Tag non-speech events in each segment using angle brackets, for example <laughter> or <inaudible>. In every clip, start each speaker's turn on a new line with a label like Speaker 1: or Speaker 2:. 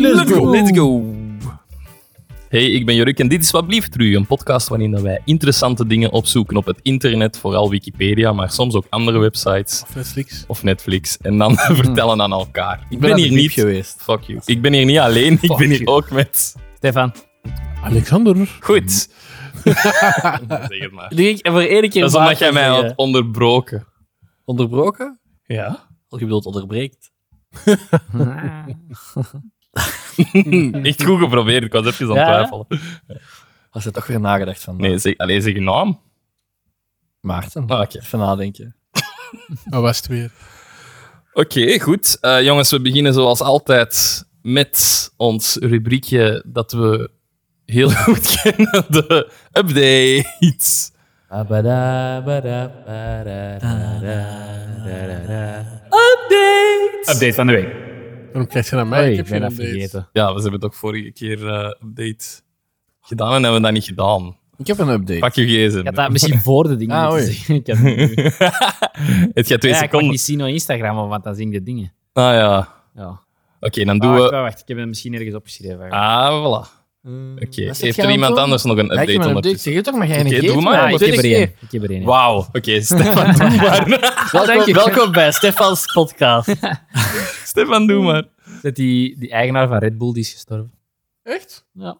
Speaker 1: Let's go.
Speaker 2: Let's go. Hey, ik ben Jurk en dit is Wat Blieft Ru, een podcast waarin dat wij interessante dingen opzoeken op het internet, vooral Wikipedia, maar soms ook andere websites
Speaker 1: Of Netflix.
Speaker 2: of Netflix, en dan <laughs> vertellen aan elkaar. Ik ben,
Speaker 3: aan de
Speaker 2: hier
Speaker 3: piep
Speaker 2: niet...
Speaker 3: geweest.
Speaker 2: Fuck you. Ik ben hier niet alleen, ik
Speaker 3: Fuck
Speaker 2: ben hier
Speaker 3: you.
Speaker 2: ook met...
Speaker 3: Stefan,
Speaker 1: Alexander.
Speaker 2: Goed. <laughs> zeg het maar.
Speaker 3: doe ik voor één
Speaker 2: Dat
Speaker 3: keer
Speaker 2: is
Speaker 3: een
Speaker 2: omdat jij mij
Speaker 3: baard
Speaker 2: had onderbroken.
Speaker 3: onderbroken?
Speaker 2: Ja?
Speaker 3: Of je bedoelt onderbreekt?
Speaker 2: Echt goed geprobeerd, ik was even aan het
Speaker 3: Ja, hè?
Speaker 2: twijfelen.
Speaker 3: Als je toch weer nagedacht van eh,
Speaker 2: Nee, zeg, alleen zeg je naam.
Speaker 3: Maarten.
Speaker 2: Ah, Oké.
Speaker 3: Even nadenken.
Speaker 1: Dat Ah, was het weer.
Speaker 2: Oké, goed. Eh, jongens, we beginnen zoals altijd met ons rubriekje dat we heel <laughs> goed kennen: de updates.
Speaker 4: Update van de week.
Speaker 1: Waarom krijg je naar mij?
Speaker 3: Hey,
Speaker 1: Ik
Speaker 3: ik
Speaker 1: heb
Speaker 3: ben
Speaker 1: geen
Speaker 3: dat
Speaker 1: update.
Speaker 3: vergeten.
Speaker 2: Ja, we hebben toch vorige keer eh update gedaan en hebben we dat niet gedaan.
Speaker 3: Ik heb een update.
Speaker 2: Pak je
Speaker 5: Ik had
Speaker 2: gsm.
Speaker 5: dat misschien voor de dingen
Speaker 3: Ah,
Speaker 5: moeten
Speaker 3: oei.
Speaker 5: zeggen. Ik had het niet.
Speaker 2: Het gaat twee
Speaker 5: ja, ik mag
Speaker 2: seconden.
Speaker 5: niet zien op Instagram, want dan zie ik de dingen.
Speaker 2: Ah ja. Oké,
Speaker 5: Ja.
Speaker 2: dan
Speaker 5: Ah,
Speaker 2: doen
Speaker 5: wacht,
Speaker 2: we.
Speaker 5: wacht, wacht, ik heb het misschien ergens opgeschreven. Eh,
Speaker 2: Ah, voilà. Oké.
Speaker 3: Wat zeg
Speaker 2: Heeft
Speaker 3: jij
Speaker 2: er
Speaker 3: dan
Speaker 2: iemand
Speaker 3: toch?
Speaker 2: anders nog een
Speaker 3: Ja, ik
Speaker 2: update
Speaker 3: heb een update.
Speaker 2: ondertussen?
Speaker 3: Zeg je toch, maar jij
Speaker 2: Oké,
Speaker 3: negeeft
Speaker 2: doe
Speaker 3: me.
Speaker 2: maar.
Speaker 5: Ah, ik heb er
Speaker 3: Tweede
Speaker 5: één. Ik heb er één.
Speaker 2: Wauw. Oké, Stefan,
Speaker 5: <laughs>
Speaker 2: doe maar.
Speaker 3: Welkom,
Speaker 5: Dank je.
Speaker 3: welkom bij Stefans <laughs> podcast.
Speaker 2: Stefan, doe maar.
Speaker 5: Dat die, die eigenaar van Red Bull die is gestorven.
Speaker 1: Echt?
Speaker 5: Ja.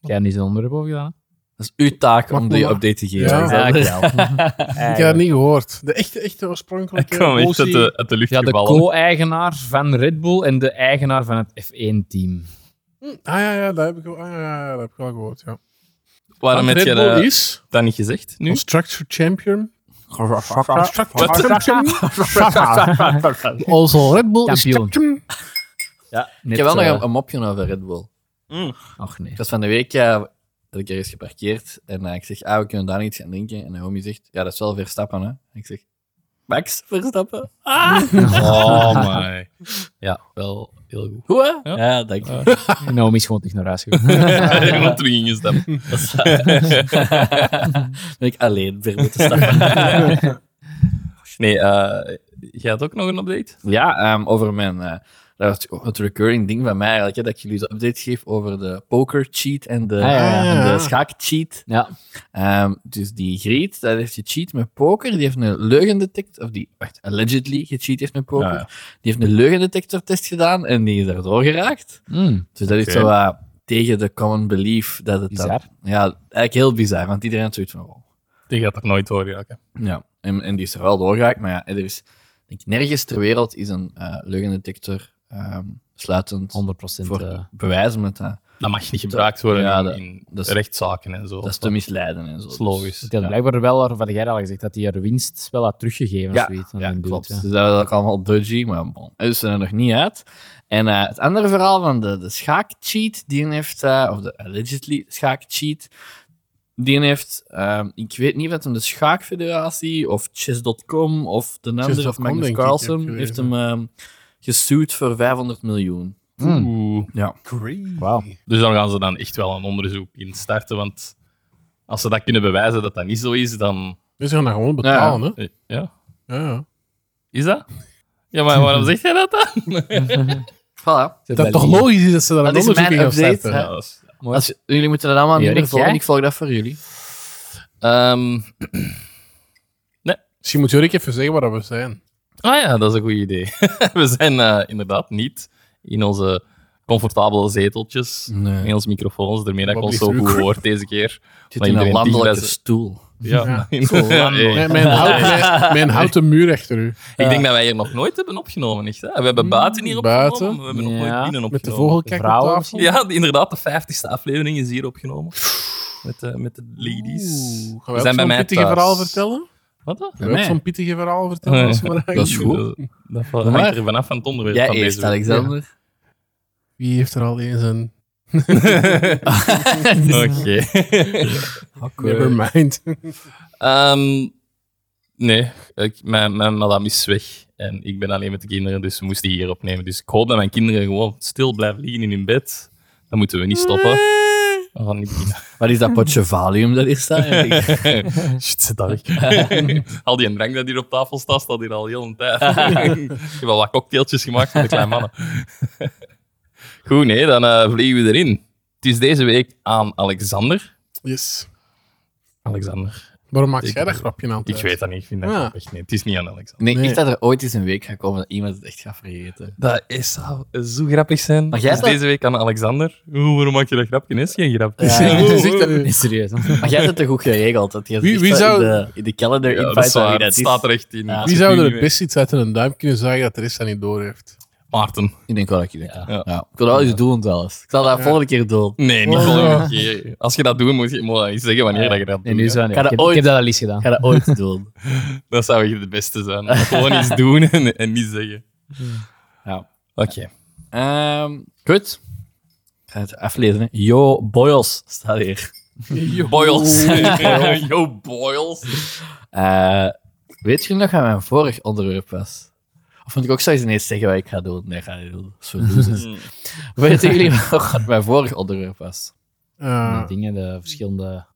Speaker 5: Ik heb niet zo'n onderwerp over gedaan.
Speaker 3: Dat is uw taak
Speaker 1: Mag
Speaker 3: om die
Speaker 1: maar.
Speaker 3: update te geven.
Speaker 1: Ja.
Speaker 3: Alexander.
Speaker 5: ik wel.
Speaker 2: <laughs>
Speaker 3: Eh.
Speaker 1: Ik heb dat niet gehoord. De echte, echte
Speaker 2: Ik
Speaker 1: oorspronkelijke
Speaker 2: kwam echt uit
Speaker 1: emotie.
Speaker 2: de, uit de lucht
Speaker 5: Ja, de
Speaker 2: gevallen.
Speaker 5: co-eigenaar van Red Bull en de eigenaar van het F1-team.
Speaker 1: Ah ja, ja, dat heb ik, wel- ah, ja, ja, dat heb ik wel gehoord, ja.
Speaker 5: Ah,
Speaker 2: Waarom
Speaker 1: Want
Speaker 2: heb je
Speaker 1: Red Bull
Speaker 2: dat,
Speaker 1: is
Speaker 2: dat niet gezegd nu?
Speaker 1: Constructor
Speaker 2: <laughs>
Speaker 1: Champion. <laughs>
Speaker 3: Also, Red Bull
Speaker 5: Kampioen. Ja,
Speaker 3: Ik
Speaker 5: net,
Speaker 3: heb wel nog
Speaker 5: eh,
Speaker 3: een, een mopje over Red Bull.
Speaker 5: Och nee. <laughs>
Speaker 3: Ik was van de week eh, dat ik ergens geparkeerd en eh, ik zeg, ah, we kunnen daar iets gaan drinken. En de homie zegt, ja, dat is wel Verstappen, hè. En ik zeg, Max Verstappen?
Speaker 2: <laughs> Oh my. Ja, wel heel <laughs> goed.
Speaker 3: Hoe, hè?
Speaker 2: Ja.
Speaker 3: Ja, dank je.
Speaker 5: Naomi Nou, is gewoon terug naar huis gegaan.
Speaker 2: Iemand terug ingestapt.
Speaker 3: <laughs> ben ik alleen weer moeten
Speaker 2: <laughs>
Speaker 3: stappen.
Speaker 2: Nee, eh, jij had ook nog een update?
Speaker 3: ja, ehm, over mijn... eh, dat was het recurring ding van mij eigenlijk, hè, dat ik jullie de update geef over de poker cheat en de,
Speaker 5: Ah, ja,
Speaker 1: ja.
Speaker 3: en de schaak cheat.
Speaker 5: Ja,
Speaker 3: Ehm, dus die Griet, dat heeft gecheat met poker. Die heeft een leugendetector, of die, wacht, allegedly gecheat heeft met poker.
Speaker 2: Ah, Ja, ja.
Speaker 3: Die heeft een leugendetectortest gedaan en die is daardoor geraakt.
Speaker 5: Mm,
Speaker 3: Dus dat is
Speaker 2: Oké.
Speaker 3: zo wat tegen de common belief dat het dan-
Speaker 5: bizar.
Speaker 3: ja, eigenlijk heel bizar, want iedereen had zoiets van, oh.
Speaker 2: Die gaat er nooit door raken.
Speaker 3: Ja, en, en die is er wel doorgeraakt, maar ja, er is, denk ik, nergens ter wereld is een eh, leugendetector ehm, sluitend
Speaker 5: 100 procent. eh.
Speaker 3: voor
Speaker 2: eh,
Speaker 3: bewijs, omdat dat,
Speaker 2: Dat mag niet gebruikt worden
Speaker 3: Ja,
Speaker 2: in-
Speaker 3: dat-
Speaker 2: in
Speaker 3: dat is-
Speaker 2: rechtszaken en zo.
Speaker 3: dat is te misleiden en zo. dus,
Speaker 2: Dat is logisch.
Speaker 5: Het had blijkbaar wel, of had jij dat al gezegd, dat hij haar winst wel had teruggegeven
Speaker 3: Ja,
Speaker 5: of zoiets. aan
Speaker 3: Ja,
Speaker 5: die dude,
Speaker 3: klopt.
Speaker 5: ja.
Speaker 3: Dus dat was ook allemaal dodgy, maar bon. Hij is er nog niet uit. En eh, het andere verhaal van de, de schaakcheat, die heeft, eh, of de allegedly schaakcheat, die heeft, ehm, ik weet niet of het hem de Schaakfederatie of Chess.com of de andere, of
Speaker 1: Chess.com
Speaker 3: Magnus
Speaker 1: denk ik, heb ik
Speaker 3: Carlsen,
Speaker 1: gelezen.
Speaker 3: heeft hem ehm gesued voor 500 miljoen.
Speaker 5: Mm.
Speaker 2: Oeh.
Speaker 1: Crazy.
Speaker 5: Wauw.
Speaker 2: Dus dan gaan ze dan echt wel een onderzoek in starten, want als ze dat kunnen bewijzen dat dat niet zo is, dan...
Speaker 1: Dus ze gaan dat gewoon betalen, hè?
Speaker 2: eh, Ja,
Speaker 1: Ja, ja.
Speaker 2: is dat? Ja, maar <laughs> waarom zeg jij dat dan?
Speaker 3: Voilà.
Speaker 1: Dat
Speaker 5: Zit bij
Speaker 1: is toch
Speaker 5: Lee.
Speaker 1: logisch dat ze daar een
Speaker 3: Dat is
Speaker 1: onderzoek
Speaker 3: mijn
Speaker 1: in gaan
Speaker 3: update,
Speaker 1: starten?
Speaker 3: hè.
Speaker 2: Ja, dat is-
Speaker 5: Mooi.
Speaker 3: Als, jullie moeten dat allemaal niet
Speaker 5: Erik,
Speaker 3: meer volgen,
Speaker 5: jij?
Speaker 3: ik volg dat voor jullie.
Speaker 2: Ehm,
Speaker 1: Misschien moet Jurik even zeggen waar we
Speaker 3: <laughs>
Speaker 1: zijn.
Speaker 2: Ah ja, dat is een goed idee. <laughs> we zijn eh, inderdaad niet in onze comfortabele zeteltjes.
Speaker 3: Nee.
Speaker 2: In onze microfoons, daarmee dat ik
Speaker 1: Wat
Speaker 2: ons
Speaker 1: blieft
Speaker 2: zo
Speaker 1: u?
Speaker 2: goed hoort deze
Speaker 1: <laughs>
Speaker 2: keer.
Speaker 3: Ik zit
Speaker 2: Maar
Speaker 3: in een
Speaker 2: iedereen
Speaker 3: landelijke
Speaker 2: dicht bij ze-
Speaker 3: stoel.
Speaker 2: Ja, Hey.
Speaker 1: Mijn, mijn, hout-
Speaker 3: <laughs>
Speaker 1: mijn, mijn houten muur achter u.
Speaker 2: Ik denk dat wij hier nog nooit hebben opgenomen, echt. Hè? We hebben buiten hier opgenomen,
Speaker 1: Buiten.
Speaker 2: maar we hebben nog
Speaker 5: Ja.
Speaker 2: nooit binnen opgenomen.
Speaker 1: Met de vogelkijk op
Speaker 5: Vrouwen
Speaker 1: tafel.
Speaker 2: Ja, die- inderdaad, de vijftigste aflevering is hier opgenomen. Met, de- met de ladies.
Speaker 1: Oeh, Gaan wij ook zo'n pittige
Speaker 2: thuis.
Speaker 1: verhaal vertellen?
Speaker 2: Wat dan?
Speaker 1: Gaan wij ook
Speaker 3: mij?
Speaker 1: zo'n pittige verhaal vertellen? als we maar
Speaker 3: Dat is
Speaker 1: eigenlijk-
Speaker 3: goed.
Speaker 2: Dat hangt
Speaker 3: Maar-
Speaker 2: er vanaf van het onderwerp
Speaker 3: Jij
Speaker 2: van deze
Speaker 3: eerst,
Speaker 2: week.
Speaker 3: Alexander.
Speaker 1: Wie heeft er al eens
Speaker 5: <laughs>
Speaker 1: een...
Speaker 2: <laughs> Oké.
Speaker 3: <laughs>
Speaker 1: Never mind.
Speaker 2: Ehm, nee, ik, mijn, mijn madame is weg. En ik ben alleen met de kinderen, dus we moesten hier opnemen. Dus ik hoop dat mijn kinderen gewoon stil blijven liggen in hun bed. Dan moeten we niet stoppen. Van niet
Speaker 1: <laughs>
Speaker 2: beginnen.
Speaker 3: Wat is dat potje Valium dat hier <laughs> staat?
Speaker 2: Shit, zit dat weg. al die drank dat hier op tafel staat, staat hier al heel een tijd. <laughs> Ik heb al wat cocktailtjes gemaakt voor de kleine mannen. <laughs> Goed, nee, dan eh, vliegen we erin. Het is deze week aan Alexander.
Speaker 1: Yes.
Speaker 2: Alexander.
Speaker 1: Waarom maak
Speaker 2: Ik-
Speaker 1: jij dat grapje nou aan
Speaker 2: Ik weet
Speaker 1: <laughs>
Speaker 2: dat niet, ik vind dat
Speaker 1: Ja.
Speaker 2: grappig. Nee, het is niet aan Alexander.
Speaker 3: Nee,
Speaker 1: Nee.
Speaker 3: ik dat er ooit eens een week gaat komen dat iemand het echt gaat vergeten.
Speaker 2: Dat is, zou zo grappig zijn.
Speaker 3: Maar jij
Speaker 2: Dus
Speaker 3: dat-
Speaker 2: deze week aan Alexander. Oeh, waarom maak je dat grapje? Is geen grapje. <laughs>
Speaker 3: Ja,
Speaker 1: Oeh,
Speaker 3: je
Speaker 1: oeh, oeh.
Speaker 5: Nee, serieus.
Speaker 3: <laughs> Maar jij hebt het toch goed geregeld? Dat je
Speaker 1: Wie-
Speaker 3: zegt
Speaker 1: wie
Speaker 3: dat in
Speaker 1: zou-
Speaker 3: de- in de calendar
Speaker 2: Ja,
Speaker 3: invite
Speaker 2: dat is
Speaker 3: dat
Speaker 2: waar,
Speaker 3: wie dat
Speaker 2: het
Speaker 3: is.
Speaker 2: staat er echt in.
Speaker 3: Ja.
Speaker 2: Ik
Speaker 1: Wie
Speaker 2: zit
Speaker 1: zou er
Speaker 2: nu niet
Speaker 1: het
Speaker 2: mee.
Speaker 1: best iets uit in een duim kunnen zagen dat de rest dat niet door heeft?
Speaker 2: Maarten.
Speaker 3: Ik denk wel dat je dat
Speaker 5: Ja.
Speaker 3: kan. Ja. Ik wil dat wel eens doen trouwens. Ik zal dat
Speaker 1: Ja.
Speaker 3: volgende keer doen.
Speaker 2: Nee, niet
Speaker 1: Wow.
Speaker 2: volgende keer. Als je dat doet, moet je, moet je zeggen wanneer dat je dat
Speaker 5: Nee,
Speaker 2: doet.
Speaker 5: nu
Speaker 2: hè.
Speaker 5: zo.
Speaker 3: Ga
Speaker 5: Nee.
Speaker 3: dat
Speaker 5: Ik, heb,
Speaker 3: ooit-
Speaker 5: ik heb dat al eens gedaan.
Speaker 3: Ik ga dat ooit doen.
Speaker 2: Dat zou je de beste zijn. Gewoon iets doen en, en niet zeggen.
Speaker 3: Ja.
Speaker 2: Oké.
Speaker 3: Ehm, goed. Ik ga het aflezen. Hè. Yo, Boyles staat hier.
Speaker 2: Boils. Yo, boils.
Speaker 3: Eh, weet je nog wat mijn vorig onderwerp was? Of moet ik ook straks ineens zeggen wat ik ga doen? Nee, ga niet doen. Dat is voor
Speaker 2: <laughs>
Speaker 3: losers.
Speaker 2: Mm.
Speaker 3: Weten jullie nog wat mijn vorig onderwerp was?
Speaker 1: Eh,
Speaker 5: Nou, Die dingen, de verschillende...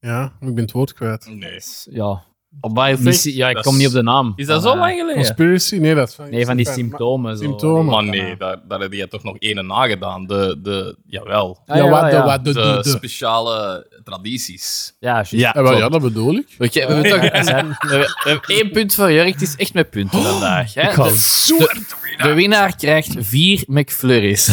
Speaker 1: ja, ik ben het woord kwijt.
Speaker 2: Nee.
Speaker 5: Ja,
Speaker 3: Op mijn
Speaker 5: missie- ja ik
Speaker 2: dat
Speaker 5: kom
Speaker 2: is-
Speaker 5: niet op de naam.
Speaker 2: Is dat
Speaker 5: Van,
Speaker 2: zo
Speaker 5: eh,
Speaker 2: lang geleden?
Speaker 1: Conspiracy? Nee, dat is
Speaker 5: Nee, van die
Speaker 1: maar-
Speaker 5: symptomen. Zo.
Speaker 1: symptomen.
Speaker 2: Maar nee, daar, daar heb je toch nog ene nagedaan. De, de, jawel.
Speaker 5: Ah,
Speaker 1: ja,
Speaker 5: ja,
Speaker 1: wat,
Speaker 5: ja.
Speaker 1: de, wat, de,
Speaker 2: De
Speaker 1: de, de.
Speaker 2: speciale tradities.
Speaker 5: Ja, juist.
Speaker 3: Ja,
Speaker 5: <laughs>
Speaker 1: Eh, wel, ja,
Speaker 3: klopt.
Speaker 1: dat bedoel ik.
Speaker 3: Weet je, we hebben toch we hebben- we hebben één punt voor Jurk. Het is echt met punten
Speaker 1: Oh,
Speaker 3: vandaag. Hè? De,
Speaker 1: Zo
Speaker 3: de winnaar krijgt vier
Speaker 1: <laughs>
Speaker 3: McFlurries.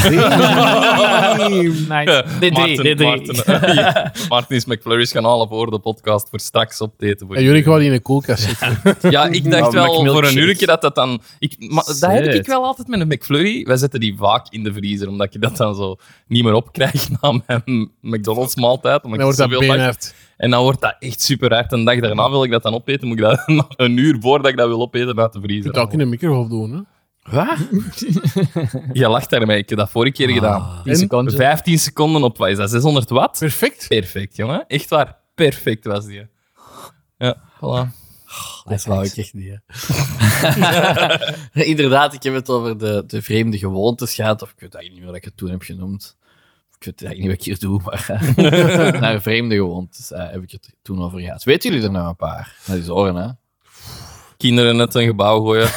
Speaker 5: Nice.
Speaker 3: Nee, drie,
Speaker 2: Maarten,
Speaker 3: nee, drie.
Speaker 2: Maarten, Ja, Maarten <laughs> is McFlurry's gaan halen voor de podcast voor straks op te eten. Voor
Speaker 1: En jullie gaan die in de koelkast zitten.
Speaker 2: Ja, ik dacht
Speaker 3: Nou,
Speaker 2: wel voor een
Speaker 3: McMilkshake.
Speaker 2: uurtje dat dat dan... Ik, maar dat heb ik
Speaker 5: Shit.
Speaker 2: wel altijd met een McFlurry. Wij zetten die vaak in de vriezer, omdat je dat dan zo niet meer opkrijgt na mijn McDonald's maaltijd. Omdat
Speaker 1: Dan wordt
Speaker 2: ik
Speaker 1: dat
Speaker 2: zoveel pak.
Speaker 1: beenhard.
Speaker 2: En dan wordt dat echt super hard. Een dag daarna wil ik dat dan opeten, moet ik dat <laughs> na een uur voordat ik dat wil opeten uit de
Speaker 1: Je moet
Speaker 2: vriezer.
Speaker 1: dat ook in de microgolf doen, hè?
Speaker 3: Wat?
Speaker 2: Je lacht daarmee. Ik heb dat vorige
Speaker 3: Ah.
Speaker 2: keer gedaan.
Speaker 5: 10 seconden.
Speaker 2: 15 seconden op, wat is dat, 600 watt?
Speaker 1: Perfect.
Speaker 2: Perfect, jongen. Echt waar. Perfect was die. Ja, voilà.
Speaker 3: Dat wou ik echt niet. hè. <laughs> Inderdaad, ik heb het over de, de vreemde gewoontes gehad. Of ik weet eigenlijk niet meer wat ik het toen heb genoemd. Ik weet eigenlijk niet wat ik hier doe, maar eh, <laughs> naar vreemde gewoontes eh, heb ik het toen over gehad. Weten jullie er nou een paar? Dat is oren, hè?
Speaker 2: Kinderen net een gebouw gooien.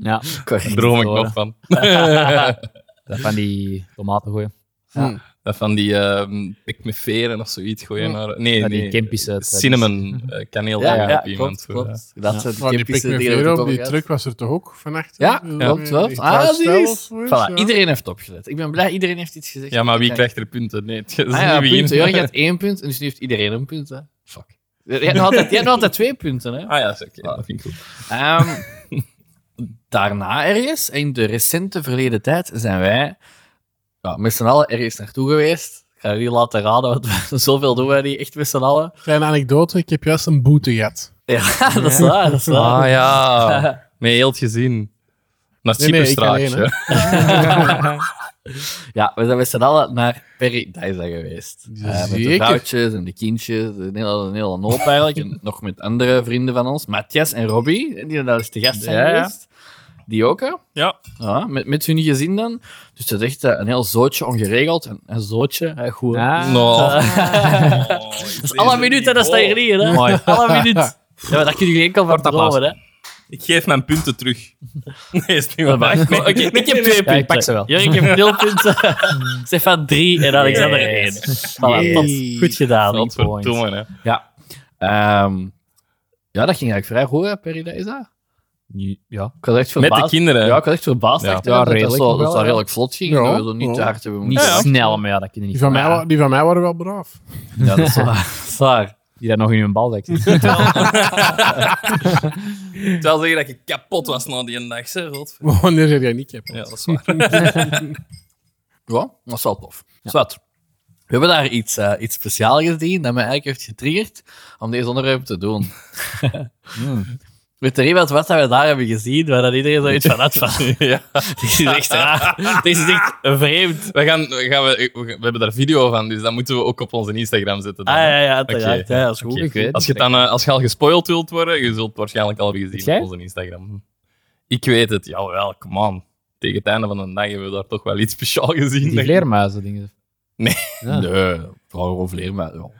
Speaker 5: Ja,
Speaker 3: Correct.
Speaker 2: Droom ik
Speaker 5: horen.
Speaker 2: nog van.
Speaker 5: dat van die tomaten gooien.
Speaker 2: Dat van die ehm pik me veren of zoiets gooien. Naar, nee,
Speaker 5: Van die
Speaker 2: nee,
Speaker 5: kempjes uit-
Speaker 2: Cinnamon eh, kaneel.
Speaker 3: Ja, ja,
Speaker 2: daar heb je
Speaker 3: klopt,
Speaker 2: iemand voor,
Speaker 3: klopt. Dat
Speaker 5: Ja.
Speaker 3: zijn de
Speaker 1: Maar die
Speaker 3: typische
Speaker 1: pick me
Speaker 3: dingen dat
Speaker 1: weer
Speaker 3: ik
Speaker 1: op,
Speaker 3: over
Speaker 1: die
Speaker 3: had.
Speaker 1: truck was er toch ook vannacht?
Speaker 3: Ja,
Speaker 1: Eh,
Speaker 3: klopt,
Speaker 1: eh,
Speaker 3: klopt.
Speaker 1: die
Speaker 3: Ah,
Speaker 1: kruisstel
Speaker 3: zie je.
Speaker 1: of zoiets,
Speaker 3: Voilà,
Speaker 1: ja.
Speaker 3: iedereen heeft opgelet. Ik ben blij, iedereen heeft iets gezegd.
Speaker 2: Ja, maar wie
Speaker 3: Ik-
Speaker 2: krijgt er punten? Nee, het is
Speaker 3: Ah ja,
Speaker 2: niet
Speaker 3: punten.
Speaker 2: wie.
Speaker 3: Jorg had één punt, en dus nu heeft iedereen een punt. Hè. Fuck. Jij hebt nog altijd, jij hebt nog altijd twee punten, hè?
Speaker 2: <laughs> Ah ja, is oké. dat vind ik goed.
Speaker 3: Ehm, daarna ergens, in de recente verleden tijd, zijn wij ja, met z'n allen ergens naartoe geweest. Ik ga jullie laten raden, want we- <laughs> zoveel doen wij niet echt met z'n allen.
Speaker 1: Kleine anekdote, ik heb juist een boete gehad.
Speaker 3: Ja, <laughs> dat is waar, dat is waar.
Speaker 2: Ah ja, met heel het gezin. Naar
Speaker 1: Nee, nee, ik
Speaker 2: Cyperstraatje.
Speaker 1: alleen,
Speaker 3: Ja, we zijn met z'n allen naar Paradise geweest. Eh, met de
Speaker 1: Zeker.
Speaker 3: vrouwtjes en de kindjes, een hele, een hele hoop eigenlijk. En nog met andere vrienden van ons, Matthias en Robbie, die daar eens te gast zijn
Speaker 5: Ja, ja.
Speaker 3: geweest. Die ook, hè?
Speaker 2: Ja.
Speaker 3: Ja, met, met hun gezin dan. Dus dat is echt eh, een heel zootje ongeregeld. Een, een zootje, hè, goed. hè.
Speaker 2: <laughs>
Speaker 5: Ah.
Speaker 2: No. Oh,
Speaker 3: Dus alle minuten, dat staat hier niet in, hè?
Speaker 2: Mooi.
Speaker 3: <laughs> Alle minuten. Ja, maar dat kun je enkel van
Speaker 2: Kort applaus.
Speaker 3: dromen, hè?
Speaker 2: Ik geef mijn punten terug. <laughs> Nee, is niet waar.
Speaker 3: Wacht,
Speaker 2: Nee. <laughs>
Speaker 3: Oké, ik heb twee
Speaker 5: Ja,
Speaker 3: punten.
Speaker 5: ik pak ze wel.
Speaker 3: Jurk heeft nul punten. <laughs> Stefan drie en Alexander
Speaker 2: Yes.
Speaker 3: één. Voilà,
Speaker 5: Yes.
Speaker 3: top. Goed gedaan.
Speaker 2: Godverdomme, hè.
Speaker 3: Ehm, ja, dat ging eigenlijk vrij goed, hè, Perry, dat is dat?
Speaker 5: Ja.
Speaker 3: Ik was echt
Speaker 2: Met
Speaker 3: verbaasd.
Speaker 2: de kinderen.
Speaker 3: ja, ik was echt verbaasd.
Speaker 2: Ja.
Speaker 3: Ja, ja, dat
Speaker 5: redelijk
Speaker 3: dat zo-
Speaker 5: nog wel,
Speaker 3: dat dat
Speaker 5: ja.
Speaker 3: redelijk vlot ging.
Speaker 1: Ja,
Speaker 3: dat we zo niet
Speaker 1: ja.
Speaker 3: te hard hebben
Speaker 5: Niet
Speaker 3: moeten werken.
Speaker 5: snel, maar ja, dat kun je niet.
Speaker 1: Die van, mij, wa-
Speaker 5: verwachten.
Speaker 1: die van mij waren wel braaf. <laughs>
Speaker 3: Ja, dat is waar. Dat is waar.
Speaker 5: Die dat nog in hun bal zit.
Speaker 2: Ik zou zeggen dat ik kapot was na die dag. Hè. Godver-
Speaker 1: Wanneer zeg jij niet, heb.
Speaker 2: Ja, dat is waar.
Speaker 3: Ja, dat is wel tof. Zwat. We hebben daar iets, eh, iets speciaals gezien dat mij eigenlijk heeft getriggerd om deze onderwerp te doen.
Speaker 2: <laughs> Hmm.
Speaker 3: Weet er iemand wat dat we daar hebben gezien, waar dat iedereen zoiets van had van... <laughs>
Speaker 2: ja.
Speaker 3: Dit is echt raar. Dit is echt vreemd.
Speaker 2: We, gaan, we, gaan, we, we hebben daar video van, dus dat moeten we ook op onze Instagram zetten.
Speaker 3: Ah
Speaker 2: dan.
Speaker 3: ja, ja, uiteraard.
Speaker 2: Oké.
Speaker 3: Ja, dat is goed.
Speaker 5: Oké. Ik weet het
Speaker 2: Als, je het dan, eh, als je al gespoild wilt worden, je zult het waarschijnlijk al hebben
Speaker 5: Weet
Speaker 2: gezien
Speaker 5: jij?
Speaker 2: op onze Instagram. Ik weet het, jawel, come on. Tegen het einde van de dag hebben we daar toch wel iets speciaal gezien.
Speaker 5: Die vleermuizen dingen. Ja.
Speaker 3: Nee, vrouwen of leer, maar ja.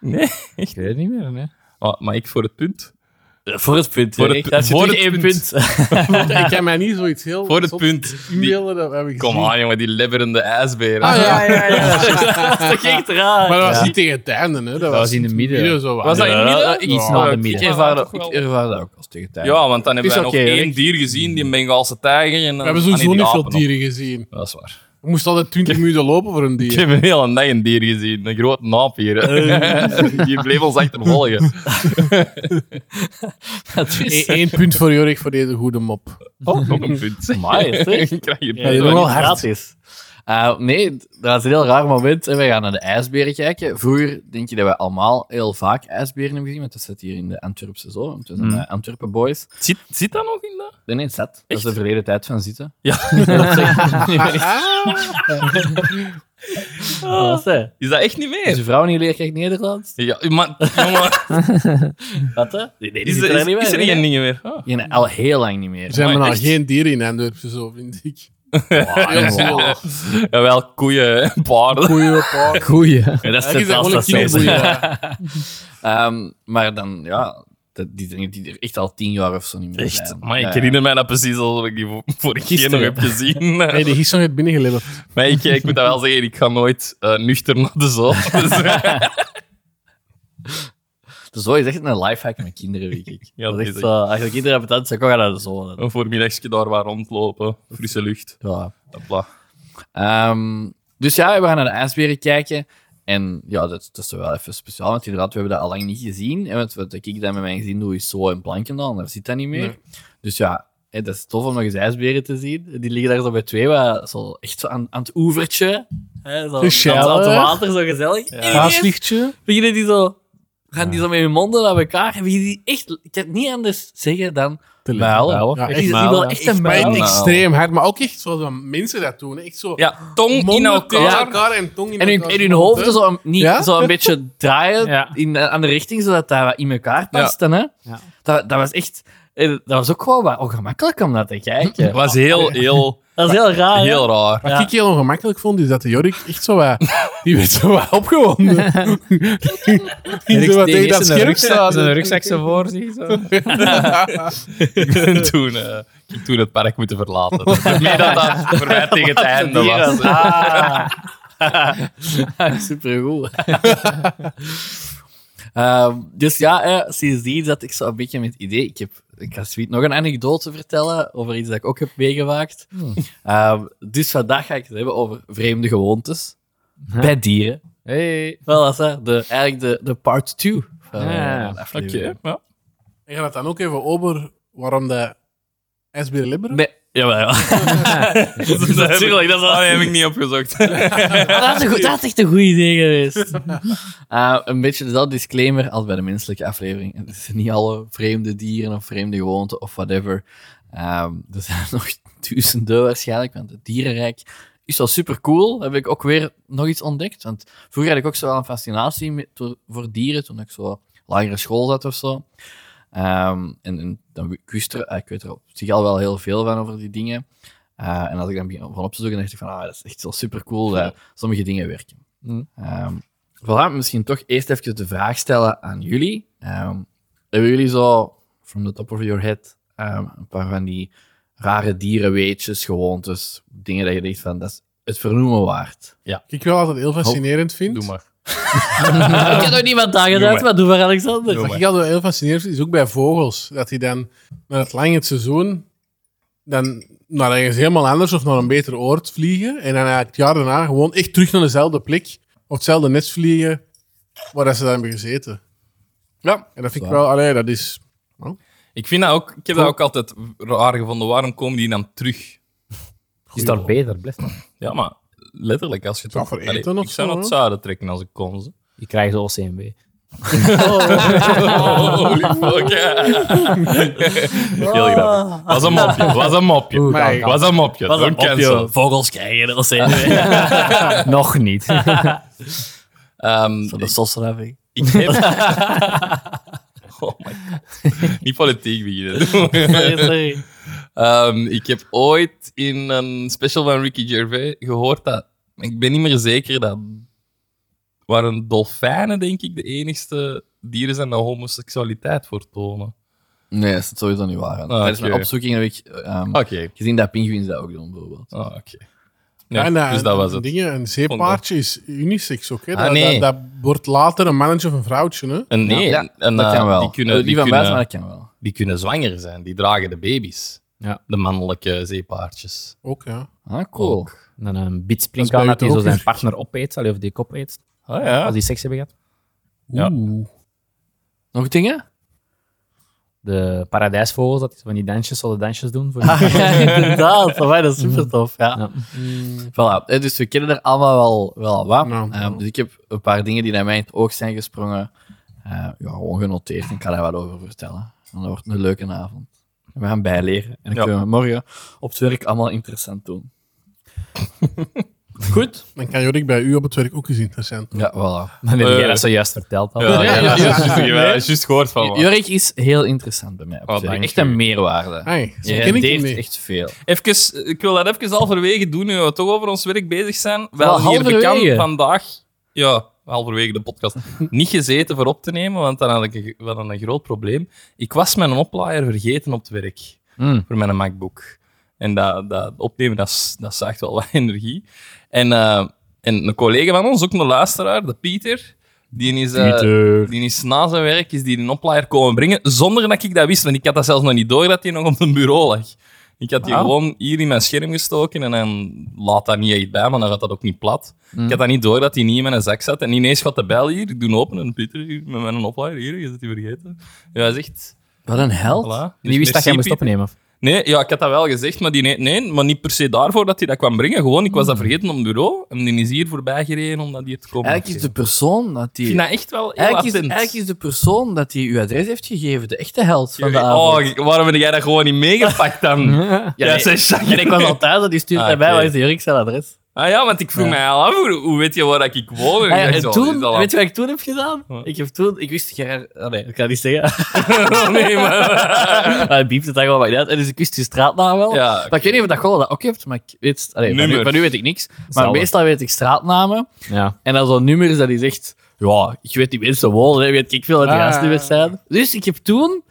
Speaker 2: Nee.
Speaker 5: Ik weet het niet meer, nee.
Speaker 2: Ah, maar ik voor het punt.
Speaker 3: Voor het punt.
Speaker 2: Voor
Speaker 3: Voor
Speaker 2: het
Speaker 3: het,
Speaker 2: pu- voor het
Speaker 3: één
Speaker 2: punt.
Speaker 3: punt. eh,
Speaker 1: ik heb mij niet zoiets heel...
Speaker 2: Voor het
Speaker 1: zot
Speaker 2: punt. Die-
Speaker 1: E-mailen, dat heb ik
Speaker 2: Kom
Speaker 1: gezien.
Speaker 2: aan, jongen, die lebberende ijsbeer.
Speaker 1: Ah, ja.
Speaker 3: ja, <laughs> dat is toch echt
Speaker 1: <laughs>
Speaker 3: raar.
Speaker 1: Maar dat was
Speaker 5: Ja.
Speaker 1: niet tegen het einde, hè. Dat,
Speaker 5: was in de midden.
Speaker 1: zo wat.
Speaker 2: Was dat in het midden?
Speaker 3: Ja,
Speaker 5: Iets
Speaker 2: Ja,
Speaker 5: na de
Speaker 2: ik- Ik
Speaker 5: midden.
Speaker 3: Ik
Speaker 2: ervaar
Speaker 3: ervaar,
Speaker 2: dat
Speaker 3: dat,
Speaker 2: toch
Speaker 3: ik
Speaker 2: wel.
Speaker 3: ervaar dat ook als tegen tijd.
Speaker 2: Ja, want dan hebben
Speaker 3: Is
Speaker 2: wij nog
Speaker 3: oké,
Speaker 2: één
Speaker 3: Rick.
Speaker 2: dier gezien, die Bengaalse tijger. En
Speaker 1: We hebben sowieso niet veel dieren gezien.
Speaker 2: Dat is waar.
Speaker 1: We moesten altijd
Speaker 2: <laughs>
Speaker 1: 20 minuten lopen voor een
Speaker 2: Ik
Speaker 1: dier.
Speaker 2: heb een hele dag een dier gezien. Een groot naap hier.
Speaker 1: Eh.
Speaker 2: <laughs> Die bleef ons achtervolgen.
Speaker 1: Oh.
Speaker 3: dat is...
Speaker 1: Eén
Speaker 2: <laughs>
Speaker 1: punt voor Jorik voor deze goede mop.
Speaker 2: Oh, nog een punt.
Speaker 3: <laughs> Amai, zeg.
Speaker 2: Ik krijg hier
Speaker 3: Ja,
Speaker 2: punten.
Speaker 3: wel gratis. Eh, nee, dat is een heel raar moment. En wij gaan naar de ijsberen kijken. Vroeger denk je dat wij allemaal heel vaak ijsberen hebben gezien, want dat zit hier in de Antwerpse zo. Het zijn
Speaker 2: Mm.
Speaker 3: eh, Antwerpen boys.
Speaker 2: Zit, zit dat nog in dat?
Speaker 3: Nee, nee, zat. Dat is de verleden tijd van zitten.
Speaker 2: Ja.
Speaker 3: dat is Dat is
Speaker 2: Is dat echt niet meer?
Speaker 3: je vrouw niet leerkracht Nederlands?
Speaker 2: Ja, maar jongen, <laughs>
Speaker 3: Wat, hè? Nee,
Speaker 2: is, er- is, is er geen dingen meer? Ah.
Speaker 3: Ja, nee, al heel lang niet meer.
Speaker 1: Er zijn maar
Speaker 2: Amai,
Speaker 1: nou
Speaker 2: echt?
Speaker 1: geen dieren in Antwerpen, zo vind ik.
Speaker 2: <laughs>
Speaker 3: Wow,
Speaker 1: Heel
Speaker 3: wow.
Speaker 1: veel
Speaker 2: Jawel, koeien en paarden.
Speaker 1: koeien, paarden.
Speaker 5: Goeie.
Speaker 3: Ja,
Speaker 1: Eigenlijk
Speaker 3: dat
Speaker 1: is
Speaker 3: zit
Speaker 1: dat
Speaker 3: vast,
Speaker 1: gewoon een
Speaker 3: dat zijn ze.
Speaker 1: kinderboeien. <laughs> ja.
Speaker 3: Ehm, maar dan, ja, dat, die zijn die er echt al tien jaar of zo niet meer
Speaker 2: Echt,
Speaker 3: zijn.
Speaker 2: maar ik
Speaker 3: Ja,
Speaker 2: herinner mij dat precies alsof ik die vo- vorige keer nog
Speaker 5: Gisteren.
Speaker 2: heb gezien.
Speaker 1: Nee, die is nog niet binnengeleverd.
Speaker 2: Maar ik, ik moet dat wel zeggen, ik ga nooit eh, nuchter naar de
Speaker 3: <laughs>
Speaker 2: zool. Dus, eh,
Speaker 3: De Dus zo is echt een lifehack met kinderen, weet
Speaker 2: <laughs>
Speaker 3: ik.
Speaker 2: Ja,
Speaker 3: ja, dat
Speaker 2: dat
Speaker 3: is
Speaker 2: is
Speaker 3: echt zo. Als je kinderen hebt, dan zeg ik, ga naar de zon.
Speaker 2: een voormiddagje daar waar rondlopen, frisse lucht.
Speaker 3: Ja.
Speaker 2: Hopla.
Speaker 3: Ehm, dus ja, we gaan naar de ijsberen kijken. En ja, dat, dat is wel even speciaal, want inderdaad, we hebben dat al lang niet gezien. En wat, wat ik dan met mijn gezin doe, is zo in Plankendaal, en daar zit dat niet meer.
Speaker 1: Nee.
Speaker 3: Dus ja, hè, dat is tof om nog eens ijsberen te zien. Die liggen daar zo bij twee, wat, zo, echt zo aan, aan het oevertje. Hè, zo,
Speaker 1: Gezellig.
Speaker 3: aan het water, zo gezellig. Ineens
Speaker 1: Gaaslichtje.
Speaker 3: beginnen die zo... Gaan die zo met hun monden naar elkaar? En beginnen die echt... Ik kan het niet anders zeggen dan... Muilen.
Speaker 5: Muilen.
Speaker 1: Ja,
Speaker 3: Die-
Speaker 1: echt
Speaker 3: die
Speaker 5: muilen.
Speaker 3: wel echt een
Speaker 1: Maar echt
Speaker 3: muil.
Speaker 1: extreem hard, maar ook echt zoals dat mensen dat doen. hè. Echt zo
Speaker 2: Ja, tong in
Speaker 1: monden
Speaker 2: elkaar.
Speaker 1: tegen elkaar en tong in
Speaker 3: En hun,
Speaker 1: elkaar.
Speaker 3: en hun hoofden zo, een- niet,
Speaker 1: Ja?
Speaker 3: zo een beetje draaien
Speaker 5: Ja.
Speaker 3: in de andere richting, zodat dat wat in elkaar past. Hè?
Speaker 5: Ja.
Speaker 3: Dat, dat was echt... eh, Dat was ook gewoon wat ongemakkelijk om naar te kijken.
Speaker 2: was heel, heel,
Speaker 3: Dat is heel
Speaker 1: Ah,
Speaker 3: raar. hè?
Speaker 2: heel raar.
Speaker 1: Wat
Speaker 3: Ja.
Speaker 1: ik heel ongemakkelijk vond, is dat de Jorik echt zo
Speaker 3: <laughs>
Speaker 1: wat... Die werd zo wat opgewonden. Die zo wat tegen dat scherm staat.
Speaker 5: Zijn rugzak zo voor zich.
Speaker 1: <laughs>
Speaker 5: Zo.
Speaker 1: Ah,
Speaker 2: Ik ben <laughs> toen, eh, ik heb toen het park moeten
Speaker 3: <laughs>
Speaker 2: verlaten. Meer dat dat voor mij tegen het einde was.
Speaker 3: Ah. Supergoed. <laughs> Ehm, dus ja, eh, sindsdien zat ik zo een beetje met het idee. Ik, heb, ik ga zoiets nog een anekdote vertellen over iets dat ik ook heb meegemaakt. Ehm, dus vandaag ga ik het hebben over vreemde gewoontes bij dieren.
Speaker 5: Hey.
Speaker 3: Wel, dat is eh, de, eigenlijk de, de part 2 van eh,
Speaker 5: Ja,
Speaker 1: Ah.
Speaker 3: de
Speaker 2: Oké,
Speaker 3: aflevering.
Speaker 2: ja.
Speaker 1: <laughs> En gaat het dan ook even over waarom de SB Liberen?
Speaker 3: Nee, jawel. <laughs> dat is natuurlijk, dat is
Speaker 2: Oh,
Speaker 3: al-
Speaker 2: die heb ik niet
Speaker 3: <laughs>
Speaker 2: opgezocht.
Speaker 3: Maar dat, is een goe- dat is echt een goed idee <laughs> geweest. Eh, een beetje dezelfde disclaimer als bij de menselijke aflevering. Het zijn niet alle vreemde dieren of vreemde gewoonten of whatever. Ehm, er zijn <laughs> nog duizenden waarschijnlijk, want het dierenrijk is wel super cool. Heb ik ook weer nog iets ontdekt. Want vroeger had ik ook zo wel een fascinatie met- voor- voor dieren toen ik zo lagere school zat of zo. Ehm, en, en dan wi- ik wist er, eh, ik weet er op zich al wel heel veel van over die dingen. Eh, en als ik dan begin van op te zoeken, dacht ik van, ah, dat is echt wel super <laughs> cool dat sommige dingen werken.
Speaker 5: Mm.
Speaker 3: Ehm, voilà, misschien toch eerst even de vraag stellen aan jullie. Ehm, hebben jullie zo, from the top of your head, ehm, een paar van die rare dierenweetjes, gewoontes, dingen dat je denkt van, dat is het vernoemen waard?
Speaker 1: Wat ik wel altijd heel fascinerend vind.
Speaker 2: Doe maar.
Speaker 3: ik heb nog niemand
Speaker 2: Doe
Speaker 3: aangedaan,
Speaker 2: maar.
Speaker 3: maar doe maar Alexander.
Speaker 2: Doe
Speaker 1: Wat ik altijd wel heel fascinerend vind, is ook bij vogels. Dat die dan na het lange seizoen dan naar ergens helemaal anders of naar een beter oord vliegen. En dan het jaar daarna gewoon echt terug naar dezelfde plek of hetzelfde nest vliegen waar dat ze dan hebben gezeten.
Speaker 3: Ja.
Speaker 1: En dat vind ik
Speaker 3: Zwaar.
Speaker 1: wel, allee, dat is...
Speaker 2: Ik, vind dat ook, ik heb dat ook altijd raar gevonden. Waarom komen die dan terug?
Speaker 5: Is daar beter, blijf maar.
Speaker 2: Ja, maar letterlijk, als je het
Speaker 1: Zou voor
Speaker 2: Allee,
Speaker 1: eten of
Speaker 2: Ik zou
Speaker 1: zo,
Speaker 2: naar het
Speaker 1: hè?
Speaker 2: zuiden trekken als ik kon. zo.
Speaker 5: Je krijgt OCMW.
Speaker 2: Oh, Holy fuck, ja. <laughs> Heel grappig. Was een mopje, was een mopje.
Speaker 1: Maar-
Speaker 2: Was een mopje,
Speaker 3: Pas
Speaker 2: don't
Speaker 3: op, op
Speaker 2: cancel.
Speaker 3: joh. Vogels krijgen dat zijn
Speaker 5: Nog niet.
Speaker 2: Ehm,
Speaker 3: Van de sosraving.
Speaker 2: ik heb... <laughs> Oh <laughs> my god. Niet politiek beginnen. <laughs>
Speaker 3: Sorry, sorry.
Speaker 2: Ehm, ik heb ooit in een special van Ricky Gervais gehoord dat Ik ben niet meer zeker dat. Waren dolfijnen, denk ik, de enigste dieren zijn dat homoseksualiteit voor tonen.
Speaker 3: Nee, dat is sowieso niet waar.
Speaker 2: Ah,
Speaker 3: Tijdens mijn
Speaker 2: oké.
Speaker 3: opzoeking heb ik ehm,
Speaker 2: Oké.
Speaker 3: gezien dat pinguïns dat ook doen, bijvoorbeeld.
Speaker 2: Ah, oké.
Speaker 1: Ja,
Speaker 2: Nee,
Speaker 1: en
Speaker 2: dus dat was het.
Speaker 1: Dingen, een zeepaardje is unisex ook. Hè?
Speaker 2: Ah,
Speaker 1: dat, dat,
Speaker 2: nee.
Speaker 1: dat wordt later een mannetje of een vrouwtje. Hè?
Speaker 2: En nee,
Speaker 3: Ja,
Speaker 2: en,
Speaker 3: dat
Speaker 2: eh,
Speaker 3: kan wel.
Speaker 2: Die kunnen,
Speaker 3: Eh,
Speaker 2: die,
Speaker 3: die van buiten,
Speaker 2: kunnen,
Speaker 3: maar dat kan wel.
Speaker 2: die kunnen zwanger zijn. Die dragen de baby's.
Speaker 5: Ja.
Speaker 2: De mannelijke zeepaardjes.
Speaker 1: Ook, ja.
Speaker 3: Ah, cool.
Speaker 2: Ook.
Speaker 5: En dan een bitsprink
Speaker 1: Dat is bij
Speaker 5: aan dat
Speaker 1: u
Speaker 5: hij
Speaker 1: toch
Speaker 5: zo
Speaker 1: ook niet?
Speaker 5: zijn partner opeet, allee, of die kop eet,
Speaker 2: Ah ja.
Speaker 5: als die seks hebben gehad.
Speaker 2: Ja.
Speaker 1: Oeh.
Speaker 3: Nog dingen?
Speaker 5: De paradijsvogels, dat die van die dansjes, zullen dansjes doen. Voor
Speaker 3: <laughs> inderdaad. Voor mij, dat is super tof. Ja.
Speaker 5: Ja.
Speaker 3: Voilà. Eh, Dus we kennen er allemaal wel, wel wat.
Speaker 1: Nou.
Speaker 3: Ehm, dus ik heb een paar dingen die naar mij in het oog zijn gesprongen. eh, ja, gewoon genoteerd. Ik kan daar wat over vertellen. Dan wordt het een leuke avond. En we gaan bijleren. En dan
Speaker 2: Ja.
Speaker 3: kunnen we morgen op het werk allemaal interessant doen. Goed?
Speaker 1: Dan kan Jorik bij u op het werk ook eens interessant doen.
Speaker 3: Ja, voilà.
Speaker 5: Dan heb
Speaker 2: Eh.
Speaker 5: jij dat zojuist verteld al.
Speaker 2: Ja, ja, ja,
Speaker 1: ja.
Speaker 2: juist,
Speaker 1: Nee.
Speaker 2: juist- juist gehoord van me.
Speaker 3: Jurk is heel interessant bij mij. Op het
Speaker 2: Oh,
Speaker 3: werk.
Speaker 2: dank
Speaker 3: Echt
Speaker 2: u.
Speaker 3: een meerwaarde.
Speaker 1: Hey, zo ken
Speaker 3: Je
Speaker 1: ik hem
Speaker 3: rendeert
Speaker 1: niet.
Speaker 3: echt veel.
Speaker 2: Even, ik wil dat even halverwege doen, nu we toch over ons werk bezig zijn. Wel,
Speaker 3: Wel,
Speaker 2: hier
Speaker 3: halverwege?
Speaker 2: bekend vandaag... Ja, halverwege de podcast. niet gezeten voor op te nemen, want dan had ik een- wel een groot probleem. Ik was mijn oplaaier vergeten op het werk.
Speaker 3: Mm.
Speaker 2: voor mijn MacBook. En dat, dat opnemen, dat, s- dat zuigt wel wat <laughs> energie. En, eh, en een collega van ons, ook een luisteraar, de Pieter, die is, eh, die is na zijn werk is die een oplaaier komen brengen, zonder dat ik dat wist. Want ik had dat zelfs nog niet door dat hij nog op een bureau lag. Ik had die
Speaker 3: Ah.
Speaker 2: gewoon hier in mijn scherm gestoken en dan laat dat niet echt bij, maar dan gaat dat ook niet plat. Ik had dat niet door dat hij niet in mijn zak zat. En ineens gaat de bel hier, ik doe hem open en Pieter, hier, met mijn oplaaier, hier, je zit die vergeten. Ja, hij zegt...
Speaker 3: Wat een held.
Speaker 2: Voilà. dus
Speaker 5: Die wist dat jij moest opnemen.
Speaker 2: Nee, ja, ik had dat wel gezegd, maar die nee, nee, maar niet per se daarvoor dat hij dat kwam brengen. Gewoon, ik was dat vergeten op het bureau en die is hier voorbij gereden om dat hier te komen.
Speaker 3: Eigenlijk is de
Speaker 2: afgeven.
Speaker 3: persoon dat die...
Speaker 2: Ik vind dat echt wel heel
Speaker 3: Eigenlijk is,
Speaker 2: attent.
Speaker 3: eigenlijk is de persoon dat die uw adres heeft gegeven de echte held van de
Speaker 2: Jurgen,
Speaker 3: avond. Ah
Speaker 2: oh, waarom heb jij dat gewoon niet meegepakt dan? <laughs> ja,
Speaker 3: Mhm. nee.
Speaker 2: zei Jacques.
Speaker 3: en ik was al thuis en die stuurde
Speaker 2: Ah,
Speaker 3: mij bij,
Speaker 2: oké.
Speaker 3: waar is de Jurk zijn adres?
Speaker 2: Ah ja, want ik vroeg mij al af, hoe, hoe weet je waar dat ik woon?
Speaker 3: Ah ja,
Speaker 2: Ik dacht,
Speaker 3: en
Speaker 2: zo,
Speaker 3: toen,
Speaker 2: is dat
Speaker 3: weet je wat ik toen heb gedaan?
Speaker 2: Wat?
Speaker 3: Ik heb toen, ik wist, Gerard, oh nee, ik kan het niet zeggen. ah,
Speaker 2: al- nee,
Speaker 3: <laughs>
Speaker 2: maar...
Speaker 3: Hij biept het dan gewoon, maar niet uit. En dus ik wist die straatnaam wel.
Speaker 2: Ja,
Speaker 3: Maar ik weet niet of dat gewoon dat ook heeft, maar ik weet, allee, van, nu,
Speaker 2: Nummer.
Speaker 3: van nu weet ik niks. Maar
Speaker 5: Hetzelfde.
Speaker 3: meestal weet ik straatnamen.
Speaker 5: Ja.
Speaker 3: En dan zo'n nummer is dat hij zegt, ja, ik weet die mensen wonen, hè, weet ik veel dat die
Speaker 1: Ah.
Speaker 3: huisnummers zijn. Dus ik heb toen,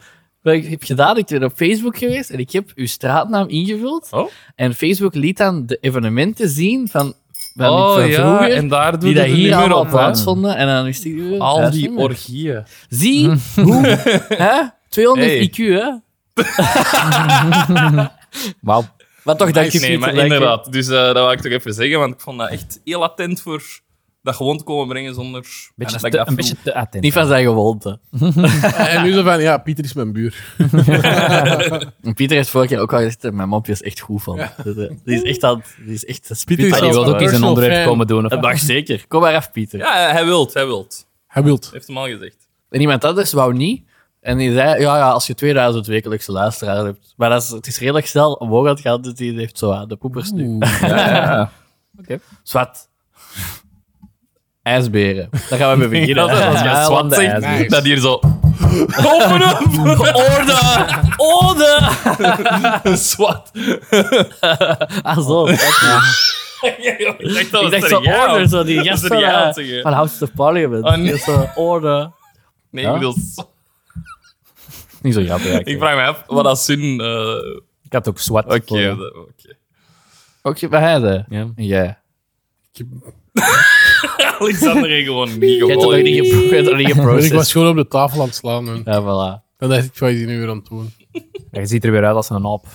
Speaker 3: wat ik heb gedaan, ik ben op Facebook geweest en ik heb uw straatnaam ingevuld.
Speaker 2: Oh.
Speaker 3: En Facebook liet dan de evenementen zien van, van,
Speaker 2: oh
Speaker 3: van
Speaker 2: ja,
Speaker 3: vroeger,
Speaker 2: en daar doe
Speaker 3: die
Speaker 2: je
Speaker 3: dat
Speaker 2: het
Speaker 3: hier
Speaker 2: nummer
Speaker 3: allemaal
Speaker 2: op. hè.
Speaker 3: plaatsvonden. En dan wist ik uw
Speaker 2: Al die
Speaker 3: huisnummer.
Speaker 2: orgieën. Hm.
Speaker 3: Zie
Speaker 2: <laughs>
Speaker 3: hoe, hè? 200
Speaker 2: Hey.
Speaker 3: IQ,
Speaker 2: <laughs>
Speaker 3: hè?
Speaker 5: Wauw.
Speaker 3: Maar toch, dank je
Speaker 2: Nee, maar
Speaker 3: Pieter, dank je.
Speaker 2: inderdaad. Dus eh, dat wil ik toch even zeggen, want ik vond dat echt heel attent voor dat gewoon te komen brengen zonder...
Speaker 5: Beetje
Speaker 2: dat ik
Speaker 5: te-
Speaker 2: dat
Speaker 5: een
Speaker 2: voel.
Speaker 5: beetje te attent.
Speaker 3: Niet van zijn gewoonte.
Speaker 1: <laughs> En nu zo van, ja, Pieter is mijn buur.
Speaker 3: En Pieter heeft vorige keer ook al gezegd, eh, mijn mopje is echt goed van. Dus, eh, Die is echt aan het- die is echt
Speaker 1: Pieter is
Speaker 5: Maar
Speaker 3: spitfire.
Speaker 5: die
Speaker 1: zelfs
Speaker 5: wil ook eens een
Speaker 1: personal
Speaker 5: onderwerp
Speaker 1: fan.
Speaker 5: komen doen. Of...
Speaker 3: Dat mag zeker. Kom maar af, Pieter.
Speaker 2: Ja, hij wilt, hij wilt.
Speaker 1: Hij wilt.
Speaker 2: Heeft hem al gezegd.
Speaker 3: En iemand anders wou niet. En die zei, ja, ja als je 2000 wekelijkse luisteraars hebt. Maar dat is, het is redelijk snel omhoog aan het gaan, dus die heeft zo aan de poepers nu. <laughs> Zwat. IJsberen. Daar gaan we mee beginnen.
Speaker 2: dat is als jij
Speaker 3: Ja,
Speaker 2: zwart
Speaker 3: want eh, de
Speaker 2: zegt,
Speaker 3: ijsberen.
Speaker 2: Dat hier zo... Open up! Orde!
Speaker 3: Ode! <laughs>
Speaker 2: Zwart.
Speaker 3: Ah, zo.
Speaker 2: Ik dacht dat
Speaker 3: Ik
Speaker 2: was
Speaker 3: dacht
Speaker 2: er
Speaker 3: zo,
Speaker 2: jou.
Speaker 3: order, zo die gast van,
Speaker 2: Seriaal,
Speaker 3: eh,
Speaker 2: zeg je.
Speaker 3: van House of Parliament.
Speaker 2: Oh, nee.
Speaker 3: Die is zo, order.
Speaker 2: Nee,
Speaker 3: Ja?
Speaker 2: ik bedoel...
Speaker 3: Niet zo grappig
Speaker 2: Ik vraag me af wat dat zin... eh,
Speaker 5: Ik had ook zwart.
Speaker 2: Oké,
Speaker 5: voor-
Speaker 2: dat- oké.
Speaker 3: Ook je bij Heide?
Speaker 5: Ja.
Speaker 3: Ja.
Speaker 2: Alexander heeft gewoon niet
Speaker 3: Je hebt het nog
Speaker 2: gewonnen.
Speaker 3: niet gepro- je hebt het nog niet
Speaker 1: Ik was
Speaker 3: geprocessed.
Speaker 1: gewoon op de tafel aan het slaan. En
Speaker 3: Ja, voilà.
Speaker 1: dan dacht ik, wat is die nu weer aan het doen?
Speaker 5: Ja, je ziet er weer uit als een aap.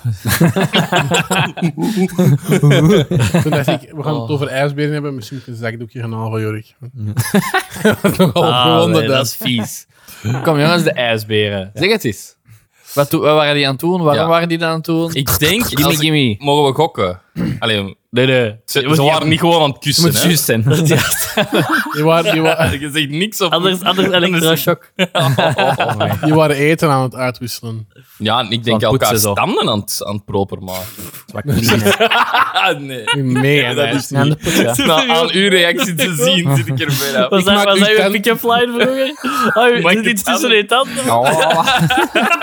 Speaker 1: Toen dacht ik, we gaan
Speaker 3: Oh.
Speaker 1: het over ijsberen hebben. Misschien moet ik een zakdoekje gaan halen van Jorik.
Speaker 3: <laughs>
Speaker 1: Nogal
Speaker 3: Ah,
Speaker 1: opgewonden
Speaker 3: nee, dat
Speaker 1: dat.
Speaker 3: is vies. <laughs> Kom jongens, de ijsberen. Zeg het eens. Wat, doe- wat waren die aan het doen? Waarom
Speaker 2: Ja.
Speaker 3: waren die dan aan het doen?
Speaker 2: Ik denk...
Speaker 3: gimme,
Speaker 2: als ik-
Speaker 3: gimme.
Speaker 2: Mogen we gokken? Alleen,
Speaker 3: Nee, nee.
Speaker 2: ze, ze waren niet gewoon aan het kussen, hè?
Speaker 5: zijn.
Speaker 1: Die waren, die, wa-
Speaker 2: Je zegt niks op... <laughs>
Speaker 3: Anders, anders elektroshock.
Speaker 1: die waren eten aan het uitwisselen.
Speaker 2: Ja, ik denk
Speaker 5: Van
Speaker 2: elkaar
Speaker 5: poetsen zo.
Speaker 2: standen aan het, aan het proper maken. Ah, nee.
Speaker 1: Mee aan
Speaker 2: dat
Speaker 1: dat
Speaker 2: is
Speaker 1: is
Speaker 5: Aan de put, ja.
Speaker 2: Nou, aan uw reactie te <laughs> zien zit ik er bijna
Speaker 3: Was
Speaker 2: op.
Speaker 3: dat,
Speaker 1: maak
Speaker 3: was
Speaker 1: uw
Speaker 3: dat uw
Speaker 1: tent-
Speaker 3: pick-up line
Speaker 2: <laughs>
Speaker 3: vroeger?
Speaker 2: Maak
Speaker 3: Oh, je zit
Speaker 2: je
Speaker 3: iets tussen
Speaker 2: tanden.
Speaker 3: je tanden.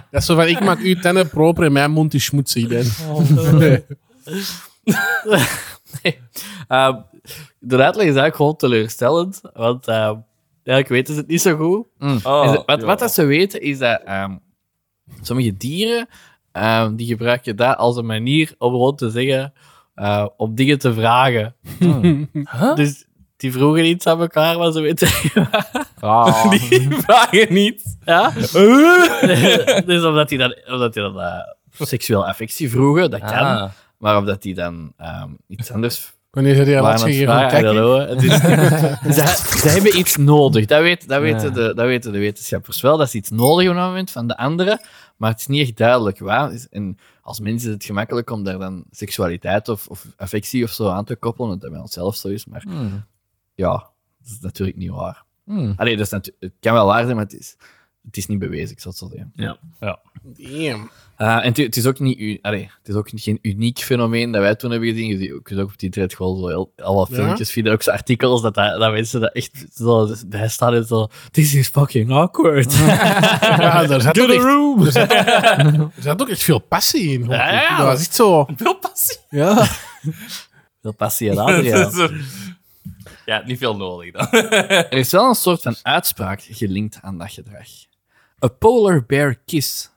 Speaker 5: <laughs>
Speaker 1: Dat is zo van, ik
Speaker 3: <laughs>
Speaker 1: dus." maak uw tanden proper en mijn mond is schmutzig. Ben.
Speaker 3: Ehm, de uitleg is eigenlijk gewoon teleurstellend, want
Speaker 2: <laughs>
Speaker 3: ehm eigenlijk weten ze het niet zo goed.
Speaker 2: Oh.
Speaker 3: Oh, En ze- wat, wat dat ze weten is dat ehm, sommige dieren ehm, die gebruiken dat als een manier om gewoon te zeggen, eh, om dingen te vragen. <laughs> Dus die vroegen iets aan elkaar, maar ze weten
Speaker 5: Ah.
Speaker 3: die vragen niet. Ja? <laughs> dus omdat die dan, omdat die dan eh, seksueel affectie vroegen, dat kan.
Speaker 2: Ah.
Speaker 3: Maar omdat die dan ehm, iets anders
Speaker 1: Wanneer ze die laatste keer gaan
Speaker 3: vragen,
Speaker 1: kijken.
Speaker 3: hallo, het is- <laughs> ze, ze hebben iets nodig. Dat, weet, dat, weten
Speaker 5: Ja.
Speaker 3: de, dat weten de wetenschappers wel. Dat is iets nodig op dat moment van de anderen. Maar het is niet echt duidelijk waar. Is- En als mensen is het gemakkelijk om daar dan seksualiteit of, of affectie of zo aan te koppelen. Dat dat bij onszelf zo is. Maar
Speaker 2: Hmm.
Speaker 3: ja, dat is natuurlijk niet waar.
Speaker 2: Hmm.
Speaker 3: Allee, dat is natu- het kan wel waar zijn, maar het is, het is niet bewezen, ik zal het zo zeggen.
Speaker 1: Damn.
Speaker 3: Eh, en het- het is ook niet u- allee, het is ook geen uniek fenomeen dat wij toen hebben gezien. Je ziet ook, je ziet ook op het internet gewoon zo heel, al wat
Speaker 1: Ja?
Speaker 3: filmpjes, vinden ook zo artikels, dat, dat, dat mensen dat echt zo bij staan en zo... This is fucking awkward.
Speaker 1: Ja,
Speaker 3: <laughs>
Speaker 1: daar zat,
Speaker 3: To
Speaker 1: ook
Speaker 3: the
Speaker 1: echt,
Speaker 3: room! <laughs>
Speaker 1: er zat ook echt veel passie in. hoor.
Speaker 3: Ja, ja.
Speaker 1: Dat was echt zo.
Speaker 2: Veel passie.
Speaker 3: ja. Veel passie en Adriaan.
Speaker 2: Ja, niet veel nodig dan.
Speaker 3: Hm. Er is wel een soort van uitspraak gelinkt aan dat gedrag. A polar bear kiss.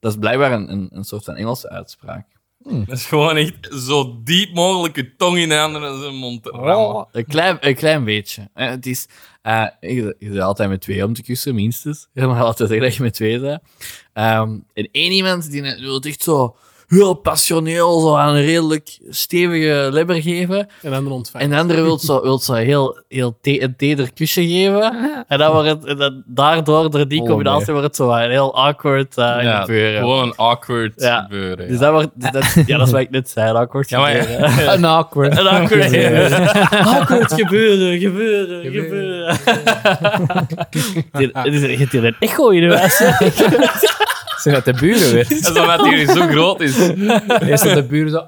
Speaker 3: Dat is blijkbaar een, een, een soort van Engelse uitspraak.
Speaker 2: Dat is gewoon echt zo diep mogelijk je tong in de andere zijn mond te rammen.
Speaker 3: Een klein, een klein beetje. Eh, Het is, eh, je, je bent altijd met twee om te kussen, minstens. <laughs> Je mag altijd zeggen dat je met twee bent. Ehm, en één iemand die net wil het echt zo heel passioneel, zo aan een redelijk stevige lebber geven.
Speaker 1: En dan ontvangen.
Speaker 3: En de andere wil het zo, wil het zo heel, heel te, een teder kusje geven. <laughs> En, dan wordt het, en dan daardoor, door die
Speaker 5: Oh,
Speaker 3: combinatie, wordt het zo een heel awkward eh,
Speaker 2: Ja,
Speaker 3: gebeuren.
Speaker 2: Gewoon een awkward
Speaker 3: Ja.
Speaker 2: gebeuren.
Speaker 3: Dus dat wordt, dus dat, ja, dat is wat ik net zei, een awkward
Speaker 2: Ja, maar-
Speaker 3: gebeuren.
Speaker 5: Een awkward.
Speaker 3: Een awkward gebeuren. <laughs> Awkward gebeuren, gebeuren, gebeuren. <laughs> Die- Het is je hebt hier een echo in de <laughs> huis.
Speaker 5: Zijn dat de buren weer?
Speaker 2: <laughs> Dat is omdat die hier <laughs> zo groot is.
Speaker 5: Eerst dat de buren zo...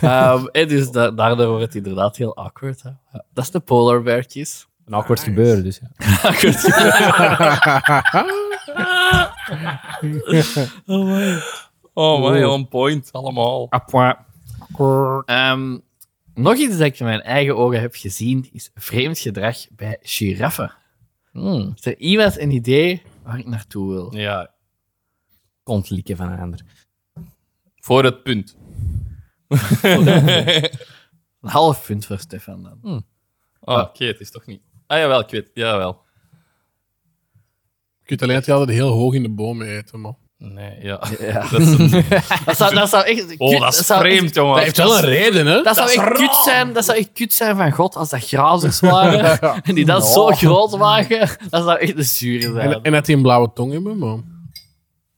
Speaker 3: Ehm, en dus da- daardoor wordt het inderdaad heel awkward. Hè. Ja, Dat is de polar bear kiss.
Speaker 5: Een awkward gebeuren, dus. Ja.
Speaker 2: Oh man, on point, allemaal.
Speaker 3: Ah. Ehm, nog iets dat ik met mijn eigen ogen heb gezien, is vreemd gedrag bij giraffen. Is er iemand een idee waar ik naartoe wil?
Speaker 2: Ja,
Speaker 5: Kont likken van een ander.
Speaker 2: voor het punt.
Speaker 3: Een half punt voor Stefan dan.
Speaker 2: Oh, oké, het is toch niet. Ah jawel, ik weet. Jawel.
Speaker 1: Je kunt alleen dat die altijd heel hoog in de bomen eten, man.
Speaker 2: Nee, ja.
Speaker 3: Ja.
Speaker 2: <laughs> Dat is
Speaker 3: <laughs>
Speaker 2: een-
Speaker 3: Dat, zou, dat zou echt...
Speaker 2: Oh, dat is
Speaker 3: zou echt-
Speaker 2: vreemd, jongen.
Speaker 3: Dat heeft wel een
Speaker 1: reden, hè?
Speaker 3: Dat zou, echt kut zijn, dat zou echt kut zijn van God als dat grazers waren. en die dat
Speaker 5: Ja.
Speaker 3: zo groot waren. Dat zou echt een zure zijn.
Speaker 1: En, en dat die een blauwe tong hebben, man.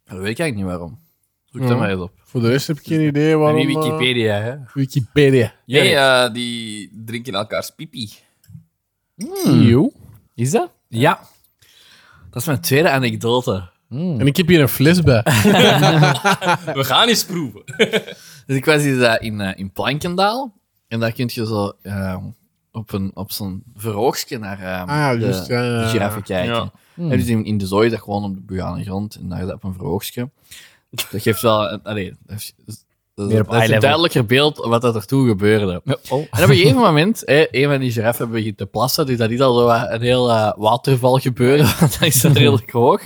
Speaker 3: dat weet ik eigenlijk niet waarom. Zoek
Speaker 1: Ja.
Speaker 3: eens op.
Speaker 1: Voor de rest heb ik
Speaker 3: Dus
Speaker 1: geen idee waarom...
Speaker 3: niet
Speaker 1: eh,
Speaker 3: Wikipedia, hè.
Speaker 1: Wikipedia.
Speaker 2: Nee, eh, die drinken elkaars pipi.
Speaker 3: Hmm.
Speaker 1: Eeuw.
Speaker 5: Is dat?
Speaker 3: Ja. Dat is mijn tweede anekdote.
Speaker 1: En ik heb hier een fles
Speaker 3: <laughs>
Speaker 1: bij.
Speaker 2: We gaan eens proeven.
Speaker 3: Dus ik was hier eh, in, eh, in Plankendaal. En daar kun je zo eh, op, een- op zo'n verhoogstje naar eh,
Speaker 1: Ah,
Speaker 3: de,
Speaker 1: juist, ja, ja,
Speaker 3: de
Speaker 1: ja. Hmm.
Speaker 3: giraffen kijken.
Speaker 2: Ja.
Speaker 3: En dus in, in de zooi is dat gewoon op de bugane grond en daar is dat op een verhoogstje. Dat geeft wel... een- Allee, dat is, dat is- dat
Speaker 5: Meer op
Speaker 3: is
Speaker 5: eye
Speaker 3: een
Speaker 5: level.
Speaker 3: duidelijker beeld wat dat ertoe gebeurde.
Speaker 5: Oh.
Speaker 3: En op een gegeven moment, hè, een van die giraffen begint te plassen, dus dat is al zo wat- een heel eh, waterval gebeuren, <laughs> want dat is dan redelijk
Speaker 2: <laughs>
Speaker 3: hoog.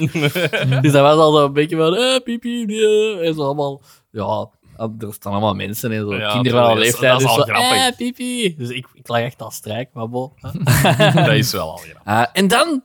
Speaker 3: dus dat was al zo een beetje van, eh, piep, piep, eh, en zo allemaal, ja, er staan allemaal mensen en zo,
Speaker 2: Ja,
Speaker 3: kinderen van alle
Speaker 2: dat is-
Speaker 3: leeftijd,
Speaker 2: dat is
Speaker 3: dus
Speaker 2: al
Speaker 3: zo,
Speaker 2: grappig.
Speaker 3: eh, piep, piep. Dus ik, ik lag echt al strijk, maar bon.
Speaker 2: Dat is wel al gedaan.
Speaker 3: Ah, en dan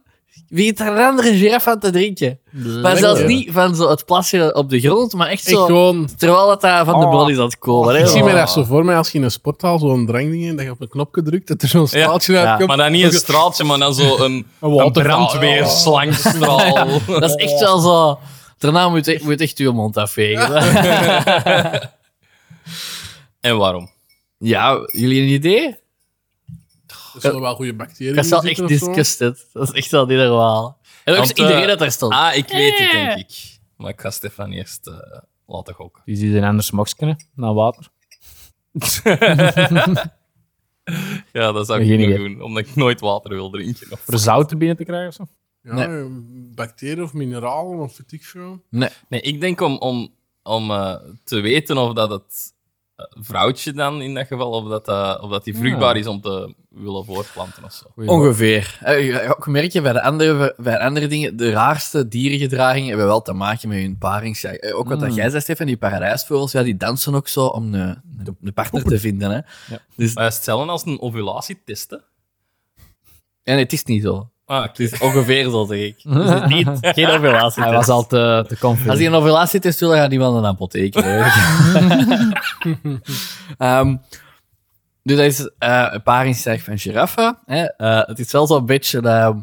Speaker 3: begint daar een andere giraf aan te drinken. Maar
Speaker 2: Mm.
Speaker 1: Lekker.
Speaker 3: zelfs niet van zo het plasje op de grond, maar echt
Speaker 1: Echt
Speaker 3: zo,
Speaker 1: gewoon...
Speaker 3: terwijl dat daar van de
Speaker 5: Oh.
Speaker 3: bron is aan het komen. hè.
Speaker 1: Ik zie mij
Speaker 3: Oh.
Speaker 1: daar zo voor mij als je in een sporthal zo'n drangding en dat je op een knopje drukt, dat er zo'n straaltje
Speaker 5: Ja,
Speaker 1: uitkomt.
Speaker 2: Maar dan niet een straaltje, maar dan zo
Speaker 3: <laughs>
Speaker 2: een,
Speaker 1: Een
Speaker 2: een
Speaker 1: waterval.
Speaker 3: Oh,
Speaker 2: brandweerslangstraal.
Speaker 3: Dat is echt wel zo. Daarna moet je moet je echt je mond afvegen.
Speaker 2: En waarom?
Speaker 3: <laughs> Ja, jullie een idee?
Speaker 1: Er zullen wel goede bacteriën
Speaker 3: Dat is wel
Speaker 1: in
Speaker 3: echt
Speaker 1: zitten of zo.
Speaker 3: disgusted. Dat is echt wel niet normaal. En ook
Speaker 2: Want,
Speaker 3: eens iedereen
Speaker 2: eh,
Speaker 3: dat daar stond.
Speaker 2: Ah, ik weet het,
Speaker 3: Eh.
Speaker 2: denk ik. Maar ik ga Stefan eerst eh, laten gokken.
Speaker 5: Dus die zijn anders moksken, naar water.
Speaker 2: Ja, dat zou
Speaker 5: Geen
Speaker 2: ik niet
Speaker 5: idee.
Speaker 2: doen, omdat ik nooit water wil drinken. Of...
Speaker 5: Voor zouten binnen te krijgen of zo.
Speaker 1: Ja, bacteriën of eh, mineralen of weet ik veel.
Speaker 3: nee.
Speaker 2: Nee, ik denk om, om om eh, te weten of dat het eh, vrouwtje dan in dat geval, of dat, eh, of dat die vruchtbaar is om te willen voortplanten of zo.
Speaker 3: Ongeveer. Eh, Ook merk je bij de andere, bij andere dingen, de raarste dierengedragingen hebben wel te maken met hun paringsjacht. Eh, Ook wat dat jij zei, Stefan, die paradijsvogels, ja, die dansen ook zo om een, een- een partner te vinden. Hè.
Speaker 2: Maar dat is hetzelfde als een ovulatie testen.
Speaker 3: En het is niet zo.
Speaker 2: Ah,
Speaker 3: Het is ongeveer zo, zeg ik. Het is niet.
Speaker 5: Geen ovulatie. Hij was al te, te confident.
Speaker 3: Als je een ovulatie test wil, dan gaat iemand naar de apotheek. hè. <laughs> Ehm, dus dat is eh een paringsjacht van giraffen. Hè. Eh, het is wel zo'n beetje ehm,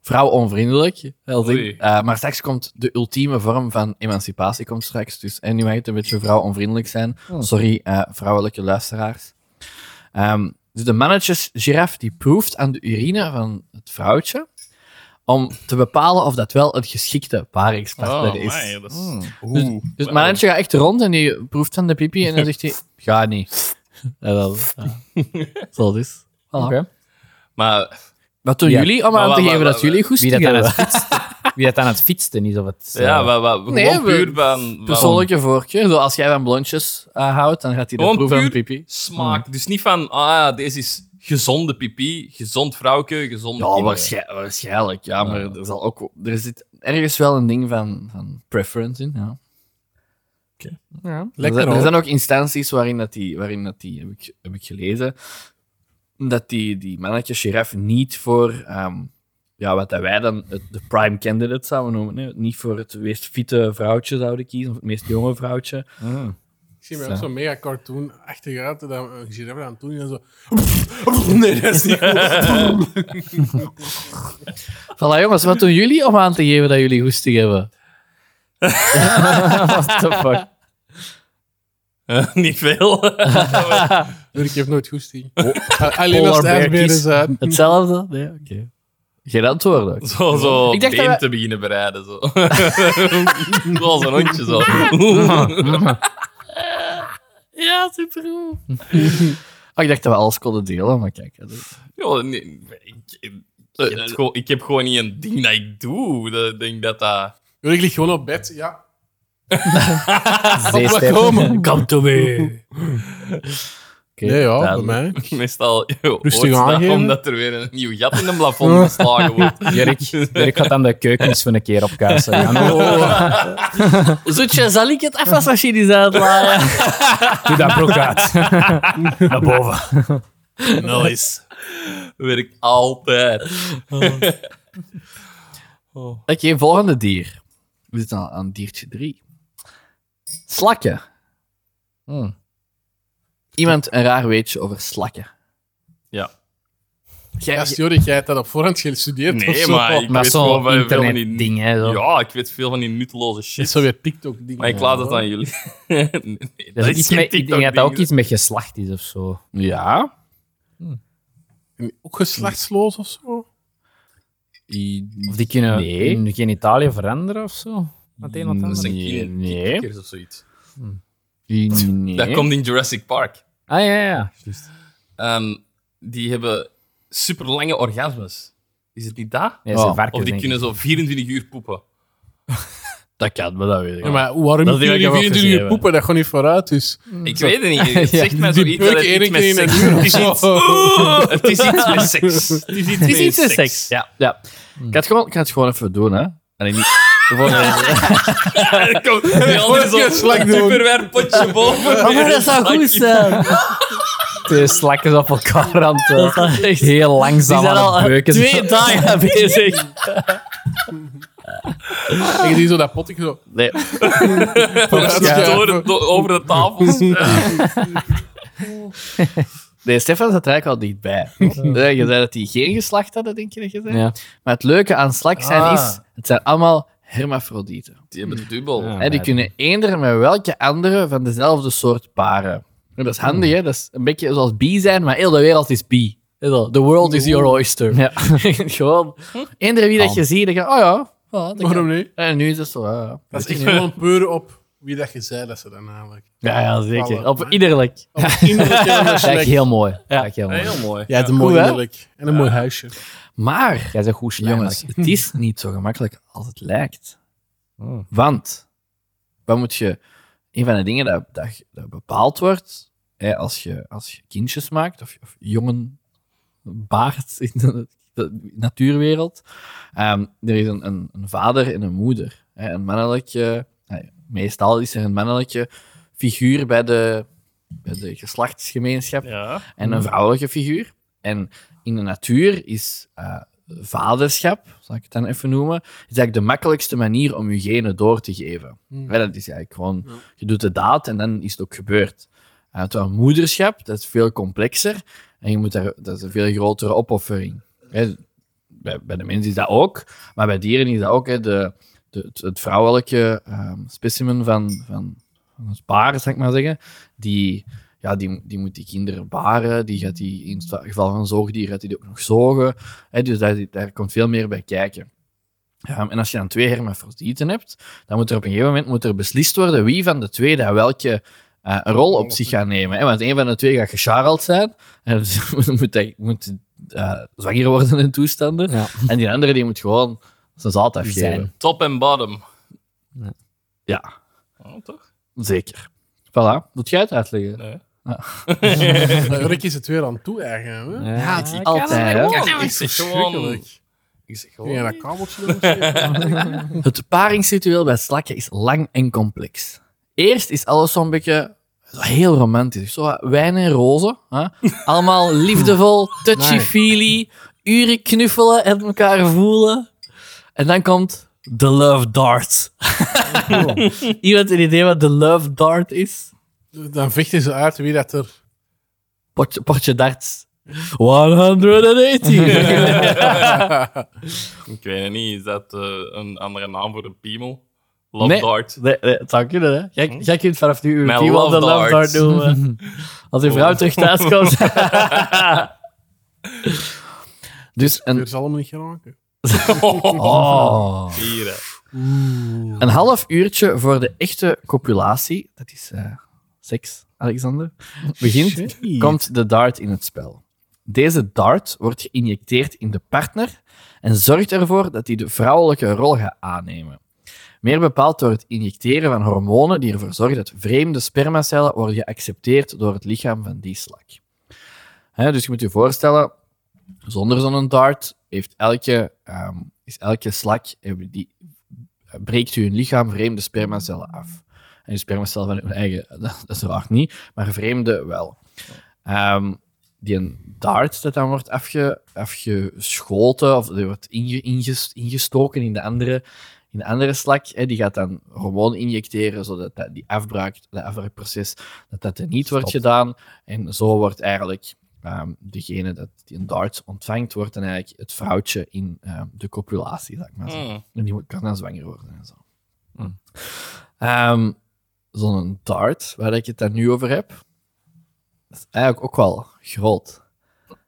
Speaker 3: vrouwonvriendelijk. wel zin.
Speaker 2: Oei.
Speaker 3: Eh, maar straks komt de ultieme vorm van emancipatie komt straks. Dus, en nu mag het een beetje vrouwonvriendelijk zijn. Sorry, eh, vrouwelijke luisteraars. Ehm, dus de mannetjesgiraf die proeft aan de urine van het vrouwtje om te bepalen of dat wel een geschikte paringspartner
Speaker 2: oh,
Speaker 3: is.
Speaker 2: amai, dat is...
Speaker 3: Dus, dus het mannetje gaat echt rond en die proeft van de pipi en dan zegt hij, <laughs> ga <laughs> niet. Ja, wel, ja. Zo dus. Voilà.
Speaker 5: Oké.
Speaker 2: Maar
Speaker 3: Wat doen
Speaker 5: Ja.
Speaker 3: jullie om
Speaker 2: Maar
Speaker 3: aan
Speaker 2: wa-
Speaker 3: te
Speaker 2: wa-
Speaker 3: geven
Speaker 2: wa-
Speaker 3: dat jullie goed
Speaker 5: Wie dat aan
Speaker 3: hebben?
Speaker 5: het fietsten, wie dat aan het fietsten is, of het... eh,
Speaker 2: ja, we, we,
Speaker 3: Nee,
Speaker 2: gewoon
Speaker 3: we-
Speaker 2: puur van... van-
Speaker 3: Persoonlijke voorkeur. Zo, als jij van blondjes eh, houdt, dan gaat hij dat
Speaker 2: Gewoon
Speaker 3: proeven van
Speaker 2: puur
Speaker 3: pipi.
Speaker 2: smaak.
Speaker 3: Hmm.
Speaker 2: Dus niet van, ah, deze is gezonde pipi, gezond vrouwke, gezonde
Speaker 3: Ja,
Speaker 2: kinderen.
Speaker 3: waarschij- waarschijnlijk. Ja, maar er, zal ook, er zit ergens wel een ding van, van preference in. Ja.
Speaker 2: Oké.
Speaker 3: Ja.
Speaker 1: Lekker,
Speaker 3: er, zijn, er
Speaker 1: hoor.
Speaker 3: zijn ook instanties waarin dat die, waarin dat die heb, ik, heb ik gelezen, dat die, die mannetjes giraf niet voor ehm, ja, wat dat wij dan het, de prime candidate zouden noemen, hè. niet voor het meest fitte vrouwtje zouden kiezen, of het meest jonge vrouwtje.
Speaker 1: Ik zie mij
Speaker 3: Zo.
Speaker 1: ook zo'n mega cartoon achter uit, dat een giraffe aan het doen is en zo. Nee, dat is niet goed.
Speaker 3: <laughs> Voilà jongens, wat doen jullie om aan te geven dat jullie goesting <laughs> hebben? What the fuck?
Speaker 2: <laughs> Eh, niet veel. <laughs>
Speaker 1: Nee, ik heb nooit goesting. <laughs> Alleen als het
Speaker 3: Oh. Polar
Speaker 1: ijsberen
Speaker 3: bearkies.
Speaker 1: zijn.
Speaker 3: Hetzelfde? Nee, oké. Geen antwoorden.
Speaker 2: Zo, zo
Speaker 3: Ik dacht dat
Speaker 2: been
Speaker 3: we-
Speaker 2: te beginnen bereiden. Zo. <laughs> Zoals een hondje
Speaker 3: <laughs>
Speaker 2: zo.
Speaker 3: <laughs> Ja, supergoed. oh, ik dacht dat we alles konden delen, maar kijk. dat is-
Speaker 2: Ja, nee, ik, ik- ik heb het gewoon- ik heb gewoon niet een ding dat ik doe. Dat- Ik denk dat dat...
Speaker 1: Ik lig gewoon op bed, ja.
Speaker 5: zeestijl.
Speaker 1: komen.
Speaker 5: Come to me.
Speaker 3: oké,
Speaker 1: Nee, ja, bij
Speaker 3: duidelijk.
Speaker 1: mij.
Speaker 2: <laughs> Meestal
Speaker 1: Rustig
Speaker 2: hoort dat
Speaker 1: aangeven.
Speaker 2: omdat er weer een nieuw gat in een plafond
Speaker 3: <laughs>
Speaker 2: geslagen wordt.
Speaker 5: Dirk,
Speaker 2: <laughs>
Speaker 5: Dirk gaat aan de keuken eens voor een keer opkuisen. Ja,
Speaker 3: Zoetje, zal ik het afwasmachine eens uitlaaien?
Speaker 5: Doe dat broek uit. Naar boven.
Speaker 2: Nice. Werkt altijd.
Speaker 3: oké, volgende dier. We zitten al aan diertje drie. Slakken. Hmm. Iemand een raar weetje over slakken.
Speaker 2: Ja.
Speaker 3: Jij,
Speaker 1: Ja, Jorik, jij hebt dat op voorhand gestudeerd of
Speaker 2: Nee,
Speaker 1: zo.
Speaker 2: maar ik
Speaker 5: Maar
Speaker 2: weet gewoon
Speaker 5: zo'n
Speaker 2: veel van die...
Speaker 5: internetding, hè. zo.
Speaker 2: Ja, ik weet veel van die nutteloze
Speaker 1: Dit
Speaker 2: shit.
Speaker 1: is zo weer TikTok-ding.
Speaker 2: Maar ik laat het aan <laughs> jullie. Nee, nee,
Speaker 5: Dat is iets
Speaker 2: geen
Speaker 5: met, ik denk dat dat ook
Speaker 2: TikTok-ding.
Speaker 5: iets met geslacht is of zo.
Speaker 3: ja.
Speaker 1: Ook geslachtsloos of zo?
Speaker 5: Of die kunnen
Speaker 3: Nee.
Speaker 5: hun genitaliën veranderen of zo. Met een of
Speaker 3: Nee.
Speaker 5: ander.
Speaker 2: Nee,
Speaker 3: Nee.
Speaker 2: kikkers of zoiets.
Speaker 3: Nee.
Speaker 2: Dat komt in Jurassic Park.
Speaker 5: Ah ja, ja, ja. Juist.
Speaker 2: Ehm, die hebben super lange orgasmes. Is het niet dat?
Speaker 5: Nee, ze
Speaker 3: Oh.
Speaker 5: varkens,
Speaker 2: Of die
Speaker 5: denk
Speaker 2: kunnen zo 24 uur poepen.
Speaker 3: Dat kan, maar dat weet ik
Speaker 1: Ja, maar waarom
Speaker 3: Dat
Speaker 1: moeten
Speaker 3: ding heb ik
Speaker 1: jullie
Speaker 3: ook
Speaker 1: 24 uur
Speaker 3: gezien,
Speaker 1: poepen? Dat gewoon niet vooruit dus is.
Speaker 2: Ik weet het niet. Het zegt mij
Speaker 1: Die
Speaker 2: zoiets dat het
Speaker 1: beuken
Speaker 2: iets
Speaker 1: één
Speaker 2: met
Speaker 1: keer in
Speaker 2: seks
Speaker 1: een
Speaker 2: is.
Speaker 1: uur
Speaker 2: Het
Speaker 1: of
Speaker 2: <laughs> is iets-
Speaker 1: zo.
Speaker 2: Oeh, Het is iets met seks. Het is iets,
Speaker 3: Het is
Speaker 2: met
Speaker 3: iets met seks. Ja, ja. Ik, ga het gewoon, ik ga het gewoon even doen, hè. <laughs> Allee, niet... de volgende-
Speaker 2: Er komt die andere
Speaker 1: Wordt je
Speaker 2: zo'n
Speaker 1: slak doen.
Speaker 2: potje boven.
Speaker 3: Oh, maar
Speaker 2: <laughs>
Speaker 3: dat zou goed zijn.
Speaker 5: Twee slakken op
Speaker 3: <laughs>
Speaker 5: elkaar aan het... eh,
Speaker 3: Die
Speaker 5: Heel langzaam
Speaker 3: zijn
Speaker 5: aan
Speaker 3: al
Speaker 5: het
Speaker 3: eh,
Speaker 5: beuken.
Speaker 3: twee <laughs> dagen bezig. Ah.
Speaker 1: En je ziet zo dat potje zo.
Speaker 3: Nee.
Speaker 1: Ja.
Speaker 2: Door het- door- over de tafels. Ja.
Speaker 3: nee, Stefan zat er eigenlijk al dichtbij.
Speaker 1: <laughs>
Speaker 3: Eh, Je zei dat die geen geslacht hadden, denk je dat je zei?
Speaker 5: Ja.
Speaker 3: Maar het leuke aan slak zijn
Speaker 1: Ah.
Speaker 3: is, het zijn allemaal hermafrodieten.
Speaker 2: Die hebben het dubbel.
Speaker 1: Hmm.
Speaker 5: Ja.
Speaker 3: Hè, die
Speaker 5: ja.
Speaker 3: kunnen eender met welke andere van dezelfde soort paren. En dat is handig,
Speaker 5: Hmm.
Speaker 3: hè? Dat is een beetje zoals bi zijn, maar heel de wereld is bi. Hè, zo, The world is your oyster.
Speaker 5: Ja.
Speaker 3: <laughs>
Speaker 5: Hm.
Speaker 3: Gewoon, eender wie dat je ziet, dan ga je, oh ja, voilà, dat kan.
Speaker 1: Waarom niet?
Speaker 3: En nu is het zo, "Ah, ja, ja.
Speaker 1: Dat is echt gewoon puur op wie dat je zei dat ze dan namelijk.
Speaker 5: Ja, ja, zeker.
Speaker 1: Vallen.
Speaker 5: Op
Speaker 1: <laughs>
Speaker 5: iederlijk.
Speaker 1: Op het innerlijke en het
Speaker 5: Kijk,
Speaker 1: slechte.
Speaker 5: heel mooi. Kijk, heel mooi.
Speaker 2: Heel mooi.
Speaker 1: Ja, het is
Speaker 3: Goed,
Speaker 1: mooi
Speaker 3: hè?
Speaker 1: innerlijk. En een mooi huisje.
Speaker 3: Maar,
Speaker 5: Jij zegt goed slijmerig.
Speaker 3: jongens, het Hmm. is niet zo gemakkelijk als het lijkt. Want, wat moet je een van de dingen dat, dat, dat bepaald wordt hè, als, je, als je kindjes maakt of, of jongen baart in de, de natuurwereld. Ehm, er is een, een, een vader en een moeder. Hè, een mannelijke, nou ja, meestal is er een mannelijke figuur bij de, bij de geslachtsgemeenschap
Speaker 4: Ja.
Speaker 3: en een vrouwelijke figuur. En in de natuur is eh, vaderschap, zal ik het dan even noemen, is eigenlijk de makkelijkste manier om je genen door te geven.
Speaker 1: Hmm.
Speaker 3: Hè, dat is eigenlijk gewoon, je doet de daad en dan is het ook gebeurd. Eh, terwijl moederschap, dat is veel complexer en je moet daar, dat is een veel grotere opoffering. Hè, bij, bij de mens is dat ook, maar bij dieren is dat ook. Hè, de, de, het- het vrouwelijke ehm, specimen van, van, van het paar, zal ik maar zeggen, die, ja, die, die moet die kinderen baren, die gaat die, in het geval van een zoogdier, gaat die, die ook nog zogen. Hè, dus daar, daar komt veel meer bij kijken. Ehm, en als je dan twee hermafrodieten hebt, dan moet er op een gegeven moment moet er beslist worden wie van de twee dat welke eh, rol op zich gaat nemen. Hè? Want een van de twee gaat gecharreld zijn, en dus <laughs> moet, hij- moet eh, zwanger worden in toestanden.
Speaker 5: Ja.
Speaker 3: En die andere die moet gewoon zijn zaad afgeven.
Speaker 2: Top en bottom.
Speaker 3: Ja,
Speaker 2: Oh, toch?
Speaker 3: zeker. Voilà, moet jij het uitleggen?
Speaker 2: Nee.
Speaker 1: Rick is het weer aan toe eigenlijk. Hè?
Speaker 5: Ja,
Speaker 1: het
Speaker 5: ik-
Speaker 3: Altijd, hè?
Speaker 2: Ja, ik
Speaker 1: is
Speaker 2: zeg
Speaker 1: verschrikkelijk.
Speaker 2: gewoon... Ik zeg
Speaker 1: Kun je
Speaker 2: gewoon...
Speaker 1: dat kabeltje doen? of zo?
Speaker 3: Het paringsritueel bij slakken is lang en complex. Eerst is alles zo'n beetje heel romantisch. Zo wijn en rozen. Hè? Allemaal liefdevol, touchy-feely, uren knuffelen en elkaar voelen. En dan komt de love dart. Iemand een idee wat de love dart is?
Speaker 1: Dan vechten ze uit wie dat er...
Speaker 3: Potje, potje darts. 180.
Speaker 2: Ik weet het niet, is dat eh, een andere naam voor een piemel? Love
Speaker 3: Nee.
Speaker 2: dart.
Speaker 4: Nee, nee, het zou kunnen, hè?
Speaker 3: Jij, jij kunt vanaf nu uw
Speaker 2: Mijn
Speaker 3: team
Speaker 2: love
Speaker 3: de love dart
Speaker 2: darts.
Speaker 3: noemen. Als uw vrouw terug thuis komt. dus
Speaker 1: Je
Speaker 3: een,
Speaker 1: zal hem niet geraken.
Speaker 3: oh,
Speaker 2: Hier, hè.
Speaker 3: een half uurtje voor de echte copulatie, dat is eh, seks, Alexander, begint,
Speaker 1: Shit.
Speaker 3: komt de dart in het spel. Deze dart wordt geïnjecteerd in de partner en zorgt ervoor dat hij de vrouwelijke rol gaat aannemen. Meer bepaald door het injecteren van hormonen die ervoor zorgen dat vreemde spermacellen worden geaccepteerd door het lichaam van die slak. Hè, dus je moet je voorstellen, zonder zo'n dart heeft elke, ehm, is elke slak, hebben die, breekt u hun lichaam vreemde spermacellen af. En de spermacellen van hun eigen, <laughs> dat, dat is raar niet, maar vreemde wel. Ehm, die een dart dat dan wordt afge, afgeschoten, of die wordt inge- inges- ingestoken in de andere, in de andere slak, hè, die gaat dan hormoon injecteren, zodat dat, die afbraak, dat afbraakproces, dat dat er niet wordt gedaan. En zo wordt eigenlijk ehm, degene dat die een dart ontvangt, wordt dan eigenlijk het vrouwtje in ehm, de copulatie, zeg maar zeggen.
Speaker 2: Hmm.
Speaker 3: En die moet- kan dan zwanger worden en zo. Ehm, Zo'n dart, waar ik het daar nu over heb, dat is eigenlijk ook wel groot.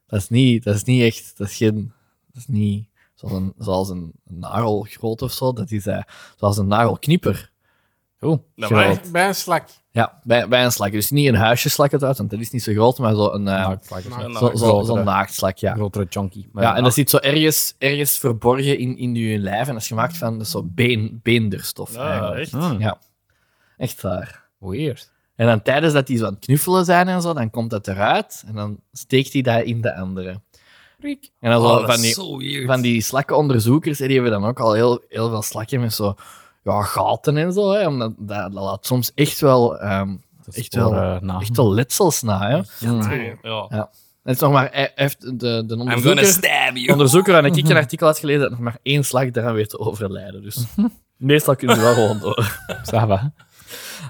Speaker 3: Dat is niet, dat is niet echt, dat is geen, dat is niet zoals een, zoals een nagel groot of zo, dat is eh, zoals een nagelknieper. Oh,
Speaker 2: Nou,
Speaker 3: groot.
Speaker 2: maar-
Speaker 1: Bij een slak.
Speaker 3: Ja, bij, bij een slak. Dus niet een huisjeslak het uit, want dat is niet zo groot, maar zo'n eh
Speaker 1: Nou,
Speaker 3: zo, zo,
Speaker 5: grotere.
Speaker 3: zo'n naaktslak, ja.
Speaker 5: grotere chunky. Maar
Speaker 3: Ja, en dat zit zo ergens, ergens verborgen in, in je lijf en dat is gemaakt van dat is zo been, beenderstof.
Speaker 4: Ja,
Speaker 3: eigenlijk.
Speaker 4: echt.
Speaker 5: Hmm,
Speaker 3: Ja. Echt waar.
Speaker 5: Weird.
Speaker 3: En dan tijdens dat die zo aan het knuffelen zijn en zo, dan komt dat eruit en dan steekt hij dat in de andere. En dan zo
Speaker 2: Oh, dat
Speaker 3: van,
Speaker 2: is
Speaker 3: die,
Speaker 2: zo weird.
Speaker 3: van die slakkenonderzoekers, hè, die hebben dan ook al heel, heel veel slakken met zo ja, gaten en zo. Hè, omdat dat, dat laat soms echt wel, ehm, Echt wel.
Speaker 5: eh,
Speaker 2: Ah.
Speaker 3: echt wel letsels na. Hè. Hmm.
Speaker 1: maar-
Speaker 2: Ja.
Speaker 3: Het is nog maar, hij heeft de, de
Speaker 2: I'm gonna
Speaker 3: onderzoeker,
Speaker 2: stab
Speaker 3: de <laughs>
Speaker 2: you.
Speaker 3: onderzoeker aan ik een artikel had gelezen, dat nog maar één slak daaraan weer te overlijden. Dus meestal kunnen ze wel gewoon door. <laughs>
Speaker 5: <laughs>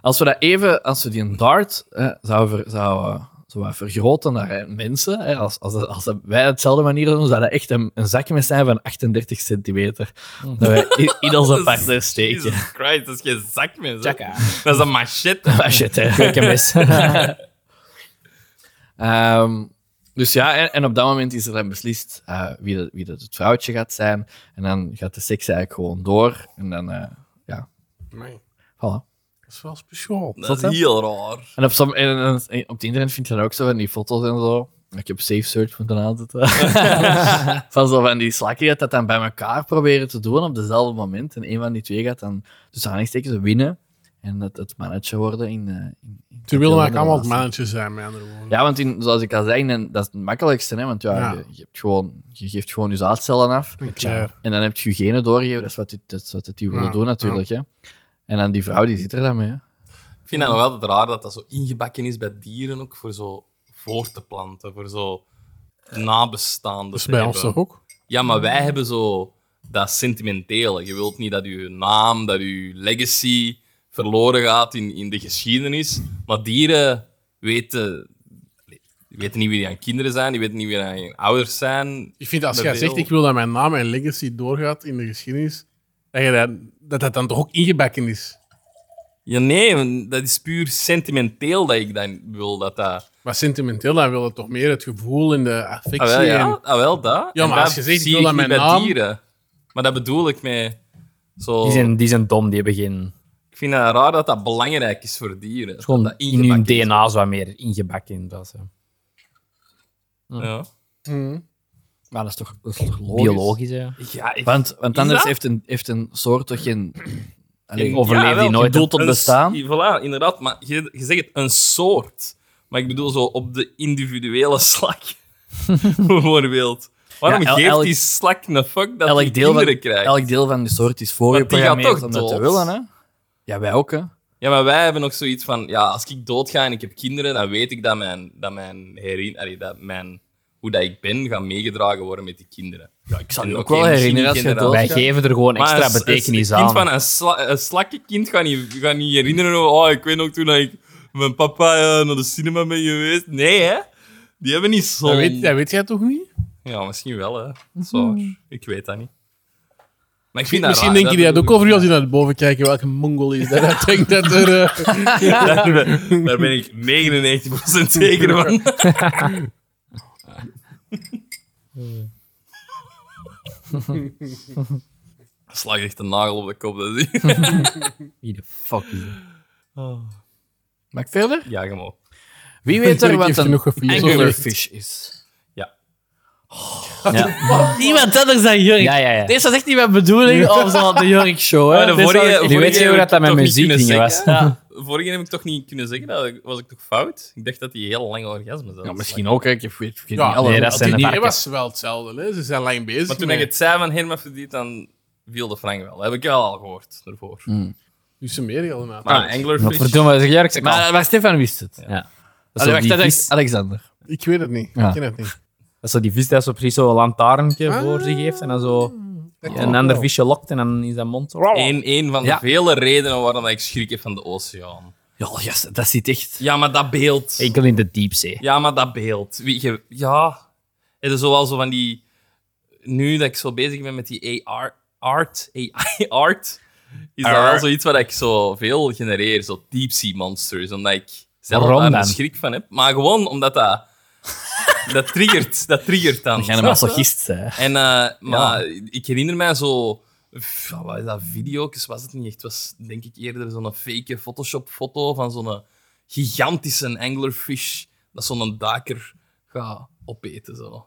Speaker 3: Als we dat even, als we die een dart eh, zouden ver, zou, eh, vergroten naar eh, mensen, hè, als, als, dat- als dat wij hetzelfde manier doen, zou dat echt een, een zakje met zijn van 38 centimeter. Dat wij in, in onze partner steken.
Speaker 2: Jesus Christ, dat is geen zakmes. hè. Dat is een machette.
Speaker 3: <laughs> Ah, shit, hè. <laughs> Ehm, dus ja, en, en op dat moment is er dan beslist eh, wie, dat, wie dat het vrouwtje gaat zijn. En dan gaat de seks eigenlijk gewoon door. En dan, eh,
Speaker 1: Nee,
Speaker 3: voilà.
Speaker 1: dat is wel speciaal.
Speaker 2: Dat is heel raar.
Speaker 3: En op, som, en, en- en op het internet vind je dan ook zo van die foto's en zo. Ik heb safe search moeten aanzetten. eh, <laughs> van zo van die slakken die dat dan bij elkaar proberen te doen op dezelfde moment. En een van die twee gaat dan tussen aanhalingstekens winnen. en het, het manager worden in... eh, in, in
Speaker 1: Ze willen
Speaker 3: in
Speaker 1: eigenlijk
Speaker 3: de
Speaker 1: allemaal het
Speaker 3: relatie.
Speaker 1: mannetje zijn, met andere woorden.
Speaker 3: Ja, want in, zoals ik al zei, in- dat is het makkelijkste. Hè? Want ja, eh,
Speaker 1: Ja.
Speaker 3: Je, je hebt gewoon, je geeft gewoon je zaadcellen af.
Speaker 1: Een keer.
Speaker 3: En dan heb je je genen doorgegeven. Dat is wat die, dat is wat die willen
Speaker 1: Ja,
Speaker 3: doen natuurlijk. Hè? En dan die vrouw, die zit er dan mee. Hè?
Speaker 2: Ik vind dat nog altijd raar dat dat zo ingebakken is bij dieren ook voor zo voor te planten, voor zo nabestaanden.
Speaker 1: Dat is
Speaker 2: te
Speaker 1: bij ons
Speaker 2: hebben.
Speaker 1: toch ook?
Speaker 2: Ja, maar wij hebben zo dat sentimentele. Je wilt niet dat je naam, dat je legacy verloren gaat in, in de geschiedenis. Maar dieren weten, weten niet wie die aan kinderen zijn, die weten niet wie die aan hun ouders zijn.
Speaker 1: Ik vind als
Speaker 2: Met
Speaker 1: jij
Speaker 2: veel-
Speaker 1: zegt, ik wil dat mijn naam en legacy doorgaat in de geschiedenis, dat je dat, dat, dat dan toch ook ingebakken is.
Speaker 2: Ja, nee, want dat is puur sentimenteel dat ik dan wil dat dat...
Speaker 1: Maar sentimenteel, dan wil het toch meer het gevoel en de affectie.
Speaker 2: Ah, wel, ja.
Speaker 1: en-
Speaker 2: Ah, wel, dat.
Speaker 1: Ja,
Speaker 2: En
Speaker 1: maar
Speaker 2: dat
Speaker 1: als je zegt, ik
Speaker 2: zie
Speaker 1: wil dat
Speaker 2: niet
Speaker 1: mijn
Speaker 2: bij
Speaker 1: naam-
Speaker 2: dieren. Maar dat bedoel ik mee. Zo,
Speaker 5: Die zijn, die zijn dom, die hebben geen... Het
Speaker 2: Ik vind het raar dat dat belangrijk is voor dieren.
Speaker 5: is gewoon
Speaker 2: dat dat
Speaker 5: in hun
Speaker 2: ingebakken is.
Speaker 5: DNA zo wat meer ingebakken. in Dat, is, eh,
Speaker 2: Ja.
Speaker 1: Mhm.
Speaker 3: Maar dat is toch, dat is toch logisch?
Speaker 5: biologisch, hè.
Speaker 2: Ja, ik-
Speaker 3: Want, want
Speaker 2: Is
Speaker 3: anders
Speaker 2: dat?
Speaker 3: heeft een, heeft een soort toch geen... Allee,
Speaker 2: Ja,
Speaker 3: overleef
Speaker 2: wel,
Speaker 3: die nooit
Speaker 2: bedoelt
Speaker 3: dood op
Speaker 2: een-
Speaker 3: bestaan.
Speaker 2: Voilà, inderdaad. Maar je, je zegt het, een soort. Maar ik bedoel zo op de individuele <laughs> slak. Bijvoorbeeld. Waarom
Speaker 3: Ja, el-
Speaker 2: geeft
Speaker 3: elk-
Speaker 2: die slak een fuck dat die
Speaker 3: Elk deel, van,
Speaker 2: kinderen krijgt?
Speaker 3: elk deel van die soort is
Speaker 2: Want
Speaker 3: voorgeprogrammeerd
Speaker 2: die
Speaker 3: om
Speaker 2: gaat toch
Speaker 3: dat te
Speaker 2: dood?
Speaker 3: willen. Hè? Ja, wij ook. Hè?
Speaker 2: Ja, maar wij hebben ook zoiets van... Ja, als ik doodga en ik heb kinderen, dan weet ik dat mijn... Dat mijn, herin, allee, dat mijn hoe dat ik ben, gaat meegedragen worden met die kinderen. Ja, ik
Speaker 3: zal je ook wel herinneren als je doodgaat.
Speaker 5: Wij geven er gewoon
Speaker 2: Maar
Speaker 5: extra
Speaker 2: een s-
Speaker 5: betekenis
Speaker 2: een kind
Speaker 5: aan.
Speaker 2: Van een, sla, een slakkenkind gaat niet, gaat niet herinneren. Oh, ik weet nog toen ik mijn papa eh, naar de cinema ben geweest. Nee, hè? Die hebben niet
Speaker 1: Dat,
Speaker 2: zo'n...
Speaker 1: weet, dat weet jij toch niet?
Speaker 2: Ja, misschien wel, hè? Dat is waar. Ik weet dat niet. Maar ik vind dat
Speaker 1: Misschien
Speaker 2: raar,
Speaker 1: denk je dat ook
Speaker 2: bedoel <laughs>
Speaker 1: over
Speaker 2: ik.
Speaker 1: u als je naar boven kijkt, welke mongol is dat? dat <laughs> denkt dat er... eh,
Speaker 2: Daar ben- Daar ben ik 99% zeker
Speaker 1: <laughs>
Speaker 2: van. <laughs> Dat slaat echt een nagel op de kop. dus Dat is...
Speaker 5: Wie de fuck is dat?
Speaker 3: Oh. Mag ik verder?
Speaker 2: <laughs> Ja, je mag.
Speaker 3: Wie weet er
Speaker 1: Ik
Speaker 3: wat
Speaker 1: heb
Speaker 3: een
Speaker 1: genoeg gefilosofeerd.
Speaker 3: anglerfish is?
Speaker 2: Ja.
Speaker 3: Ja. Niemand anders dan Jurk.
Speaker 5: Ja, ja, ja.
Speaker 3: Deze was echt niet mijn
Speaker 5: <laughs>
Speaker 3: bedoeling of zo de Jurk Show. Hè?
Speaker 2: Maar Oh, de
Speaker 3: Dit
Speaker 2: vorige-
Speaker 3: was echt-
Speaker 5: nu
Speaker 2: vorige
Speaker 5: weet je hoe
Speaker 2: heb
Speaker 5: dat dat
Speaker 2: ik toch niet
Speaker 5: met
Speaker 2: kunnen
Speaker 5: muziek dingen
Speaker 2: zeggen.
Speaker 5: <laughs>
Speaker 2: Ja, vorige heb ik toch niet kunnen zeggen, dat ik- was ik toch fout? Ik dacht dat die heel lange orgasme zat.
Speaker 3: Ja, misschien ook. hè. Ik heb- ik weet
Speaker 1: Ja,
Speaker 3: niet alle-
Speaker 5: nee, dat
Speaker 3: al
Speaker 5: zijn
Speaker 3: die-
Speaker 5: de
Speaker 1: die
Speaker 5: varken.
Speaker 1: was wel hetzelfde, hè? ze zijn lang bezig.
Speaker 2: Maar toen
Speaker 1: met-
Speaker 2: ik het zei van hermafrodiet, dan viel de Frank wel. Dat heb ik wel al gehoord daarvoor.
Speaker 3: Hmm.
Speaker 1: Dus ze meer helemaal.
Speaker 3: Ah,
Speaker 2: Maar Anglerfish...
Speaker 5: Verdomme, zeg Jurk, zeg
Speaker 3: Maar, maar Stefan wist het.
Speaker 5: Ja. Dat is
Speaker 3: Allee,
Speaker 5: zo
Speaker 3: wacht,
Speaker 5: die
Speaker 3: dat is
Speaker 5: vis-
Speaker 3: Alexander.
Speaker 1: Ik weet het niet.
Speaker 3: Ja.
Speaker 1: Ik ken het niet.
Speaker 5: dat is zo die vis dat zo precies zo'n lantaarnje
Speaker 3: Ah.
Speaker 5: voor zich heeft en dan zo een ander visje lokt en dan is dat mond. zo-
Speaker 2: Eén één van de
Speaker 3: Ja.
Speaker 2: vele redenen waarom ik schrik heb van de oceaan.
Speaker 3: Ja, yes, dat zit echt.
Speaker 2: Ja, maar dat beeld.
Speaker 5: Enkel in de diepzee.
Speaker 2: Ja, maar dat beeld. Wie, je, ja. Het is zoal zo van die... Nu dat ik zo bezig ben met die AR, art, AI <laughs> art, is dat wel zoiets wat ik zo veel genereer. Zo deep sea monsters. Omdat ik zelf
Speaker 5: Waarom
Speaker 2: daar
Speaker 5: dan?
Speaker 2: een schrik van heb. Maar gewoon omdat dat... Dat triggert, dat triggert dan.
Speaker 3: Jij een
Speaker 2: Snap je?
Speaker 3: masochist zijn.
Speaker 2: En, eh, maar ik herinner mij zo... pff, Wat is dat? Video's was het niet echt. Het was denk ik eerder zo'n fake Photoshop-foto van zo'n gigantische anglerfish dat zo'n duiker gaat opeten. Zo.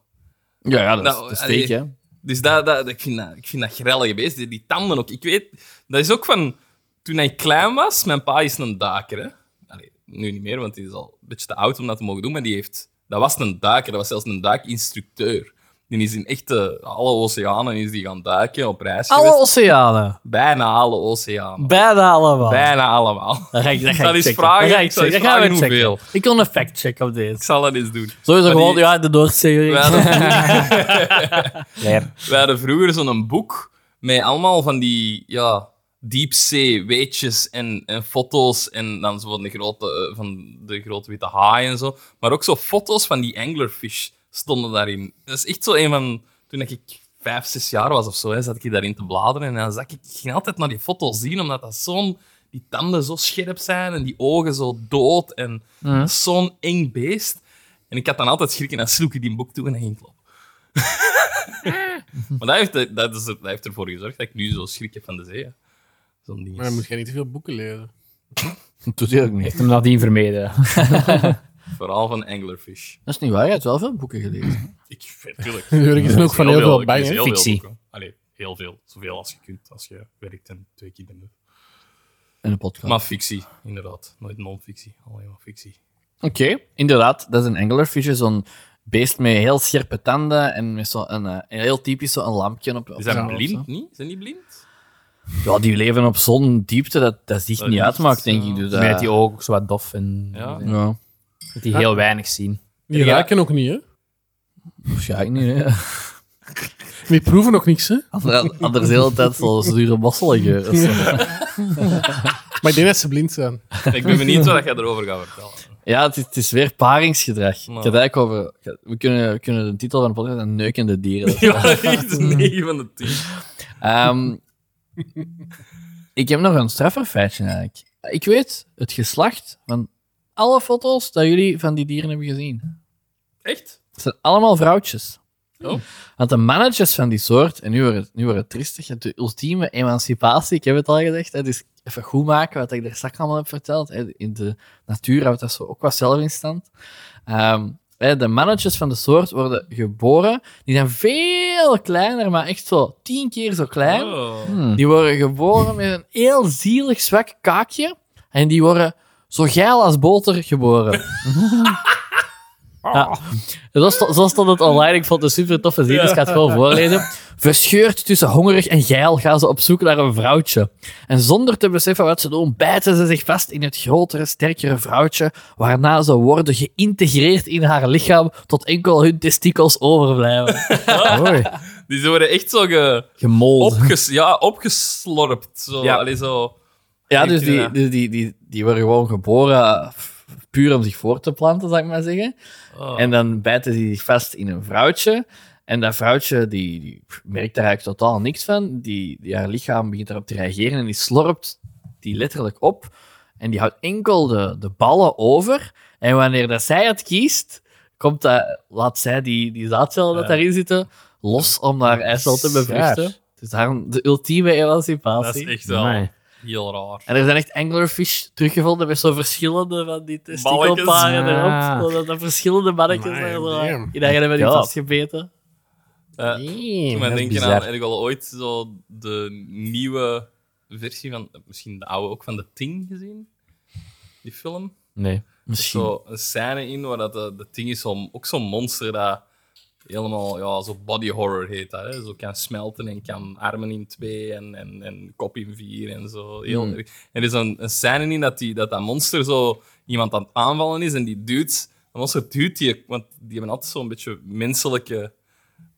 Speaker 3: Ja, ja, dat is
Speaker 2: Nou,
Speaker 3: dat is
Speaker 2: allee.
Speaker 3: steek, hè.
Speaker 2: Dus dat, dat, ik, vind dat, ik vind dat grellige beest. Die, die tanden ook. Ik weet... Dat is ook van... Toen ik klein was, mijn pa is een duiker. Hè? Allee, nu niet meer, want die is al een beetje te oud om dat te mogen doen. Maar die heeft... Dat was een duiker. Dat was zelfs een duikinstructeur. Die is in echte... Alle oceanen is die gaan duiken op reis geweest.
Speaker 5: oceanen.
Speaker 2: Bijna alle oceanen.
Speaker 5: Bijna allemaal.
Speaker 2: Bijna allemaal. <laughs>
Speaker 5: Dat ga ik, dat ga
Speaker 2: Dat
Speaker 5: ik
Speaker 2: is
Speaker 5: checken.
Speaker 2: vragen.
Speaker 5: Dat ga ik
Speaker 2: Ik zal eens
Speaker 5: checken. Dat gaan we
Speaker 2: vragen hoeveel.
Speaker 5: checken. Ik wil een fact-check op
Speaker 2: Ik
Speaker 5: deze.
Speaker 2: zal dat eens doen.
Speaker 3: Sowieso
Speaker 2: Maar die-
Speaker 3: gewoon, ja, de Noordzee.
Speaker 2: Wij
Speaker 3: Ja,
Speaker 2: hadden,
Speaker 5: Leer.
Speaker 2: wij hadden vroeger zo'n boek met allemaal van die ja, diepzee weetjes en, en foto's en dan zo van de, grote, eh, van de grote witte haai en zo. Maar ook zo foto's van die anglerfish stonden daarin. Dat is echt zo een van... Toen ik vijf, zes jaar was of zo, hè, zat ik daarin te bladeren en dan zag ik, ik ging altijd naar die foto's zien, omdat dat zo'n... Die tanden zo scherp zijn en die ogen zo dood en dat is zo'n eng beest. En ik had dan altijd schrik en dan sloeg ik die boek toe en dan ging ik lopen. Maar dat heeft, dat, is, dat heeft ervoor gezorgd dat ik nu zo schrik heb van de zee. hè. Zo'n ding.
Speaker 1: Maar
Speaker 2: is
Speaker 1: dan moet jij niet te veel boeken leren.
Speaker 3: Dat doet hij ook niet.
Speaker 5: Heeft hem nadien vermeden.
Speaker 2: Vooral van anglerfish.
Speaker 3: Dat is niet waar, je hebt wel veel boeken gelezen.
Speaker 2: Ik natuurlijk.
Speaker 1: <laughs> Jurgen is ook van heel veel bij, hè?
Speaker 5: Fictie.
Speaker 2: Allee, heel veel. Zoveel als je kunt, als je werkt en twee kinderen hebt.
Speaker 3: in de podcast.
Speaker 2: Maar fictie, inderdaad. Nooit non-fictie, alleen maar fictie.
Speaker 3: Oké, inderdaad. Dat is een anglerfish, zo'n beest met heel scherpe tanden en met zo'n een, eh, een heel typisch zo'n lampje op. op
Speaker 2: Is dat
Speaker 3: zijn hoofd,
Speaker 2: blind, niet? Zijn die blind? <laughs>
Speaker 3: zo. Ja, die leven op zo'n diepte dat dat zich
Speaker 2: Dat
Speaker 3: niet
Speaker 2: licht,
Speaker 3: uitmaakt, denk
Speaker 2: ja.
Speaker 3: ik. Dus,
Speaker 5: Volgens
Speaker 3: eh,
Speaker 5: mij dat die ogen ook zo wat dof en
Speaker 2: Ja.
Speaker 3: ja,
Speaker 5: dat die heel weinig zien.
Speaker 1: Die raken ook niet, hè?
Speaker 3: waarschijnlijk niet. hè.
Speaker 1: Die proeven ook niks, hè?
Speaker 3: <laughs> Ander- Anders de hele tijd zo'n zure mosselige. geur of zo.
Speaker 1: Maar ik denk dat ze blind zijn.
Speaker 2: Ik
Speaker 1: <laughs>
Speaker 2: ben benieuwd wat jij erover gaat vertellen.
Speaker 3: <laughs> Ja, het is, het is weer paringsgedrag.
Speaker 2: Nou.
Speaker 3: Ik had eigenlijk over... ik had- We kunnen, we kunnen de titel van de podcast een neukende dieren.
Speaker 2: Ja, <laughs> echt 9 van de 10.
Speaker 3: Ehm, ik heb nog een straffer feitje eigenlijk. Ik weet het geslacht van alle foto's dat jullie van die dieren hebben gezien.
Speaker 2: Echt?
Speaker 3: Het zijn allemaal vrouwtjes.
Speaker 2: Oh.
Speaker 3: Want de mannetjes van die soort, en nu wordt het, nu wordt het triestig, je hebt de ultieme emancipatie, ik heb het al gezegd, dat is even goed maken wat ik daar straks allemaal heb verteld. hè. In de natuur houdt dat zo ook wat zelf in stand. Ehm, hè, de mannetjes van de soort worden geboren, die zijn veel kleiner, maar echt zo tien keer zo klein.
Speaker 2: Oh.
Speaker 3: Die worden geboren met een heel zielig zwak kaakje. En die worden zo geil als boter <laughs> geboren. Ja. Zo, sto- zo stond het online. Ik vond het super tof te zien, dus ik ga het gewoon voorlezen. Verscheurd tussen hongerig en geil gaan ze op zoek naar een vrouwtje. En zonder te beseffen wat ze doen, bijten ze zich vast in het grotere, sterkere vrouwtje, waarna ze worden geïntegreerd in haar lichaam tot enkel hun testikels
Speaker 5: <laughs>
Speaker 3: overblijven.
Speaker 5: Mooi.
Speaker 2: Die worden echt zo ge...
Speaker 5: Gemold.
Speaker 2: opges... ja, opgeslorpt. Zo.
Speaker 5: Ja.
Speaker 2: Allee, zo.
Speaker 3: Ja,
Speaker 2: Denk
Speaker 3: dus
Speaker 2: je
Speaker 3: die,
Speaker 2: dat?
Speaker 3: die, die, die, die worden gewoon geboren f- puur om zich voor te planten, zou ik maar zeggen.
Speaker 2: Oh.
Speaker 3: En dan bijten ze zich vast in een vrouwtje. En dat vrouwtje die, die merkt daar eigenlijk totaal niks van. Die, die, haar lichaam begint daarop te reageren en die slorpt die letterlijk op. En die houdt enkel de, de ballen over. En wanneer dat zij het kiest, komt dat, laat zij die, die zaadcellen dat
Speaker 2: Ja.
Speaker 3: daarin zitten los om haar eicel te bevruchten.
Speaker 5: Zwaar.
Speaker 3: Dus daarom de ultieme emancipatie.
Speaker 2: Dat is echt wel
Speaker 5: Amai.
Speaker 2: heel raar.
Speaker 3: En er zijn echt anglerfish teruggevonden met zo verschillende van die testikelparen
Speaker 5: Balletjes.
Speaker 3: erop.
Speaker 5: Ah.
Speaker 3: Zo Dat er verschillende mannetjes
Speaker 1: My
Speaker 3: daar zo
Speaker 1: damn.
Speaker 3: in dat je met die
Speaker 5: Ja.
Speaker 3: vastgebeten.
Speaker 2: Eh, Ik
Speaker 1: Nee.
Speaker 2: moet
Speaker 5: dat is
Speaker 2: denken
Speaker 5: bizar.
Speaker 2: aan, heb ik al ooit zo de nieuwe versie van, misschien de oude ook, van de Ting gezien? Die film?
Speaker 5: Nee.
Speaker 3: Misschien.
Speaker 2: Zo een scène in waar dat de, de Ting is zo, ook zo'n monster dat helemaal, ja, zo body horror heet dat. Hè? Zo kan smelten en kan armen in twee en, en, en kop in vier en zo. Heel
Speaker 3: Mm.
Speaker 2: erg. En er is een, een scène in dat, die, dat dat monster zo iemand aan het aanvallen is en die duwt, dat monster duwt die, want die hebben altijd zo'n beetje menselijke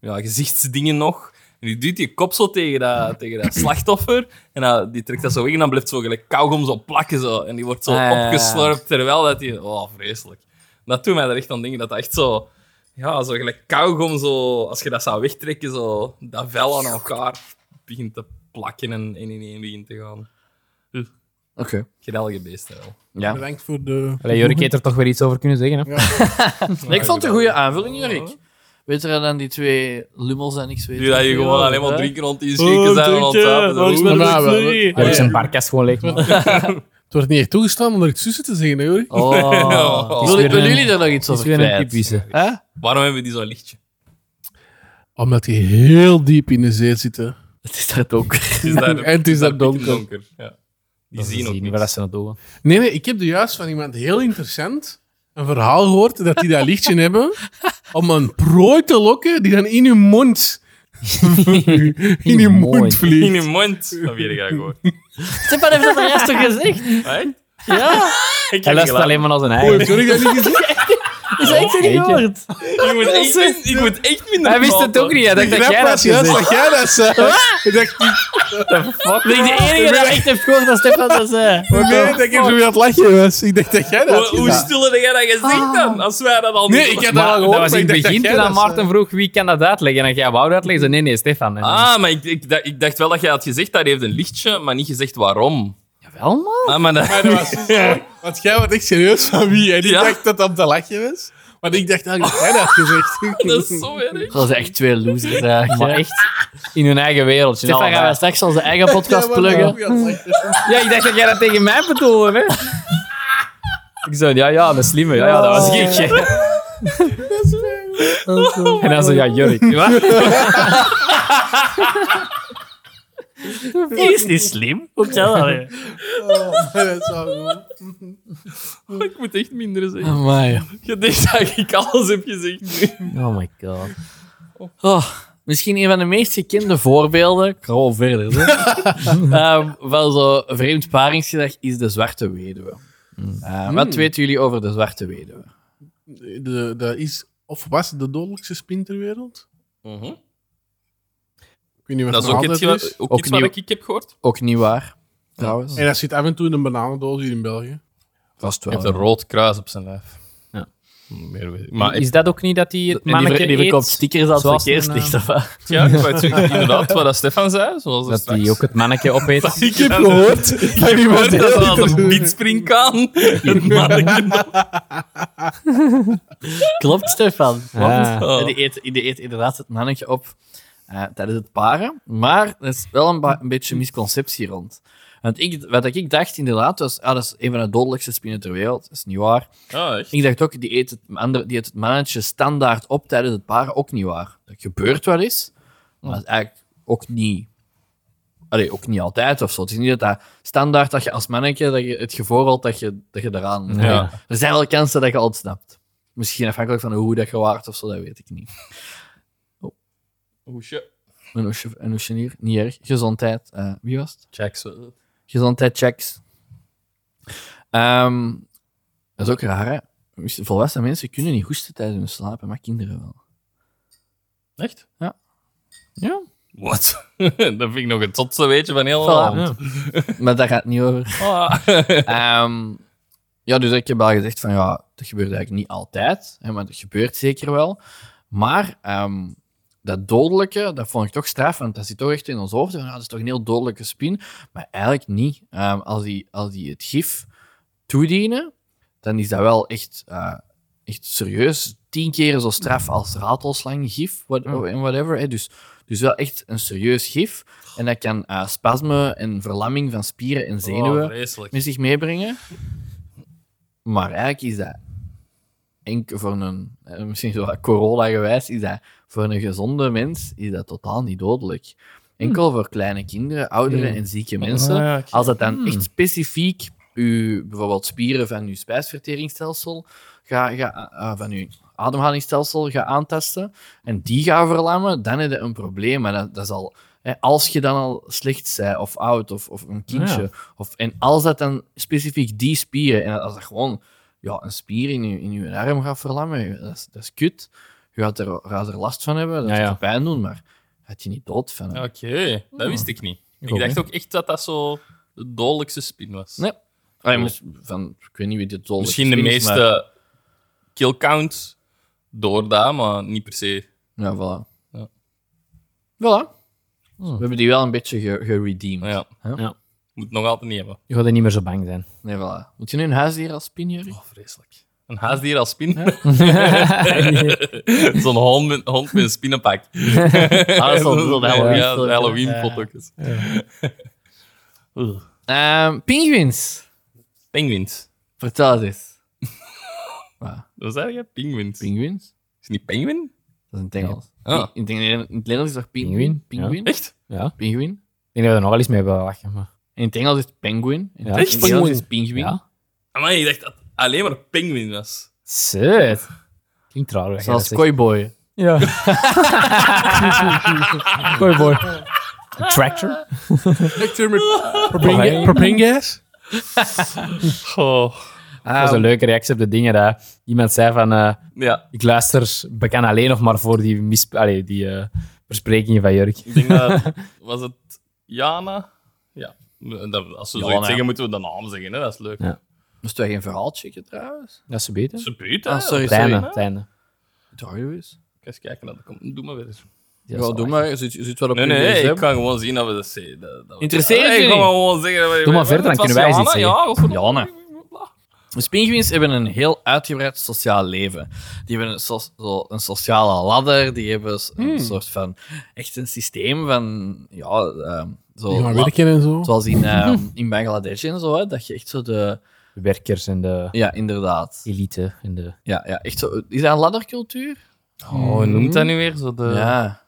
Speaker 2: ja, gezichtsdingen nog. En die duwt die kop zo tegen dat, tegen dat slachtoffer. En dat- die trekt dat zo weg en dan blijft zo gelijk kauwgom zo plakken. Zo. En die wordt zo
Speaker 3: Ah, ja, ja, ja.
Speaker 2: opgeslurpt, terwijl dat die... Oh, vreselijk. Dat doet mij er echt aan denken, dat dat echt zo... Ja, zo gelijk kauwgom, zo, als je dat zou wegtrekken, zo, dat vel aan elkaar begint te plakken en en in één begint te gaan.
Speaker 3: Oké.
Speaker 2: Geweldige beesten wel.
Speaker 3: <laughs> Ja.
Speaker 1: Bedankt voor de...
Speaker 5: Allee, Jorik heeft er toch weer iets over kunnen zeggen, hè?
Speaker 3: Nee,
Speaker 2: Ah,
Speaker 3: ik vond het een goede aanvulling, Jurk. Weet je dan die twee lummels en niks weten?
Speaker 2: Nu dat je gewoon alleen maar drinken rond die schenken zijn en ontzapen. zo, oeh.
Speaker 1: maar dat vloeien.
Speaker 5: Jorik zijn barkas gewoon leeg. man.
Speaker 1: Het wordt niet echt toegestaan om er iets tussen te zeggen, hè, Jorik?
Speaker 2: <laughs>
Speaker 3: Oh. Wil- Willen jullie daar nog iets
Speaker 5: Het is
Speaker 3: over
Speaker 5: weer een
Speaker 3: kwijt?
Speaker 5: typische.
Speaker 3: Hè?
Speaker 2: Waarom hebben we die zo'n lichtje?
Speaker 1: Omdat die heel diep in de zee zitten.
Speaker 3: Het is dat ook.
Speaker 2: Het is daar,
Speaker 1: En <laughs> het is daar donker.
Speaker 2: Ja. Die
Speaker 5: Dat ze
Speaker 2: zien ook
Speaker 5: waar
Speaker 2: niks.
Speaker 5: ze naartoe gaan.
Speaker 1: Nee, nee, ik heb er juist van iemand heel interessant een verhaal gehoord dat die dat lichtje <laughs> hebben om een prooi te lokken die dan in hun mond, <laughs> in
Speaker 5: je
Speaker 1: hun
Speaker 5: mond.
Speaker 1: mond
Speaker 2: <laughs> In
Speaker 1: vliegt.
Speaker 2: je mond. Dat weet ik eigenlijk hoor.
Speaker 3: Stefan heeft dat de rest toch gezegd?
Speaker 2: Hey? <laughs>
Speaker 3: Ja.
Speaker 2: Ik
Speaker 5: Hij
Speaker 2: heb
Speaker 5: luistert
Speaker 2: gelachen.
Speaker 5: alleen maar naar zijn
Speaker 1: Hoe heb
Speaker 5: eigen.
Speaker 1: Jorik dat niet gezien?
Speaker 3: Dat is echt niet
Speaker 5: Jeetje.
Speaker 3: gehoord.
Speaker 2: Ik moet echt, min- ik moet echt minder
Speaker 5: Hij wist het
Speaker 2: praten.
Speaker 5: ook niet. Hij dacht dat
Speaker 1: grap
Speaker 5: jij
Speaker 1: was
Speaker 5: dat
Speaker 1: juist
Speaker 5: gezegd.
Speaker 1: dat jij dat zei. Ik dacht,
Speaker 3: Ben ik de enige die echt heeft gehoord dat Stefan dat zei?
Speaker 1: nee, dat ik er zo weer aan het lachen was. Ik dacht dat jij dat
Speaker 2: Hoe,
Speaker 1: had
Speaker 2: hoe
Speaker 1: gedaan.
Speaker 2: stiller jij dat gezegd dan? Als wij dat al niet
Speaker 1: Nee, ik heb dat al
Speaker 5: Maar
Speaker 1: gehoord,
Speaker 5: dat was
Speaker 1: maar
Speaker 5: in
Speaker 1: ik dacht
Speaker 5: het begin
Speaker 1: dat
Speaker 5: toen
Speaker 1: jij
Speaker 5: aan
Speaker 1: dat
Speaker 5: Maarten vroeg wie kan dat uitleggen. En dan jij wou uitleggen. Zo, Nee, nee, Stefan. En dan-
Speaker 2: Ah, maar ik, ik, dacht- ik dacht wel dat jij had gezegd dat hij heeft een lichtje, maar niet gezegd waarom.
Speaker 5: Jawel, man.
Speaker 2: Ah, maar dat...
Speaker 1: dat was dus- Want jij wordt echt serieus van wie. En ik
Speaker 2: Ja.
Speaker 1: dacht dat dat te lachen was. Maar ik dacht eigenlijk dat jij dat had gezegd.
Speaker 2: <laughs> dat is zo erg.
Speaker 3: Dat zijn echt twee losers eigenlijk.
Speaker 5: <laughs> Maar
Speaker 3: hè.
Speaker 5: echt in hun eigen wereld.
Speaker 3: Stefan, gaan wij straks onze eigen podcast pluggen?
Speaker 5: Ja, ik dacht dat jij dat tegen mij bedoelde, hè? Ik zo, ja, ja, de slimme. Ja, ja dat was ik. <laughs> hè. En dan zo, ja, Jurk. <laughs> Ja,
Speaker 3: Die is niet slim. Hoe kan dat?
Speaker 1: Oh, dat is wel <laughs> goed.
Speaker 2: Ik moet echt minder
Speaker 5: Oh.
Speaker 2: zeggen.
Speaker 3: Amai.
Speaker 2: Je denkt dat <laughs> ik alles heb gezegd. nu.
Speaker 3: Oh my god. Oh, misschien een van de meest gekende voorbeelden. Ik ga wel verder. hè. Ehm, van zo'n vreemd paringsgedrag is de zwarte weduwe. Eh,
Speaker 2: Hmm.
Speaker 3: Wat weten jullie over de zwarte weduwe?
Speaker 1: De, dat is of was de dodelijkste spin ter wereld. Ik weet niet wat
Speaker 2: Dat is
Speaker 1: nog
Speaker 2: ook iets,
Speaker 1: altijd dus?
Speaker 2: wat- ook
Speaker 3: Ook
Speaker 2: iets wat
Speaker 3: nieuw.
Speaker 2: ik heb gehoord.
Speaker 3: Ook niet waar, trouwens.
Speaker 1: En dat zit af en toe in een bananendoos hier in België.
Speaker 3: Vast
Speaker 2: Hij
Speaker 3: wel.
Speaker 2: heeft een rood kruis op zijn lijf.
Speaker 5: Ja.
Speaker 2: Meer weet ik. Maar ik,
Speaker 5: Is dat ook niet dat hij het
Speaker 3: En die, ver-
Speaker 5: mannetje
Speaker 3: die verkoopt
Speaker 5: eet?
Speaker 3: stickers als
Speaker 5: zoals
Speaker 3: verkeerslicht.
Speaker 5: een,
Speaker 3: of wat?
Speaker 2: ja, ik wou het zeggen, inderdaad, wat dat Stefan zei. Zoals
Speaker 5: Dat
Speaker 2: straks.
Speaker 5: hij ook het mannetje <laughs> opeet?
Speaker 2: Ik heb gehoord.
Speaker 3: Van wie was
Speaker 2: <laughs> Dat
Speaker 3: dit?
Speaker 2: is als een bietspringkaan. Het manneke.
Speaker 3: Klopt, Stefan. Klopt.
Speaker 5: Ja.
Speaker 2: Oh.
Speaker 3: Ja, Die, eet, die eet inderdaad het mannetje op eh, tijdens het paren. Maar er is wel een, ba- een beetje misconceptie rond. Want ik, wat ik dacht inderdaad was, ah, dat is een van de dodelijkste spinnen ter wereld. Dat is niet waar.
Speaker 2: Ja, echt.
Speaker 3: Ik dacht ook, die eet, het, andere, die eet het mannetje standaard op tijdens het paren. Ook niet waar. Dat gebeurt wel eens, maar dat is eigenlijk ook niet... Allee, ook niet altijd of zo. Het is niet dat, dat standaard dat je als mannetje dat je het gevoel had dat je, dat je eraan...
Speaker 2: Ja.
Speaker 3: Er zijn wel kansen dat je ontsnapt. Misschien afhankelijk van hoe dat je waart of zo, dat weet ik niet.
Speaker 2: Hoesje.
Speaker 3: Een, oesje, een oesjenier, niet erg. Gezondheid, eh, wie was het?
Speaker 2: Jacks.
Speaker 3: Gezondheid checks. Ehm, dat is ook raar, hè? Moesten- Volwassen mensen kunnen niet hoesten tijdens hun slapen, maar kinderen wel.
Speaker 2: Echt?
Speaker 3: Ja. Ja.
Speaker 2: Wat? <laughs> dat vind ik nog het zotste weetje van heel
Speaker 3: Voilà.
Speaker 2: Holland.
Speaker 3: Maar daar gaat het niet over.
Speaker 2: Ah.
Speaker 3: Ehm, ja, dus ik heb al gezegd van ja, dat gebeurt eigenlijk niet altijd, hè, maar dat gebeurt zeker wel. Maar ehm, dat dodelijke, dat vond ik toch straf, want dat zit toch echt in ons hoofd. Van, ja, dat is toch een heel dodelijke spin, maar eigenlijk niet. Ehm, als, die, als die het gif toedienen, dan is dat wel echt, eh, echt serieus tien keer zo straf als ratelslanggif what- en whatever. Hè. Dus, dus wel echt een serieus gif. En dat kan eh spasmen en verlamming van spieren en zenuwen
Speaker 2: Oh, vreselijk.
Speaker 3: met zich meebrengen. Maar eigenlijk is dat enkel voor een, eh, misschien zo wat corona-gewijs, is dat voor een gezonde mens is dat totaal niet dodelijk. Enkel voor kleine kinderen, ouderen en zieke mensen.
Speaker 2: Ah, ja, oké.
Speaker 3: Als dat dan echt specifiek uw, bijvoorbeeld spieren van uw spijsverteringsstelsel, ga, ga, eh, van uw ademhalingsstelsel gaat aantasten en die gaan verlammen, dan heb je een probleem. Maar dat, dat is al, hè, als je dan al slecht bent of oud of, of een kindje, of, en als dat dan specifiek die spieren, en als dat gewoon ja, een spier in je, in je arm gaat verlammen, dat is, dat is kut. Je gaat er, gaat er last van hebben, dat
Speaker 5: Ja,
Speaker 3: gaat
Speaker 5: ja.
Speaker 3: je pijn doen, maar gaat je niet dood van. hè.
Speaker 2: Oké, dat wist ik niet. Ik
Speaker 5: ook
Speaker 2: dacht
Speaker 5: niet.
Speaker 2: ook echt dat dat zo de dodelijkste spin was.
Speaker 3: Nee. Allee, mis- Dus van, ik weet niet wie dit dodelijk
Speaker 2: Ah, Misschien de
Speaker 3: is, maar-
Speaker 2: meeste kill count door daar, maar niet per se.
Speaker 3: Ja, voilà.
Speaker 2: Ja.
Speaker 3: Voilà. We hebben die wel een beetje ge- geredeemd.
Speaker 2: Maar ja,
Speaker 5: Ja.
Speaker 2: moet nog altijd niet hebben.
Speaker 5: Je gaat er niet meer zo bang zijn. <laughs>
Speaker 3: Nee, voilà. Moet je nu een huisdier als spin, Jurgen?
Speaker 2: Oh, vreselijk. Een huisdier als spin. <laughs> Zo'n hond met, hond met een spinnenpak.
Speaker 3: <laughs> Ah, zo'n- zo'n Halloween-
Speaker 2: Ja, zo'n Halloween
Speaker 3: Ja.
Speaker 2: foto. Oeh.
Speaker 3: Ehm, pinguïns.
Speaker 2: Penguins.
Speaker 3: Vertel het eens.
Speaker 2: Wat zei je? Penguins. Is
Speaker 3: Pinguïns?
Speaker 2: het niet penguin?
Speaker 3: Dat is in het Engels.
Speaker 2: Ah.
Speaker 3: In, het Engels- in het Nederlands is dat pinguïn.
Speaker 5: Pinguïn,
Speaker 3: Pinguïn?
Speaker 2: Echt?
Speaker 5: Ja.
Speaker 3: Pinguïn?
Speaker 5: Ik denk dat we er nog wel eens mee hebben lachen. Maar...
Speaker 3: In het Engels is het penguin. In het-
Speaker 5: Ja.
Speaker 3: in
Speaker 5: Echt?
Speaker 3: het Nederlands is het pinguïn.
Speaker 5: Ja.
Speaker 2: Amai, ik dacht dat het alleen maar penguin was.
Speaker 5: Zet. Klinkt raar. hè,
Speaker 3: Zoals
Speaker 5: dat zegt.
Speaker 3: kooiboy.
Speaker 5: <laughs> Ja. Kooi boy. Een Tractor?
Speaker 1: Propane- Propane gas?
Speaker 2: Oh.
Speaker 5: Dat was een
Speaker 3: Ehm,
Speaker 5: leuke reactie op de dingen. Dat iemand zei van... eh,
Speaker 2: <laughs> Ja,
Speaker 5: ik luister bekend alleen nog maar voor die, mis, allee, die eh, besprekingen van Jurk.
Speaker 2: ik denk <laughs> dat... Was het Jana? Ja. Dat- Als we zoiets
Speaker 3: Jana, ja.
Speaker 2: zeggen, moeten we de naam zeggen. Hè? Dat is leuk.
Speaker 5: Ja.
Speaker 3: Moest jij geen verhaal checken, trouwens?
Speaker 5: Dat is een beter.
Speaker 2: Ze buurt, hè?
Speaker 3: Ah, sorry,
Speaker 5: Het einde,
Speaker 3: sorry.
Speaker 5: het einde.
Speaker 3: Draai eens.
Speaker 2: Ik ga eens kijken naar de kom- Doe maar weer.
Speaker 5: Ja,
Speaker 3: Ja,
Speaker 5: zal
Speaker 3: doe
Speaker 5: ik.
Speaker 3: maar. Je ziet, je ziet wat op
Speaker 2: Nee,
Speaker 3: je
Speaker 2: nee,
Speaker 3: lijst
Speaker 2: ik
Speaker 3: hebt.
Speaker 2: kan gewoon zien dat we dat zeggen. Dat, dat we-
Speaker 3: Interesseert
Speaker 2: Ja,
Speaker 3: je
Speaker 2: Ik kan
Speaker 3: niet?
Speaker 2: gewoon zeggen... dat we-
Speaker 5: Doe maar verder, dan
Speaker 2: Het was
Speaker 5: kunnen wij eens
Speaker 2: Jana,
Speaker 5: iets
Speaker 2: Ja, godverdomme.
Speaker 3: Jana. Dus pinguïns hebben een heel uitgebreid sociaal leven. Die hebben een, so- zo- een sociale ladder, die hebben s-
Speaker 1: Hmm.
Speaker 3: een soort van echt een systeem van ja, ehm, zo,
Speaker 1: Die gaan
Speaker 3: la-
Speaker 1: werken en zo.
Speaker 3: zoals
Speaker 1: <laughs>
Speaker 3: in, ehm, in Bangladesh en zo, hè, dat je echt zo de
Speaker 5: De werkers en de
Speaker 3: ja, inderdaad.
Speaker 5: elite. En de...
Speaker 3: Ja, ja, echt zo. Is dat een laddercultuur?
Speaker 2: Oh, hoe noemt dat nu weer? Zo de...
Speaker 3: Ja.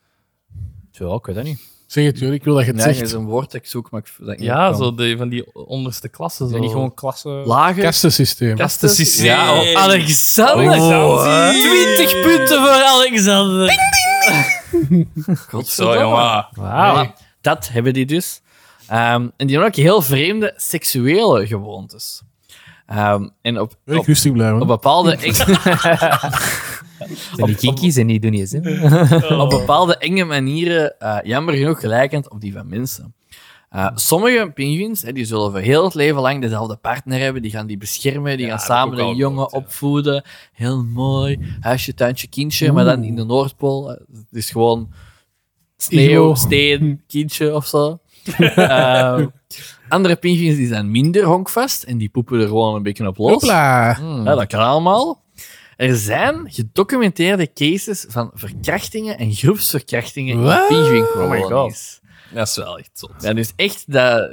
Speaker 5: Zo, ik weet dat niet.
Speaker 1: Zeg het, Jur, ik wil dat je het
Speaker 3: Ja, er is
Speaker 1: zegt.
Speaker 3: een woord dat ik zoek, maar ik dat ik niet
Speaker 2: Ja,
Speaker 3: kan.
Speaker 2: zo de, van die onderste klassen. Zo.
Speaker 5: Zijn die gewoon klasse...
Speaker 3: Lager.
Speaker 1: Kastensysteem.
Speaker 2: kastensysteem.
Speaker 4: Ja,
Speaker 2: Ja, oh.
Speaker 4: Alexander.
Speaker 2: Alexander.
Speaker 4: 20 punten voor Alexander.
Speaker 2: Zo, jongen.
Speaker 3: Wauw. Dat hebben die dus. Ehm, en die hebben ook heel vreemde seksuele gewoontes. Ehm, en op,
Speaker 1: Wil ik
Speaker 3: op,
Speaker 1: rustig
Speaker 3: op
Speaker 1: blijven.
Speaker 3: bepaalde...
Speaker 5: Zijn die kinkies en die doen niet eens.
Speaker 3: op
Speaker 2: Oh.
Speaker 3: bepaalde enge manieren eh, jammer genoeg gelijkend op die van mensen. Eh, sommige pinguïns hè, die zullen voor heel het leven lang dezelfde partner hebben. Die gaan die beschermen, die gaan
Speaker 2: dat heb ik
Speaker 3: samen
Speaker 2: ook
Speaker 3: een
Speaker 2: al
Speaker 3: jongen
Speaker 2: gehoord, ja.
Speaker 3: opvoeden. Heel mooi. Huisje, tuintje, kindje. Maar dan in de Noordpool. eh, Het is gewoon sneeuw,
Speaker 1: Iglo.
Speaker 2: Hm.
Speaker 3: steen, kindje of
Speaker 2: <laughs>
Speaker 3: zo. Eh, andere pinguïns die zijn minder honkvast en die poepen er gewoon een beetje op los.
Speaker 1: Hopla.
Speaker 3: Ja, dat kan allemaal. Er zijn gedocumenteerde cases van verkrachtingen en groepsverkrachtingen
Speaker 1: Wat?
Speaker 3: in
Speaker 2: Oh my
Speaker 3: pinguïnkolonies.
Speaker 2: Dat is wel echt zot.
Speaker 3: dat is dus echt dat,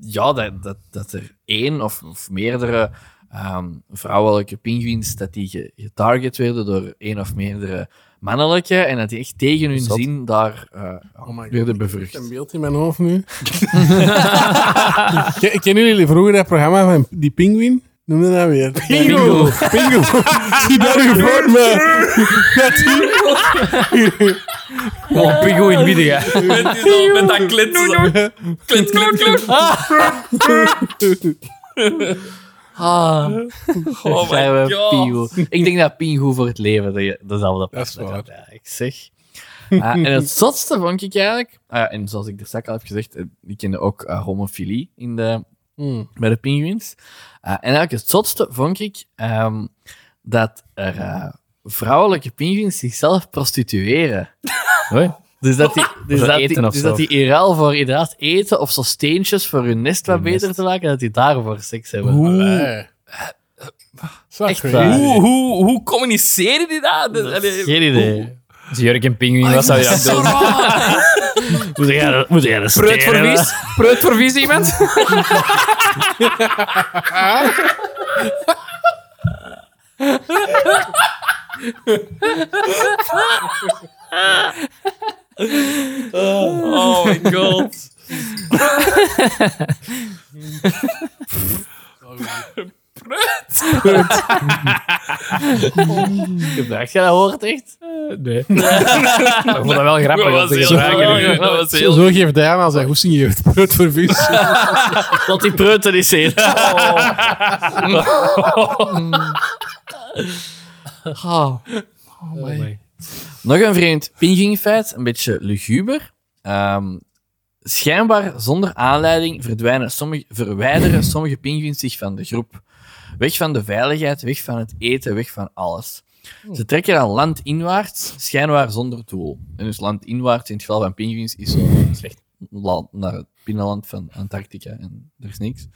Speaker 3: ja, dat, dat, dat er één of, of meerdere ehm, vrouwelijke pinguïns dat die ge- getarget werden door één of meerdere mannelijke en dat die echt tegen hun
Speaker 5: Zot.
Speaker 3: zin daar eh,
Speaker 1: Oh my
Speaker 3: werden
Speaker 1: Ik heb
Speaker 3: bevrucht.
Speaker 1: een beeld in mijn hoofd nu. <laughs> Ken- Kennen jullie vroeger dat programma van die pinguïn? Noem dat nou weer. Pingu! Pingu! <laughs> Die daar u voor me.
Speaker 5: Oh, Pigo in midden, ja.
Speaker 2: <laughs> Met, die zo, met dat klitsen. Klit, klit, klit.
Speaker 3: Ah,
Speaker 2: Oh my
Speaker 3: Zijn we
Speaker 2: god.
Speaker 3: Pingu. Ik denk dat Pingu voor het leven de, dezelfde
Speaker 1: Dat is
Speaker 3: partner
Speaker 1: waar.
Speaker 3: had, ja, Ik zeg. Ah, en het zotste vond ik eigenlijk, ah ja, en zoals ik er straks al heb gezegd, eh, ik kende ook eh, homofilie in de,
Speaker 5: Hmm.
Speaker 3: bij de pinguïns. Ah, en eigenlijk het zotste vond ik ehm, dat er eh, vrouwelijke pinguïns zichzelf prostitueren.
Speaker 5: Hoi.
Speaker 3: Dus dat die,
Speaker 5: <laughs>
Speaker 3: dus
Speaker 5: Voor
Speaker 3: dat
Speaker 5: eten
Speaker 3: die,
Speaker 5: of
Speaker 3: dus
Speaker 5: zo.
Speaker 3: dat die in ruil voor inderdaad eten of zo steentjes voor hun nest wat
Speaker 5: Hun
Speaker 3: beter
Speaker 5: nest.
Speaker 3: te maken, dat die daarvoor seks hebben.
Speaker 1: Oeh. Zo
Speaker 3: Echt
Speaker 1: crazy.
Speaker 3: waar.
Speaker 2: Hoe, hoe, hoe communiceren die dat? Dat- allee,
Speaker 3: Geen idee.
Speaker 5: Als Jurk en Pinguïn, wat zou je <laughs> dat
Speaker 2: zo
Speaker 5: doen?
Speaker 2: raar.
Speaker 4: Moet jij dat- moet jij dat
Speaker 5: Preut voor
Speaker 4: stelen?
Speaker 5: vies? Preut voor vies, iemand?
Speaker 2: Oh my god.
Speaker 3: Gebracht, jij dat hoort echt?
Speaker 5: Nee. <laughs> Ik vond dat wel grappig.
Speaker 2: Dat was
Speaker 5: Dat is
Speaker 2: heel
Speaker 5: een vraag.
Speaker 2: raar. Dat was
Speaker 1: Zo
Speaker 2: heel...
Speaker 1: zo geeft Diana zijn goesting jeugd. Brood voor vis.
Speaker 3: Dat die preuten is
Speaker 4: <laughs>
Speaker 3: in. <laughs> Nog een vreemd pinguïnfeit, een beetje luguber. Ehm, schijnbaar zonder aanleiding verdwijnen sommige, verwijderen sommige pinguïns zich van de groep. Weg van de veiligheid, weg van het eten, weg van alles. Ze trekken dan landinwaarts, schijnbaar zonder doel. En dus landinwaarts, in het geval van pinguïns, is zo slecht land, naar het binnenland van Antarctica en er is niks.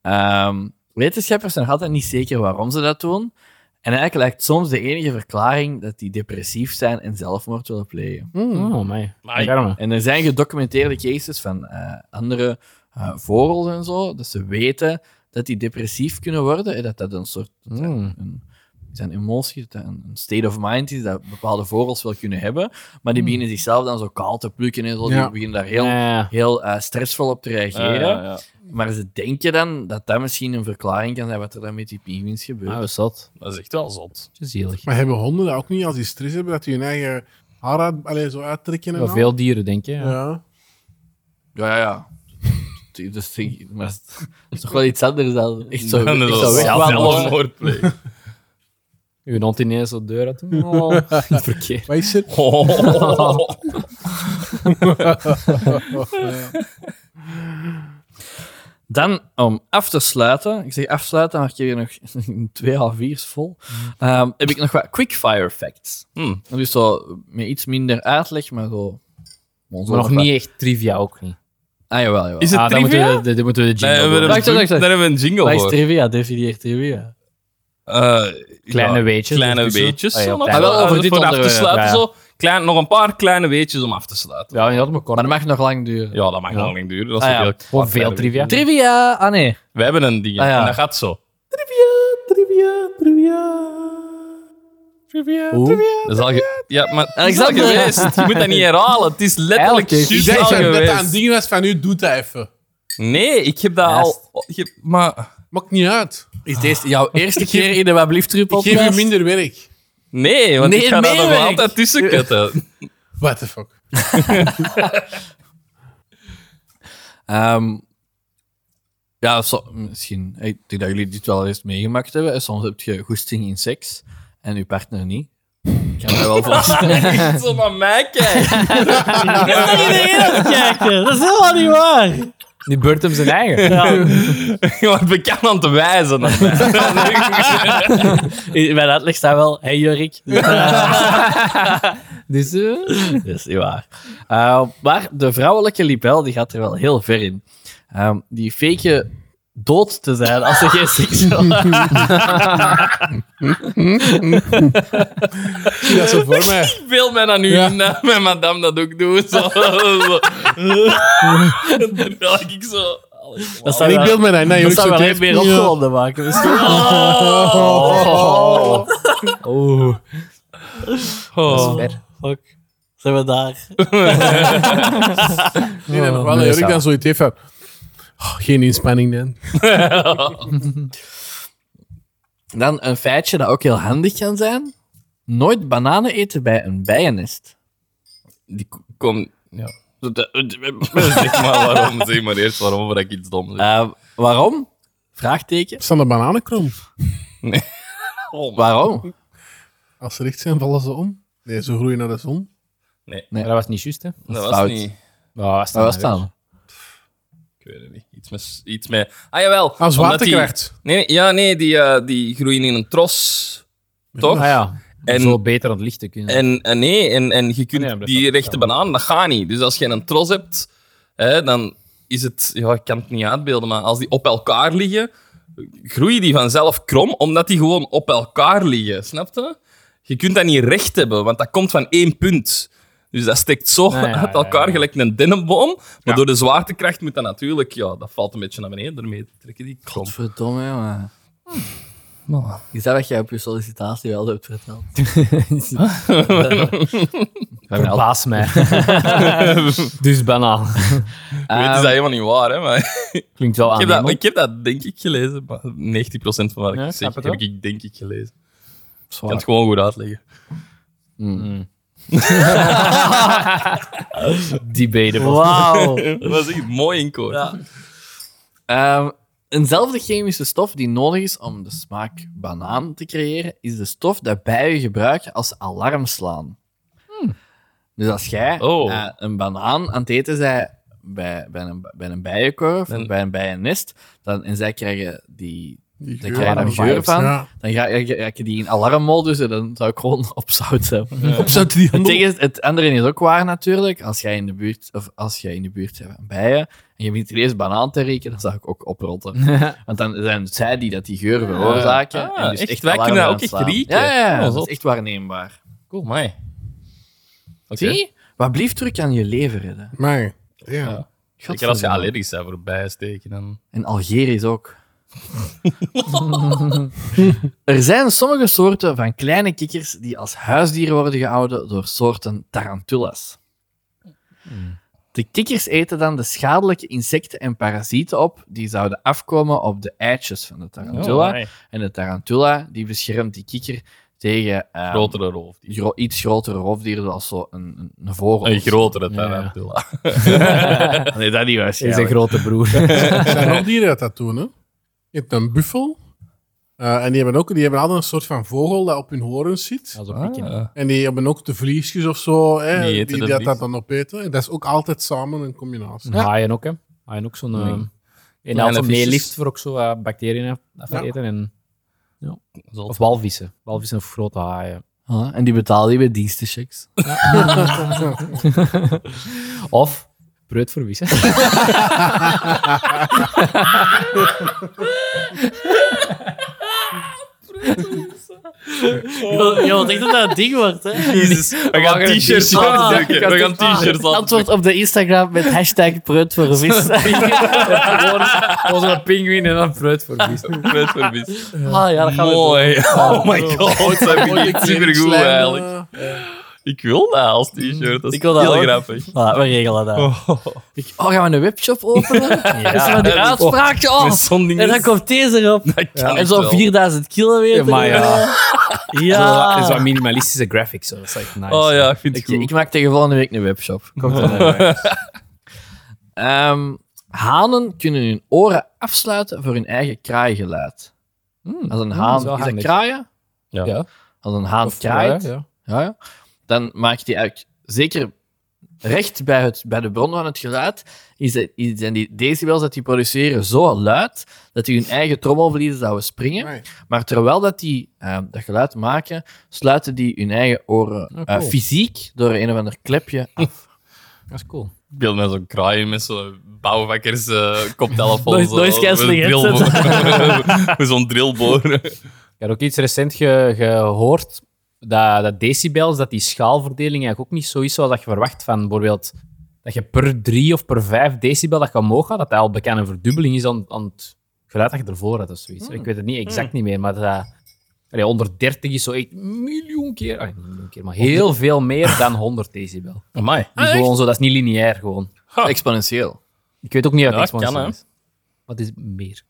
Speaker 3: Ehm, wetenschappers zijn nog altijd niet zeker waarom ze dat doen. En eigenlijk lijkt soms de enige verklaring dat die depressief zijn en zelfmoord willen plegen.
Speaker 5: Oh, my.
Speaker 2: Amai.
Speaker 5: Garme.
Speaker 3: En er zijn gedocumenteerde cases van eh, andere eh, vogels en zo, dat ze weten dat die depressief kunnen worden. En dat dat een soort dat dat
Speaker 2: Hmm.
Speaker 5: Mm.
Speaker 3: een, dat dat een emotie, dat dat een een state of mind is dat bepaalde vogels wel kunnen hebben. Maar
Speaker 2: Hmm.
Speaker 3: die beginnen zichzelf dan zo kaal te plukken en zo.
Speaker 1: Ja.
Speaker 3: Die beginnen daar heel,
Speaker 5: Ja.
Speaker 3: heel eh, stressvol op te reageren.
Speaker 2: Ah, ja, ja.
Speaker 3: Maar ze denken dan dat dat misschien een verklaring kan zijn wat er dan met die pinguïns gebeurt.
Speaker 5: Nou, is dat.
Speaker 2: Dat is echt wel zot.
Speaker 1: <laughs>
Speaker 5: Zielig.
Speaker 1: Maar hebben honden dat ook niet als die stress hebben? Dat die hun eigen haar uit, allee, zo uittrekken en
Speaker 5: Wel
Speaker 1: al?
Speaker 5: veel dieren, denk je. Ja.
Speaker 1: Ja.
Speaker 3: Ja, ja, ja. Dat is, maar dat is toch wel iets anders dan echt zo,
Speaker 2: Dat
Speaker 3: echt
Speaker 2: is
Speaker 3: zo wegwandelen.
Speaker 2: zelfmoord
Speaker 3: <laughs>
Speaker 2: plegen.
Speaker 5: Je hond ineens zo deur uit. Oh, <laughs> in het verkeer.
Speaker 1: Wat is er?
Speaker 2: Oh.
Speaker 3: Dan, om af te sluiten, ik zeg afsluiten, maar ik heb hier nog <laughs> twee half viers vol, ehm, heb ik nog wat quickfire facts.
Speaker 2: Hmm.
Speaker 3: Dat is zo met iets minder uitleg, maar zo...
Speaker 5: Maar nog niet echt trivia ook niet.
Speaker 3: Ah, jawel, jawel.
Speaker 2: Is het
Speaker 5: ah, dan
Speaker 2: trivia?
Speaker 5: Moeten we, de- dan moeten we de
Speaker 2: Nee,
Speaker 5: jingle
Speaker 2: we hebben
Speaker 5: doen.
Speaker 2: een-
Speaker 3: Wacht, wacht, wacht.
Speaker 2: Daar hebben we een jingle
Speaker 3: Wat is
Speaker 2: voor.
Speaker 3: trivia? Definieer trivia.
Speaker 2: Eh,
Speaker 5: Kleine
Speaker 2: ja,
Speaker 5: weetjes.
Speaker 2: Kleine
Speaker 5: ertussen.
Speaker 2: weetjes.
Speaker 5: Ah, ja,
Speaker 2: zo,
Speaker 5: op
Speaker 2: nog-
Speaker 5: tijd.
Speaker 3: Ah, wel,
Speaker 2: eh,
Speaker 3: over dit
Speaker 2: voor af te
Speaker 3: onderwerp,
Speaker 2: sluiten.
Speaker 5: ja.
Speaker 2: Zo. Klein, nog een paar kleine weetjes om af te sluiten.
Speaker 5: Ja, dat maar kort.
Speaker 3: Maar dat mag nog lang duren.
Speaker 2: Ja, dat mag
Speaker 5: Ja.
Speaker 2: nog lang duren. Dat is
Speaker 3: Ah, ja.
Speaker 2: heel-
Speaker 5: Gewoon
Speaker 2: kleine
Speaker 5: veel trivia.
Speaker 2: weetjes.
Speaker 3: Trivia! Ah, nee.
Speaker 2: We hebben een ding.
Speaker 3: Ah, ja.
Speaker 2: En dat gaat zo. Dat is al ge- ja, maar het is al
Speaker 3: Alexander.
Speaker 2: geweest. Je moet dat niet herhalen. Het is letterlijk
Speaker 3: Elke keer.
Speaker 1: Je
Speaker 2: juist
Speaker 1: zei
Speaker 2: al
Speaker 1: dat dat aan
Speaker 2: geweest.
Speaker 1: dingen was van u, doe dat even.
Speaker 2: Nee, ik heb dat al... ik heb- maar...
Speaker 1: Maakt niet uit.
Speaker 3: Is deze jouw <laughs> eerste keer in de Wablieftroep
Speaker 1: Ik geef u minder werk.
Speaker 2: Nee, want
Speaker 3: Nee,
Speaker 2: ik ga dat nog
Speaker 3: meewerk.
Speaker 2: altijd tussen kutten.
Speaker 3: <laughs>
Speaker 1: What the fuck.
Speaker 3: Ehm, ja, so- misschien. Ik denk dat jullie dit wel eens meegemaakt hebben. Soms heb je goesting in seks en je partner niet. Ik kan mij
Speaker 4: <laughs>
Speaker 3: wel voorstellen.
Speaker 2: Echt <laughs> zo naar mij kijken.
Speaker 4: Dat is niet de ene kijken. eh, Dat is helemaal niet waar.
Speaker 5: Die beurt hem zijn eigen.
Speaker 2: <laughs> Je wordt bekend aan te
Speaker 3: <laughs>
Speaker 2: wijzen <laughs> naar mij.
Speaker 4: In mijn uitleg staat wel, hey Jorik. Dus, eh,
Speaker 3: Dus, dat is niet waar. Eh, maar de vrouwelijke libel die gaat er wel heel ver in. Ehm, die fake dood te zijn als ze
Speaker 2: <laughs>
Speaker 3: geen seks wil.
Speaker 1: Ik zie dat zo voor mij.
Speaker 2: Veel mij dan nu
Speaker 1: Ja.
Speaker 2: in dat mijn madame dat ook doet. Zo, zo. Terwijl ik zo...
Speaker 4: dat
Speaker 1: En
Speaker 4: zou
Speaker 1: ik
Speaker 4: wel-
Speaker 1: beeld me dat. Nee,
Speaker 4: dat
Speaker 1: jongens, zo
Speaker 4: zou wel
Speaker 1: klein-
Speaker 4: even meer
Speaker 1: Ja.
Speaker 4: opgewonden maken. Dus-
Speaker 2: Oh.
Speaker 5: Oeh.
Speaker 2: Oh.
Speaker 4: Fuck. Zijn we daar?
Speaker 1: Nee, nee, wel, Jorik dan zoiets heeft van... "Oh, geen inspanning dan.
Speaker 3: Dan een feitje dat ook heel handig kan zijn. Nooit bananen eten bij een bijennest.
Speaker 2: Die k- komt... Ja. zeg maar waarom, zeg maar eerst waarom voor ik iets dom zeg.
Speaker 3: Eh, waarom? Vraagteken.
Speaker 1: Staan de bananenkrom?
Speaker 3: Waarom?
Speaker 1: Als ze recht zijn, vallen ze om. Nee, ze groeien naar de zon.
Speaker 5: Maar dat was niet juist, hè?
Speaker 2: Dat was
Speaker 3: fout.
Speaker 2: niet...
Speaker 5: Nou, was
Speaker 3: Waar was het dan?
Speaker 2: Ik weet het niet. Iets met... Iets met ah, jawel.
Speaker 1: Als
Speaker 2: omdat die-
Speaker 1: waterkracht.
Speaker 2: Nee, nee, ja, nee, die, eh, die groeien in een tros. Toch?
Speaker 5: Ah ja.
Speaker 2: En-
Speaker 5: Zo beter aan het licht te kunnen.
Speaker 2: En, en nee, en, en je kunt
Speaker 5: Ah, Nee, maar
Speaker 2: die
Speaker 5: dat-
Speaker 2: rechte banaan, dat gaat niet. Dus als je een tros hebt, hè, dan is het... Ja, ik kan het niet uitbeelden, maar als die op elkaar liggen, groeien die vanzelf krom, omdat die gewoon op elkaar liggen. Snap je? Je kunt dat niet recht hebben, want dat komt van één punt. Dus dat steekt zo
Speaker 5: Ja, ja,
Speaker 2: uit
Speaker 5: ja,
Speaker 2: elkaar,
Speaker 5: ja.
Speaker 2: gelijk een dennenboom. Maar door de zwaartekracht moet dat natuurlijk... Ja, dat valt een beetje naar beneden, daarmee trekken die krom.
Speaker 3: Godverdomme, jongen. Hm. Is dat wat jij op je sollicitatie wel hebt verteld?
Speaker 5: Verbaas mij.
Speaker 2: <laughs>
Speaker 5: <laughs> dus banaal.
Speaker 2: Ik weet, het is dat helemaal niet waar, hè, maar...
Speaker 5: Klinkt wel
Speaker 2: Ik
Speaker 5: aan.
Speaker 2: heb, dat, ik heb dat denk ik gelezen, maar 90% van wat ik
Speaker 5: Ja, ik
Speaker 2: zeg
Speaker 5: snap het
Speaker 2: heb
Speaker 5: wel.
Speaker 2: ik denk ik gelezen. Ik kan
Speaker 3: Zwaar.
Speaker 2: het gewoon goed uitleggen.
Speaker 5: Debatable.
Speaker 4: Wauw.
Speaker 2: Dat was echt mooi in koor.
Speaker 3: Ehm, eenzelfde chemische stof die nodig is om de smaak banaan te creëren, is de stof dat bijen gebruiken als alarmslaan. Dus als jij
Speaker 2: Hmm. Oh.
Speaker 3: eh, een banaan aan het eten zij bij, bij, een, bij een bijenkorf
Speaker 2: Dan-
Speaker 3: of bij een bijennest, dan, en zij krijgen die,
Speaker 1: Die
Speaker 3: dan krijg je daar
Speaker 1: geur-
Speaker 3: geur van,
Speaker 1: Ja.
Speaker 3: dan ga je, raak je die in alarmmodus en dan zou ik gewoon op zout hebben.
Speaker 1: Op zout die
Speaker 3: Het,
Speaker 1: handel.
Speaker 3: tegen- het andere is ook waar natuurlijk. Als jij in de buurt, of als jij in de buurt bent van bijen en je begint ineens banaan te rekenen, dan zou ik ook
Speaker 2: <laughs>
Speaker 3: oprotten. Want dan zijn het zij die dat die geur veroorzaken.
Speaker 2: Ah,
Speaker 3: en dus
Speaker 2: echt?
Speaker 3: echt,
Speaker 2: Wij
Speaker 3: alarm
Speaker 2: kunnen dat
Speaker 3: gaan
Speaker 2: ook echt
Speaker 3: slaan.
Speaker 2: rieken?
Speaker 3: Ja, ja, ja,
Speaker 2: Oh,
Speaker 3: dat
Speaker 2: zot.
Speaker 3: is echt waarneembaar.
Speaker 2: Cool, mij.
Speaker 3: Zie? Wat blieft terug aan je leven redden.
Speaker 1: Maar, ja.
Speaker 2: Zeker als je allergisch bent voor bijsteken. Dan...
Speaker 3: En Algerisch ook. <laughs> er zijn sommige soorten van kleine kikkers die als huisdieren worden gehouden door soorten tarantulas. De kikkers eten dan de schadelijke insecten en parasieten op die zouden afkomen op de eitjes van de tarantula. en de tarantula die beschermt die kikker tegen eh,
Speaker 2: Grotere roofdier.
Speaker 3: gro- iets grotere roofdieren zoals zo een, een, een vogel.
Speaker 2: Een grotere
Speaker 5: Ja, ja.
Speaker 2: tarantula. <laughs>
Speaker 3: nee, dat niet
Speaker 5: Is een
Speaker 3: waarschijnlijk.
Speaker 5: grote broer. <laughs>
Speaker 1: Er zijn ook dieren dat dat doen, hè. Je hebt een buffel. eh, en die hebben, ook, die hebben altijd een soort van vogel dat op hun horens zit.
Speaker 5: Als op pikken.
Speaker 2: Ah.
Speaker 1: En die hebben ook de vliesjes of zo, hè,
Speaker 2: Die
Speaker 1: die, die
Speaker 2: eten de
Speaker 1: dat,
Speaker 2: vlies.
Speaker 1: dat dan opeten. En dat is ook altijd samen een combinatie.
Speaker 5: En haaien ook, hè. Haaien ook zo'n... eh, En
Speaker 2: Kleine
Speaker 5: dat ze
Speaker 2: visjes.
Speaker 5: meelift voor ook zo eh, bacteriën af te
Speaker 1: Ja.
Speaker 5: eten. En,
Speaker 2: Zot.
Speaker 5: of walvissen. Walvissen of grote haaien.
Speaker 3: Ah, en die betalen je bij dienstenchecks.
Speaker 5: Of breut voor <laughs> vissen.
Speaker 4: Je wilt echt dat dat een ding wordt, hè?
Speaker 2: Jezus, we gaan
Speaker 3: gaan
Speaker 2: t-shirts
Speaker 3: t-shirts
Speaker 2: afdrukken. We gaan
Speaker 3: Ah,
Speaker 2: t-shirts afdrukken.
Speaker 4: Antwoord op de Instagram met hashtag prut voor vis. Ah,
Speaker 5: was een pinguïn en een fruit voor vis.
Speaker 2: Fruit voor vis.
Speaker 4: Ah ja, dat gaan we doen.
Speaker 2: Mooi. <laughs> Oh my god, dat vind ik supergoed eigenlijk. Ik wil dat als t-shirt. Dat is
Speaker 4: Ik wil dat
Speaker 2: heel
Speaker 4: ook.
Speaker 2: grappig.
Speaker 4: Voilà, we regelen dat.
Speaker 3: Ik- Oh, gaan we een webshop openen?
Speaker 4: Ja.
Speaker 3: Dat is maar die uitspraakje.
Speaker 2: Met
Speaker 3: Oh.
Speaker 2: zo'n ding
Speaker 4: En dan
Speaker 2: is-
Speaker 4: komt deze erop.
Speaker 2: dat kan
Speaker 4: en
Speaker 2: ik
Speaker 4: zo'n
Speaker 2: wel.
Speaker 4: 4000 kilometer.
Speaker 5: maar ja.
Speaker 4: Ja.
Speaker 5: Zo, zo minimalistische graphics, zo. dat is echt nice.
Speaker 2: Oh ja, ik vind het
Speaker 3: Ik,
Speaker 2: goed.
Speaker 3: ik maak tegen volgende week een webshop. Komt er wel bij. Ehm, hanen kunnen hun oren afsluiten voor hun eigen kraaigeluid.
Speaker 5: Hmm.
Speaker 3: Als een
Speaker 5: dat is
Speaker 3: haan...
Speaker 5: wel
Speaker 3: is dat
Speaker 5: handig.
Speaker 3: kraaien?
Speaker 2: Ja.
Speaker 5: Ja.
Speaker 3: Als een haan kraait,
Speaker 5: Ja, ja.
Speaker 3: ja, ja, dan maakt die eigenlijk zeker recht bij, het, bij de bron van het geluid, is dat, is- zijn die decibels dat die produceren zo luid dat die hun eigen trommelvliezen zouden springen.
Speaker 1: Amai.
Speaker 3: Maar terwijl dat die eh, dat geluid maken, sluiten die hun eigen oren eh,
Speaker 5: Oh, cool.
Speaker 3: fysiek door een of ander klepje
Speaker 5: <laughs> Dat is cool.
Speaker 2: Ik beeld met zo'n kraai met zo'n bouwvakkers eh, koptelefoon.
Speaker 4: Noise-
Speaker 2: zo,
Speaker 4: noise cancelling
Speaker 2: met een <laughs> drillboor. Met zo'n drillboor.
Speaker 5: Ik had ook iets recent ge- gehoord dat, dat decibels, dat die schaalverdeling eigenlijk ook niet zo is zoals dat je verwacht van bijvoorbeeld dat je per drie of per vijf decibel dat je omhoog gaat, dat dat al bekend een verdubbeling is aan, aan het geluid dat je ervoor had of zoiets.
Speaker 2: Hmm.
Speaker 5: Ik weet het niet exact niet meer, maar dat, allee, 130 is zo echt miljoen keer, ah, niet miljoen keer, maar heel veel meer dan 100 decibel.
Speaker 2: <laughs> Amai.
Speaker 5: Die gewoon zo, dat is niet lineair gewoon.
Speaker 3: exponentieel.
Speaker 5: Ik weet ook niet uit
Speaker 2: Ja,
Speaker 5: het exponentieel
Speaker 2: kan, hè.
Speaker 5: is. Wat is meer?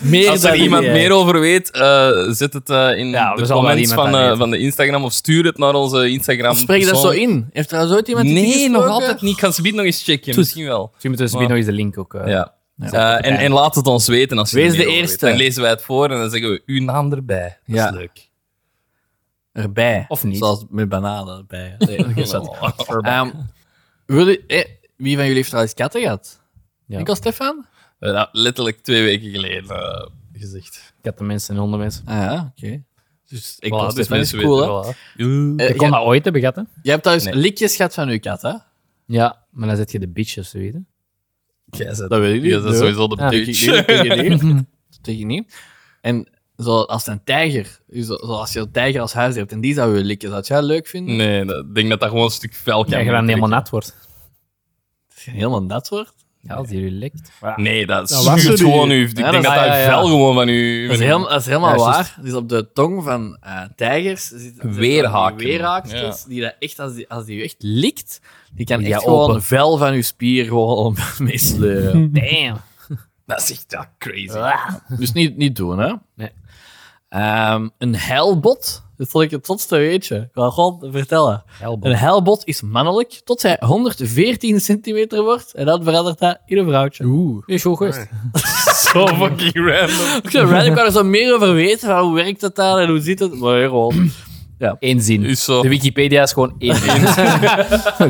Speaker 4: meer
Speaker 2: Als er
Speaker 4: dan
Speaker 2: iemand
Speaker 4: die, eh,
Speaker 2: meer over weet, eh, zet het eh, in
Speaker 5: Ja, we
Speaker 2: de
Speaker 5: zullen wel
Speaker 2: comments
Speaker 5: iemand
Speaker 2: van,
Speaker 5: dat
Speaker 2: eh,
Speaker 5: weten.
Speaker 2: van de Instagram of stuur het naar onze Instagram.
Speaker 3: Spreek je dat zo
Speaker 2: persoon.
Speaker 3: in? Heeft er al ooit iemand die
Speaker 2: Nee, nog
Speaker 3: gesproken?
Speaker 2: altijd niet. Ik ga ze niet nog eens checken. Misschien wel.
Speaker 5: Misschien moeten we zo meteen nog eens de link ook... eh,
Speaker 2: Ja. Eh, en, en laat het ons weten als je er
Speaker 3: Wees
Speaker 2: meer
Speaker 3: de
Speaker 2: over weet.
Speaker 3: eerste.
Speaker 2: Dan lezen wij het voor en dan zeggen we uw naam erbij. Dat
Speaker 3: Ja.
Speaker 2: is leuk.
Speaker 3: Erbij.
Speaker 5: Of niet.
Speaker 3: Zoals met bananen erbij. <laughs> Nee, dat is dat. Ehm, willen- eh, wie van jullie heeft trouwens katten gehad?
Speaker 5: Ja.
Speaker 3: Ik was Stefan?
Speaker 2: Eh, nou, letterlijk twee weken geleden eh, gezegd.
Speaker 5: Kattenmensen en hondenmensen.
Speaker 3: Ah ja, oké.
Speaker 2: Dus ik
Speaker 3: Voilà,
Speaker 2: was
Speaker 3: dus
Speaker 2: dus
Speaker 3: dat is
Speaker 2: mensen
Speaker 3: cool,
Speaker 2: weten wel, hè.
Speaker 3: Eh,
Speaker 5: Ik kon
Speaker 3: jij,
Speaker 5: dat ooit hebben gehad, hè?
Speaker 3: jij hebt thuis
Speaker 2: Nee.
Speaker 3: likjes gehad van uw kat, hè?
Speaker 5: Ja, maar dan zet je de bitch of zoiets. hè?
Speaker 3: Dat weet ik
Speaker 2: Ja, dat is sowieso de
Speaker 5: Ja.
Speaker 2: bitch. <laughs>
Speaker 3: <laughs> Mhm. Tegen niet. En zo, als een tijger, zo- zoals je een tijger als huis hebt en die zou je likken, zou jij dat leuk vinden?
Speaker 2: Nee, dat- ik denk dat dat gewoon een stuk vuil kan
Speaker 5: Ja, je dan helemaal nat wordt.
Speaker 3: Dat je helemaal nat wordt.
Speaker 5: Ja, als die je lekt.
Speaker 2: Nee, dat
Speaker 1: Dat was
Speaker 2: schuurt
Speaker 1: er die-
Speaker 2: gewoon u. Ik
Speaker 3: Ja,
Speaker 2: denk dat
Speaker 3: dat is-
Speaker 2: dat
Speaker 3: ja, ja, ja.
Speaker 2: vuil gewoon van u...
Speaker 3: Dat is, heel- dat is helemaal
Speaker 5: Ja,
Speaker 3: waar. Dus op de tong van eh, tijgers zit- zitten van die
Speaker 2: Weerhaken.
Speaker 3: weerhaakjes die dat echt, als die, als die je echt likt, die kan
Speaker 5: Die
Speaker 3: echt
Speaker 5: gaat
Speaker 3: gewoon
Speaker 5: open.
Speaker 3: vel van je spier gewoon <laughs> meesleuren.
Speaker 5: Damn.
Speaker 2: Dat is echt ja, crazy.
Speaker 3: Dus niet, niet doen, hè?
Speaker 5: Nee.
Speaker 3: Ehm, een helbot, dat vond ik het totste weetje. Ik wil gewoon vertellen. Een helbot is mannelijk tot hij 114 centimeter wordt en dan verandert dat in een vrouwtje.
Speaker 1: Oeh.
Speaker 5: Is goed
Speaker 2: <laughs>
Speaker 5: geweest.
Speaker 2: Zo fucking random.
Speaker 3: <laughs> Ik zou Ryan, ik wou er zo meer over weten, van hoe werkt dat daar en hoe zit het? Maar gewoon,
Speaker 5: Eén zin.
Speaker 2: Is zo.
Speaker 5: De Wikipedia <laughs> is gewoon één zin.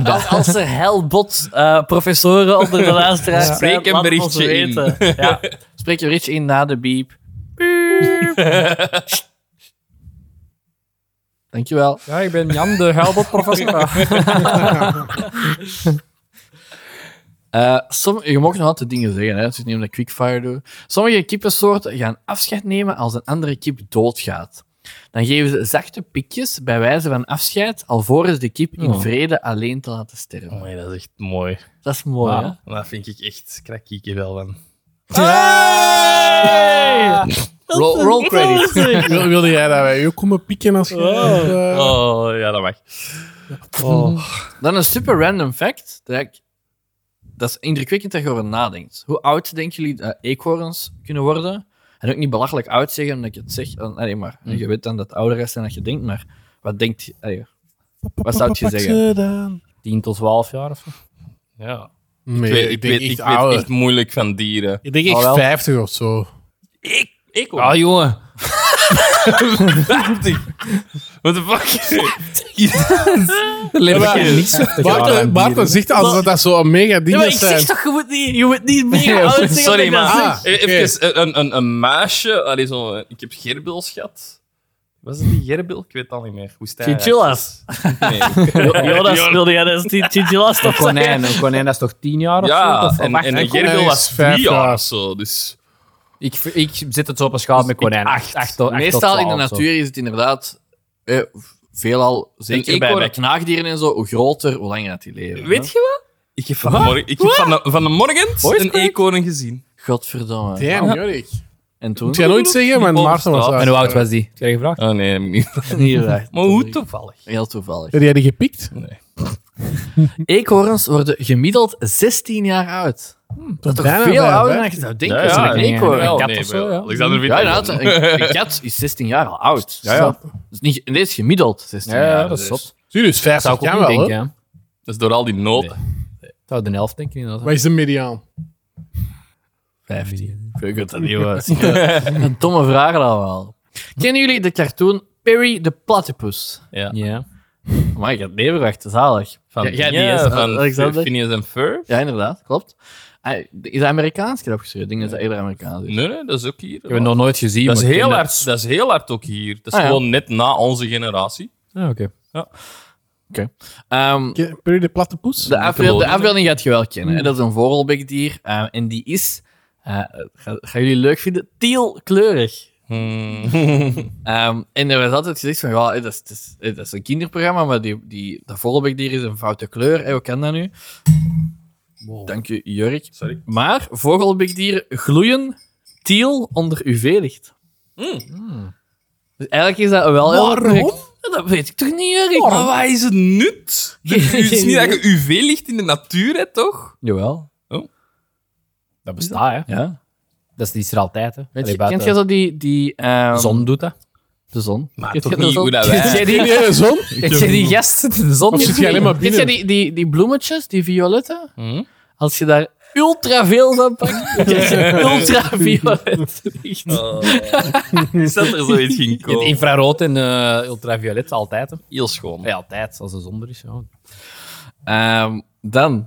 Speaker 3: als, als er helbot eh, professoren onder de luisteraars zijn,
Speaker 2: Spreek een
Speaker 3: laat het ons
Speaker 2: berichtje in.
Speaker 3: weten. Ja. Spreek een berichtje in na de beep. Beep. Dankjewel.
Speaker 5: Ja, ik ben Jan, de <laughs> helbotprofessor.
Speaker 3: <laughs> Eh, som, je mag nog altijd dingen zeggen, hè. het is niet omdat ik quickfire doe. Sommige kippensoorten gaan afscheid nemen als een andere kip doodgaat. Dan geven ze zachte pikjes bij wijze van afscheid, alvorens de kip in
Speaker 5: Oh.
Speaker 3: vrede alleen te laten sterven.
Speaker 2: Mooi, Oh, dat is echt mooi.
Speaker 3: Dat is mooi,
Speaker 5: Wauw.
Speaker 3: hè?
Speaker 2: Dat vind ik echt krakiek wel van.
Speaker 3: Roll, roll credits.
Speaker 1: Wil- Wilde jij dat wij ook komen pikken als je... eh,
Speaker 2: Oh, ja, dat mag.
Speaker 3: Dan een super random fact. Dat, ik- dat is indrukwekkend dat je erover nadenkt. Hoe oud denken jullie dat eekhoorns kunnen worden? En ook niet belachelijk oud zeggen, omdat ik het zeg. eh, Nee, maar
Speaker 1: Hmm.
Speaker 3: je weet dan dat het ouder is dan dat je denkt. Maar wat denkt je? allee, wat zou je
Speaker 1: pak
Speaker 3: zeggen?
Speaker 1: ze dan.
Speaker 5: 10 tot 12 jaar <laughs> of zo.
Speaker 2: Ja.
Speaker 1: Nee,
Speaker 2: ik weet,
Speaker 1: ik
Speaker 2: ik
Speaker 1: denk
Speaker 2: weet, ik
Speaker 1: echt
Speaker 2: weet
Speaker 1: ouder.
Speaker 2: echt moeilijk van dieren.
Speaker 1: Ik denk echt
Speaker 5: Ah, wel.
Speaker 1: 50 of zo.
Speaker 3: Ik
Speaker 5: Ah, jongen.
Speaker 2: What the fuck?
Speaker 5: Er leeft
Speaker 1: maar-
Speaker 5: geen niks op te gaan aan
Speaker 1: Maarten, Maarten
Speaker 5: dieren.
Speaker 1: zegt alsof dat zo een mega ding
Speaker 4: maar ik
Speaker 1: is.
Speaker 4: zeg toch, je moet niet, je moet niet meer oud zijn.
Speaker 2: Sorry, maar
Speaker 1: Ah,
Speaker 2: e-
Speaker 1: oké.
Speaker 2: even eh, een, een, een muisje. Allee, zo, eh, ik heb gerbils gehad. Was het die gerbil? Ik weet het al niet meer. Hoe staat
Speaker 4: Chinchillas.
Speaker 2: <laughs> Nee.
Speaker 4: Jonas, wilde jij dat die chinchillas
Speaker 5: Een
Speaker 4: toch
Speaker 5: konijn, een konijn dat is toch 10 jaar of zo?
Speaker 2: Ja,
Speaker 5: Of- of
Speaker 2: en,
Speaker 5: acht,
Speaker 2: en
Speaker 5: hè?
Speaker 2: een gerbil
Speaker 1: Hij
Speaker 2: was
Speaker 1: is vijf
Speaker 2: drie jaar
Speaker 1: jaar.
Speaker 2: of zo. Dus
Speaker 5: Ik, ik zit het zo op een schaal met konijnen.
Speaker 3: Acht.
Speaker 5: Dus Acht tot- acht tot
Speaker 3: Meestal in de
Speaker 5: 12 zo.
Speaker 3: natuur is het inderdaad eh, veelal, zeker
Speaker 2: ik
Speaker 3: bij,
Speaker 2: hoor-
Speaker 3: bij knaagdieren en zo, hoe groter, hoe langer dat die leven.
Speaker 2: Weet je wat? Ik heb van de, morgen, ik heb van de, van de morgen een eekhoorn gezien.
Speaker 3: hè? Godverdomme.
Speaker 1: Damn, Jorik.
Speaker 3: En toen?
Speaker 1: Ik ga nooit zeggen, maar
Speaker 2: boven
Speaker 1: Maarten was
Speaker 2: straat.
Speaker 1: daar. eh,
Speaker 5: En hoe oud was die? Heb je dat gevraagd?
Speaker 2: Oh nee, heb ik niet.
Speaker 3: Niet echt.
Speaker 2: Maar hoe toevallig.
Speaker 3: Heel toevallig.
Speaker 1: Heb jij die gepikt?
Speaker 3: Eekhoorns worden gemiddeld 16 jaar oud.
Speaker 1: Dat
Speaker 3: Toch veel ouder dan je zou denken.
Speaker 2: Ja, ja,
Speaker 3: Zo'n
Speaker 5: ik
Speaker 3: eekhoorn.
Speaker 5: denk
Speaker 3: Ja,
Speaker 5: wel.
Speaker 3: ja,
Speaker 5: kat of zo, ja.
Speaker 2: Alexander vindt dat
Speaker 3: inderdaad.
Speaker 2: wel.
Speaker 3: Een, een kat is 16 jaar al oud. Ja, ja. Dat is niet, nee, is gemiddeld 16
Speaker 5: Ja,
Speaker 3: jaar.
Speaker 5: dat is
Speaker 3: dus.
Speaker 5: zot. Dat
Speaker 1: Zie je, dus 50
Speaker 5: zou ik ook
Speaker 1: kan
Speaker 5: niet
Speaker 1: wel,
Speaker 5: denken.
Speaker 1: hè?
Speaker 5: ja.
Speaker 2: Dat is door al die noten.
Speaker 5: Dat zou de helft denken. inderdaad.
Speaker 1: Wat is de mediaan?
Speaker 3: 15. Ik weet dat niet was. Een domme vraag dan wel. <laughs> Kennen jullie de cartoon Perry de Platypus?
Speaker 5: Ja.
Speaker 3: Maar ik had neerwacht, zalig.
Speaker 2: Van,
Speaker 3: Ja, jij die
Speaker 2: ja,
Speaker 3: is,
Speaker 2: van
Speaker 3: Alexander.
Speaker 2: Phineas en Ferb.
Speaker 3: Ja, inderdaad, klopt. Hij is hij Amerikaans? Ik heb opgeschreven. Ik denk dat dat eerder Amerikaans is.
Speaker 2: Nee, nee, dat is ook hier.
Speaker 5: Ik heb het nog nooit gezien.
Speaker 2: dat, is
Speaker 5: maar ik
Speaker 2: heel
Speaker 5: ken
Speaker 2: hard, dat is heel hard ook hier. Dat is
Speaker 3: Ah, ja.
Speaker 2: gewoon net na onze generatie.
Speaker 5: Ah, oké.
Speaker 3: Ehm,
Speaker 1: Ke- Perry de platypus?
Speaker 3: de, afbeeld, de
Speaker 2: belonen.
Speaker 3: afbeelding gaat je wel kennen. hè. Dat is een voorrolbekdier. eh, en die is, eh, ga- gaan jullie leuk vinden, tealkleurig.
Speaker 2: Hmm.
Speaker 3: Ehm, en er was altijd gezegd van, ja, eh, dat, is, dat, is, eh, dat is een kinderprogramma, maar die, die, dat voorrolbekdier is een foute kleur. Hè, hoe kan dat nu? Dank je, Jurk.
Speaker 2: Sorry.
Speaker 3: Maar vogelbekdieren gloeien teal onder UV-licht.
Speaker 2: Mm.
Speaker 3: Dus eigenlijk is dat wel heel correct. Dat weet ik toch niet, Jurk?
Speaker 2: Maar wat is het nut?
Speaker 5: <laughs>
Speaker 2: Het is niet dat je UV-licht in de natuur hebt, toch?
Speaker 3: Jawel.
Speaker 5: Oh. Dat bestaat, hè.
Speaker 3: Ja.
Speaker 5: Dat is die is er altijd, hè.
Speaker 3: Weet
Speaker 5: Allee,
Speaker 3: je, kent
Speaker 5: buiten-
Speaker 3: jij zo die... die ehm,
Speaker 5: De zon doet dat.
Speaker 3: De zon.
Speaker 2: Maar
Speaker 3: Kent
Speaker 2: toch
Speaker 3: jij de
Speaker 2: niet
Speaker 3: zon?
Speaker 2: hoe dat
Speaker 3: Kent
Speaker 2: wij-
Speaker 3: jij die-
Speaker 1: Zie jij de zon?
Speaker 3: Kent jij die gasten in de zon?
Speaker 1: Of zit jij alleen maar
Speaker 3: Kent
Speaker 1: binnen?
Speaker 3: jij die, die, die bloemetjes, die violetten?
Speaker 5: Mhm.
Speaker 2: Hm?
Speaker 3: Als je daar ultra veel van pakt, krijg je ultraviolet licht.
Speaker 2: Is dat er zoiets
Speaker 5: <laughs>
Speaker 2: ging
Speaker 5: In
Speaker 2: komen?
Speaker 5: infrarood en eh, ultraviolet, altijd, hè.
Speaker 2: Heel schoon.
Speaker 5: Ja, altijd, als de zon er is. Ja.
Speaker 3: Ehm, dan.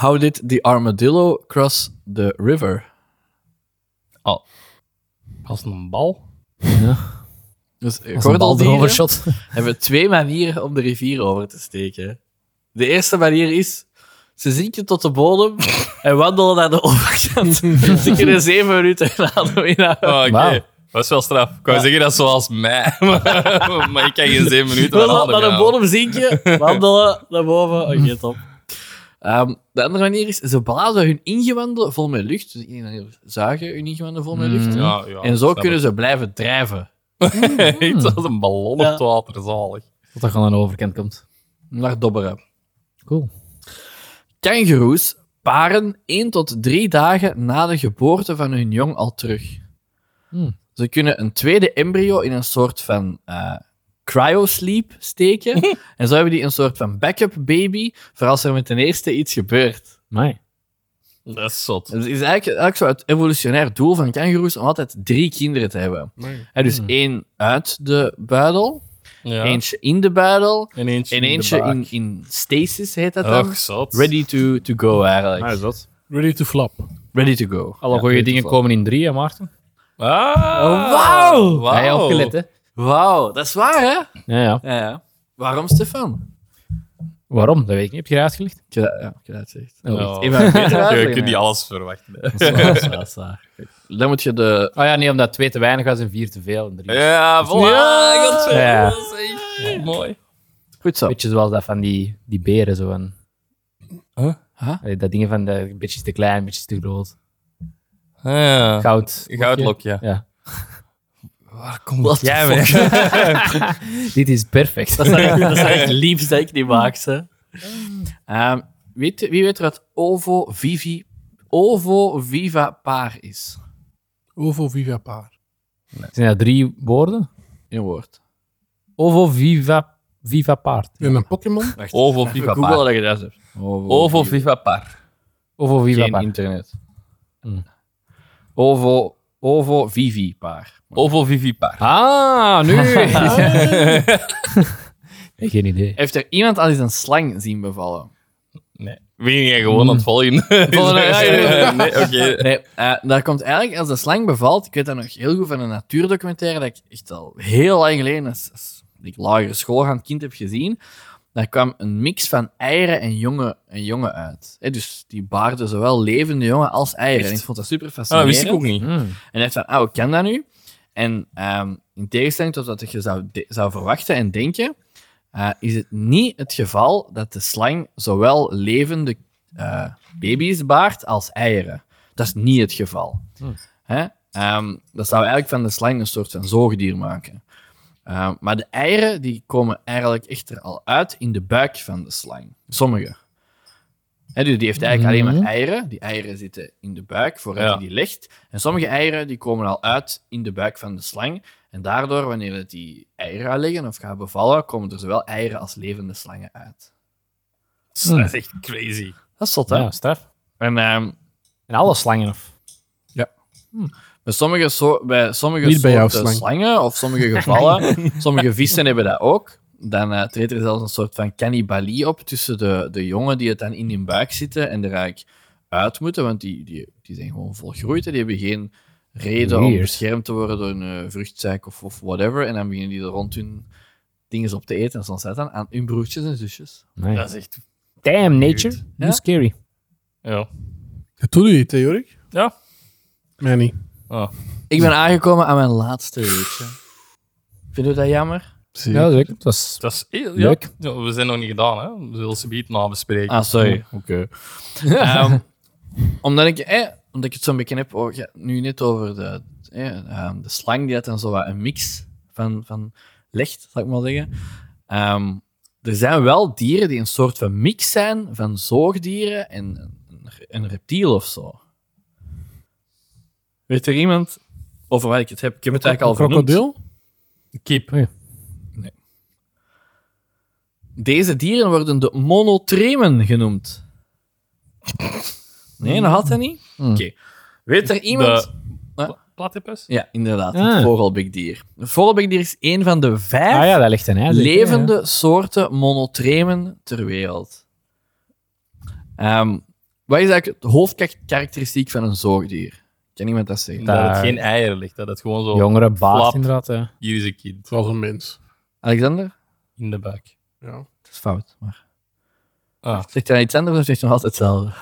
Speaker 3: How did the armadillo cross the river?
Speaker 2: Als een bal.
Speaker 3: Dus
Speaker 5: Gordel
Speaker 3: gordeldieren hebben twee manieren om de rivier over te steken. De eerste manier is, ze zinken tot de bodem en wandelen naar de overkant. ze kunnen zeven minuten laten inhouden.
Speaker 2: Oh, Oké,
Speaker 5: Wauw.
Speaker 2: dat is wel straf. Ik wou zeggen dat is zoals mij, <laughs> maar, maar ik kan geen zeven minuten
Speaker 3: Dan
Speaker 2: aan adem
Speaker 3: naar de
Speaker 2: houden.
Speaker 3: bodem zinken, wandelen naar boven. Oké, top. Ehm, de andere manier is, ze blazen hun ingewanden vol met lucht. Dus ik denk dat ze zuigen hun ingewanden vol met lucht.
Speaker 2: Mm, Ja, ja,
Speaker 3: en zo
Speaker 2: snap
Speaker 3: kunnen ze blijven drijven.
Speaker 2: ik. <laughs> Iets als een ballon op het water, zalig.
Speaker 5: <laughs> Dat dat gewoon aan de overkant komt.
Speaker 3: Naar dobberen.
Speaker 5: Cool.
Speaker 3: Kangoeroes paren 1 tot 3 dagen na de geboorte van hun jong al terug.
Speaker 5: Hmm.
Speaker 3: Ze kunnen een tweede embryo in een soort van eh cryosleep
Speaker 5: <laughs>
Speaker 3: steken. en zo hebben die een soort van backup baby voor als er met de eerste iets gebeurt.
Speaker 5: Amai.
Speaker 2: Dat is zot.
Speaker 3: Dus het is eigenlijk, eigenlijk zo het evolutionair doel van kangoeroes om altijd drie kinderen te hebben. Hè, dus
Speaker 5: Hmm.
Speaker 3: één uit de buidel,
Speaker 2: Ja.
Speaker 3: eentje in de buidel
Speaker 2: En eentje
Speaker 3: en eentje in, in stasis heet dat dan.
Speaker 2: Och, zot.
Speaker 3: Ready to, to go eigenlijk.
Speaker 5: is dat.
Speaker 1: Ready to flop.
Speaker 3: Ready to go.
Speaker 5: Alle
Speaker 3: Ja,
Speaker 5: goede
Speaker 3: ready
Speaker 5: dingen
Speaker 3: to go.
Speaker 5: komen in drie, hè, Maarten?
Speaker 2: Ah,
Speaker 3: wauw!
Speaker 2: Wauw.
Speaker 5: Hij opgelet, hè?
Speaker 3: Wauw, dat is waar, hè?
Speaker 5: Ja, ja.
Speaker 3: Ja, ja. Waarom, Stefan?
Speaker 5: Waarom? Dat weet ik niet. Heb je dat uitgelegd?
Speaker 3: Ik heb dat- Ja, ik heb dat gezegd.
Speaker 5: Oh,
Speaker 2: Ja.
Speaker 3: Ik ben beter
Speaker 2: Je
Speaker 3: uitleggen,
Speaker 2: kunt niet
Speaker 3: ja.
Speaker 2: alles verwachten. hè.
Speaker 3: Dat is waar, dat is waar, dat is waar. Dan moet je de...
Speaker 5: Oh ja, nee, omdat twee te weinig was en vier te veel. En drie. Een
Speaker 2: Ja, voilà.
Speaker 3: Ja.
Speaker 2: Dat is
Speaker 5: Ja.
Speaker 2: dat is echt mooi.
Speaker 3: Goed zo.
Speaker 5: beetje zoals dat van die, die beren. Zo van,
Speaker 2: Huh?
Speaker 3: Huh?
Speaker 5: Allee, Dat dingen van de beetje te klein, beetje te groot.
Speaker 2: Ja.
Speaker 5: Goud.
Speaker 2: Goudlokje.
Speaker 5: Ja.
Speaker 2: Waar komt dat
Speaker 3: the
Speaker 2: jij mee?
Speaker 5: <laughs> Dit is perfect.
Speaker 3: Dat is echt- dat is echt liefst dat ik niet maak, ze. Ehm, weet, wie weet er wat ovo-vivi... Ovo-viva-paar is?
Speaker 1: Ovo viva paar.
Speaker 5: Zijn dat drie woorden?
Speaker 3: In woord.
Speaker 5: Ovo viva, viva paard.
Speaker 1: En een Pokémon?
Speaker 2: Ovo
Speaker 3: Even
Speaker 2: Viva
Speaker 3: Google
Speaker 2: Par.
Speaker 3: dat je dat hebt.
Speaker 2: Ovo Viva Par.
Speaker 5: Ovo viva
Speaker 3: Geen
Speaker 5: paard.
Speaker 3: internet.
Speaker 5: Hmm.
Speaker 3: Ovo... Ovo-vivi-paar.
Speaker 2: Ovo Vivi Par.
Speaker 5: Ah, nu! Nee, Geen idee.
Speaker 3: <laughs> Heeft er iemand al eens een slang zien bevallen?
Speaker 2: Nee. Wie jij gewoon aan het <laughs> volgen?
Speaker 3: Volgen, ja, ja.
Speaker 2: Hm. <laughs> nee, oké.
Speaker 3: <laughs> Nee, eh, dat komt eigenlijk als de slang bevalt. Ik weet dat nog heel goed van een natuurdocumentaire dat ik echt al heel lang geleden, als, als ik lagere school gaan kind heb gezien. Daar kwam een mix van eieren en jongen, en jongen uit. Hè, dus die baarden zowel levende jongen als eieren. En ik vond dat super
Speaker 2: Ah, dat
Speaker 3: fascinerend.
Speaker 2: wist ik ook niet.
Speaker 3: En hij van, oh, ik kan dat nu. En ehm, in tegenstelling tot wat je zou, de- zou verwachten en denken, eh, is het niet het geval dat de slang zowel levende eh, baby's baart als eieren. Dat is niet het geval. Hè? Ehm, dat zou eigenlijk van de slang een soort van zoogdier maken. Ehm, maar de eieren die komen eigenlijk echt er al uit in de buik van de slang. Sommige. Hè, dus die heeft eigenlijk alleen maar eieren. Die eieren zitten in de buik voordat
Speaker 2: Ja.
Speaker 3: hij die legt. En sommige eieren die komen al uit in de buik van de slang. En daardoor, wanneer het die eieren gaat leggen of gaat bevallen, komen er zowel eieren als levende slangen uit.
Speaker 2: Dat is echt crazy.
Speaker 3: Dat is zot, hè?
Speaker 5: Ja, straf.
Speaker 3: En ehm,
Speaker 5: En alle slangen of?
Speaker 3: Bij sommige, so- bij sommige
Speaker 1: Niet bij jouw
Speaker 3: soorten
Speaker 1: slang.
Speaker 3: slangen of
Speaker 1: <laughs>
Speaker 3: sommige gevallen, sommige vissen hebben dat ook. Dan eh, treedt er zelfs een soort van cannibalie op tussen de, de jongen die het dan in hun buik zitten en er eigenlijk uit moeten, want die, die, die zijn gewoon volgroeid en die hebben geen reden om
Speaker 5: Weird.
Speaker 3: beschermd te worden door een eh, vruchtzaak of, of whatever. En dan beginnen die er rond hun dingen op te eten en soms dat dan aan hun broertjes en zusjes.
Speaker 5: Nee.
Speaker 2: Dat is echt...
Speaker 5: Damn, nature.
Speaker 3: Ja?
Speaker 5: Hoe scary.
Speaker 2: Ja.
Speaker 1: Dat doet u niet, hè, Jorik?
Speaker 2: Ja.
Speaker 1: Mij niet.
Speaker 3: Ik ben aangekomen aan mijn laatste weetje. Vind je dat jammer?
Speaker 1: Zie.
Speaker 5: Ja, zeker. Het was...
Speaker 2: Dat is heel, ja.
Speaker 5: Leuk.
Speaker 2: Ja, we zijn nog niet gedaan, hè. We zullen ze beat nabespreken.
Speaker 3: Ah, sorry. <laughs>
Speaker 2: oké.
Speaker 3: Ehm, omdat, ik, eh, omdat ik het zo'n beetje heb, oh, ja, nu net over de, eh, ehm, de slang die had dan zo wat een mix van, van legt, zal ik maar zeggen. Ehm, er zijn wel dieren die een soort van mix zijn van zoogdieren en een, een reptiel of zo. Weet er iemand over wat ik het heb? Ik heb het eigenlijk al vernoemd.
Speaker 1: Krokodil?
Speaker 2: Kip.
Speaker 3: Deze dieren worden de monotremen genoemd. Nee, dat had hij niet. Oké. Weet er iemand...
Speaker 2: De
Speaker 3: Wat?
Speaker 2: platypus?
Speaker 3: Ja, inderdaad.
Speaker 5: Ah.
Speaker 3: Het vogelbekdier. Een vogelbekdier is een van de vijf
Speaker 5: Ah ja, daar ligt een ei. zeker,
Speaker 3: levende soorten monotremen ter wereld. Ehm, wat is eigenlijk de hoofdkarakteristiek van een zoogdier? Kan iemand dat zeggen?
Speaker 2: Dat het
Speaker 5: Daar.
Speaker 2: geen eieren ligt. Dat het gewoon
Speaker 5: ja.
Speaker 2: zo...
Speaker 5: Jongere baas,
Speaker 2: Flap.
Speaker 5: inderdaad. hè.
Speaker 2: Hier is een kind.
Speaker 1: Zoals een mens.
Speaker 3: Alexander?
Speaker 2: In de buik. <laughs>
Speaker 1: Ja.
Speaker 3: Dat is fout. Maar...
Speaker 2: Ah.
Speaker 3: Zegt hij nou iets anders of zegt hij nog altijd hetzelfde?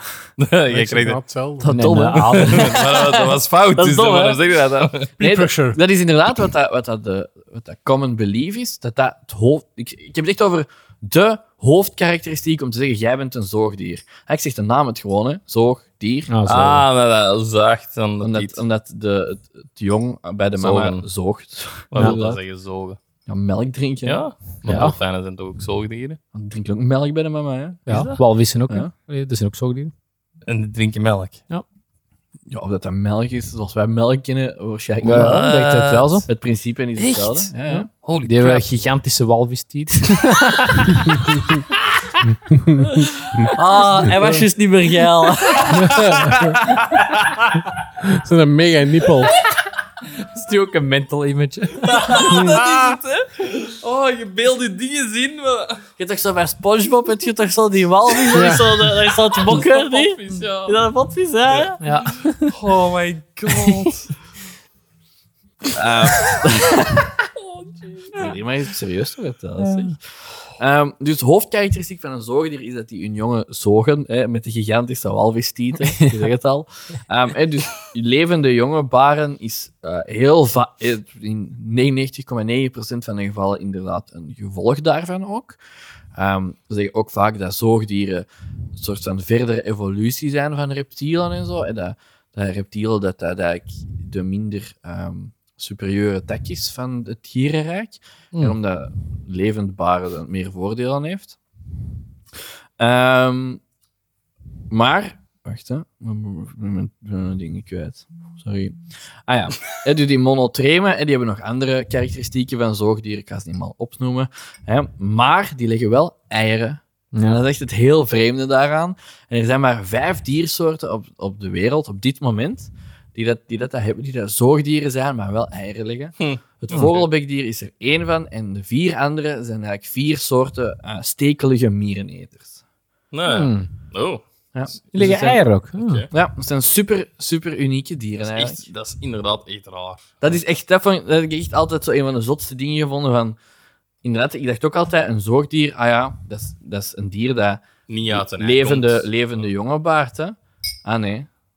Speaker 2: Jij
Speaker 1: Ik zeg
Speaker 2: krijgt
Speaker 1: nou
Speaker 2: het.
Speaker 1: hetzelfde.
Speaker 3: Dat
Speaker 5: Nee,
Speaker 3: domme.
Speaker 5: de adem.
Speaker 2: <laughs> Maar dat- dat was fout.
Speaker 3: Dat is
Speaker 2: dus
Speaker 3: dom,
Speaker 2: waarom
Speaker 3: hè?
Speaker 2: zeg je dat dan?
Speaker 3: Nee, dat,
Speaker 1: pressure.
Speaker 3: dat is inderdaad wat dat, wat dat, de, wat dat common belief is. Dat dat het hoofd, ik, ik heb het echt over de hoofdkarakteristiek om te zeggen, jij bent een zoogdier. Ik zeg de naam het gewoon, hè. zoogdier.
Speaker 5: Ah, zo.
Speaker 2: Ah, dat dat zacht. Dan dat
Speaker 3: omdat
Speaker 2: iets.
Speaker 3: omdat de, het, het jong bij de mama
Speaker 2: Zogen.
Speaker 3: zoogt.
Speaker 2: Wat
Speaker 5: Ja.
Speaker 2: wil dat zeggen? Zogen.
Speaker 3: Ja, melk drinken.
Speaker 2: Ja. Maar
Speaker 5: Ja.
Speaker 2: dolfijnen zijn toch ook zoogdieren?
Speaker 3: Want die drinken ook melk bij de mama, hè.
Speaker 5: Ja, walvissen ook. hè.
Speaker 3: Ja.
Speaker 5: Allee, Er zijn ook zoogdieren.
Speaker 2: En die drinken melk.
Speaker 3: Ja, of dat dat melk is, zoals wij melk kennen, waarschijnlijk
Speaker 5: Ja,
Speaker 3: niet.
Speaker 5: dat lijkt het wel zo.
Speaker 3: Het principe is
Speaker 2: Echt?
Speaker 3: hetzelfde. Ja, ja.
Speaker 2: Holy
Speaker 5: Die hebben
Speaker 2: crap.
Speaker 5: gigantische walvistiet.
Speaker 3: <laughs> Ah, hij was juist niet meer <laughs> geil.
Speaker 1: Dat is een mega nippel.
Speaker 5: Dat is ook een mental image.
Speaker 2: Oh, je beeld die dingen zien. maar-
Speaker 3: Je hebt toch zo bij Spongebob, heb je toch zo die walvis,
Speaker 5: Ja.
Speaker 3: zo, daar is zo het bokken, niet?
Speaker 2: Potvis, ja.
Speaker 3: Is dat een potvis, hè?
Speaker 5: Ja.
Speaker 2: Oh my god.
Speaker 3: maar is het serieus te vertellen, Ehm, dus de hoofdkarakteristiek van een zoogdier is dat die hun jongen zogen, hè, met de gigantische walvis-tieten, je zegt het al. Ehm, hè, dus levende jongen baren is eh, heel va- eh, in 99,9% van de gevallen inderdaad een gevolg daarvan ook. Ehm we zeggen ook vaak dat zoogdieren een soort van verdere evolutie zijn van reptielen en zo. En dat, dat reptielen dat, dat eigenlijk de minder ehm, superieure tak is van het dierenrijk. En omdat levend baren dan meer voordeel aan heeft. Ehm, maar, wacht hè, mijn- mijn mijn dingen kwijt. Sorry. Ah ja, hè, dus die monotremen, hè, die hebben nog andere karakteristieken van zoogdieren, ik ga ze niet allemaal opnoemen. Hè, maar die leggen wel eieren. En dat is echt het heel vreemde daaraan. En er zijn maar vijf diersoorten op, op de wereld op dit moment die dat, die dat, dat hebben, die dat zoogdieren zijn, maar wel eieren leggen.
Speaker 2: Hm.
Speaker 3: Het vogelbekdier is er één van en de vier andere zijn eigenlijk vier soorten eh, stekelige miereneters.
Speaker 2: Nee.
Speaker 5: Hmm.
Speaker 2: Oh.
Speaker 3: Ja.
Speaker 5: Die liggen
Speaker 3: Dus het zijn-
Speaker 5: eieren ook. Ah.
Speaker 2: Oké.
Speaker 3: Ja, het zijn super, super unieke dieren
Speaker 2: Dat is,
Speaker 3: eigenlijk.
Speaker 2: echt, dat is inderdaad echt raar.
Speaker 3: Dat is echt, dat, vond ik- dat heb ik echt altijd zo een van de zotste dingen gevonden van... inderdaad, ik dacht ook altijd, een zoogdier, ah ja, dat is, dat is een dier dat
Speaker 2: Niet uit een ei
Speaker 3: levende,
Speaker 2: komt.
Speaker 3: levende jongen baart, hè. Ah nee,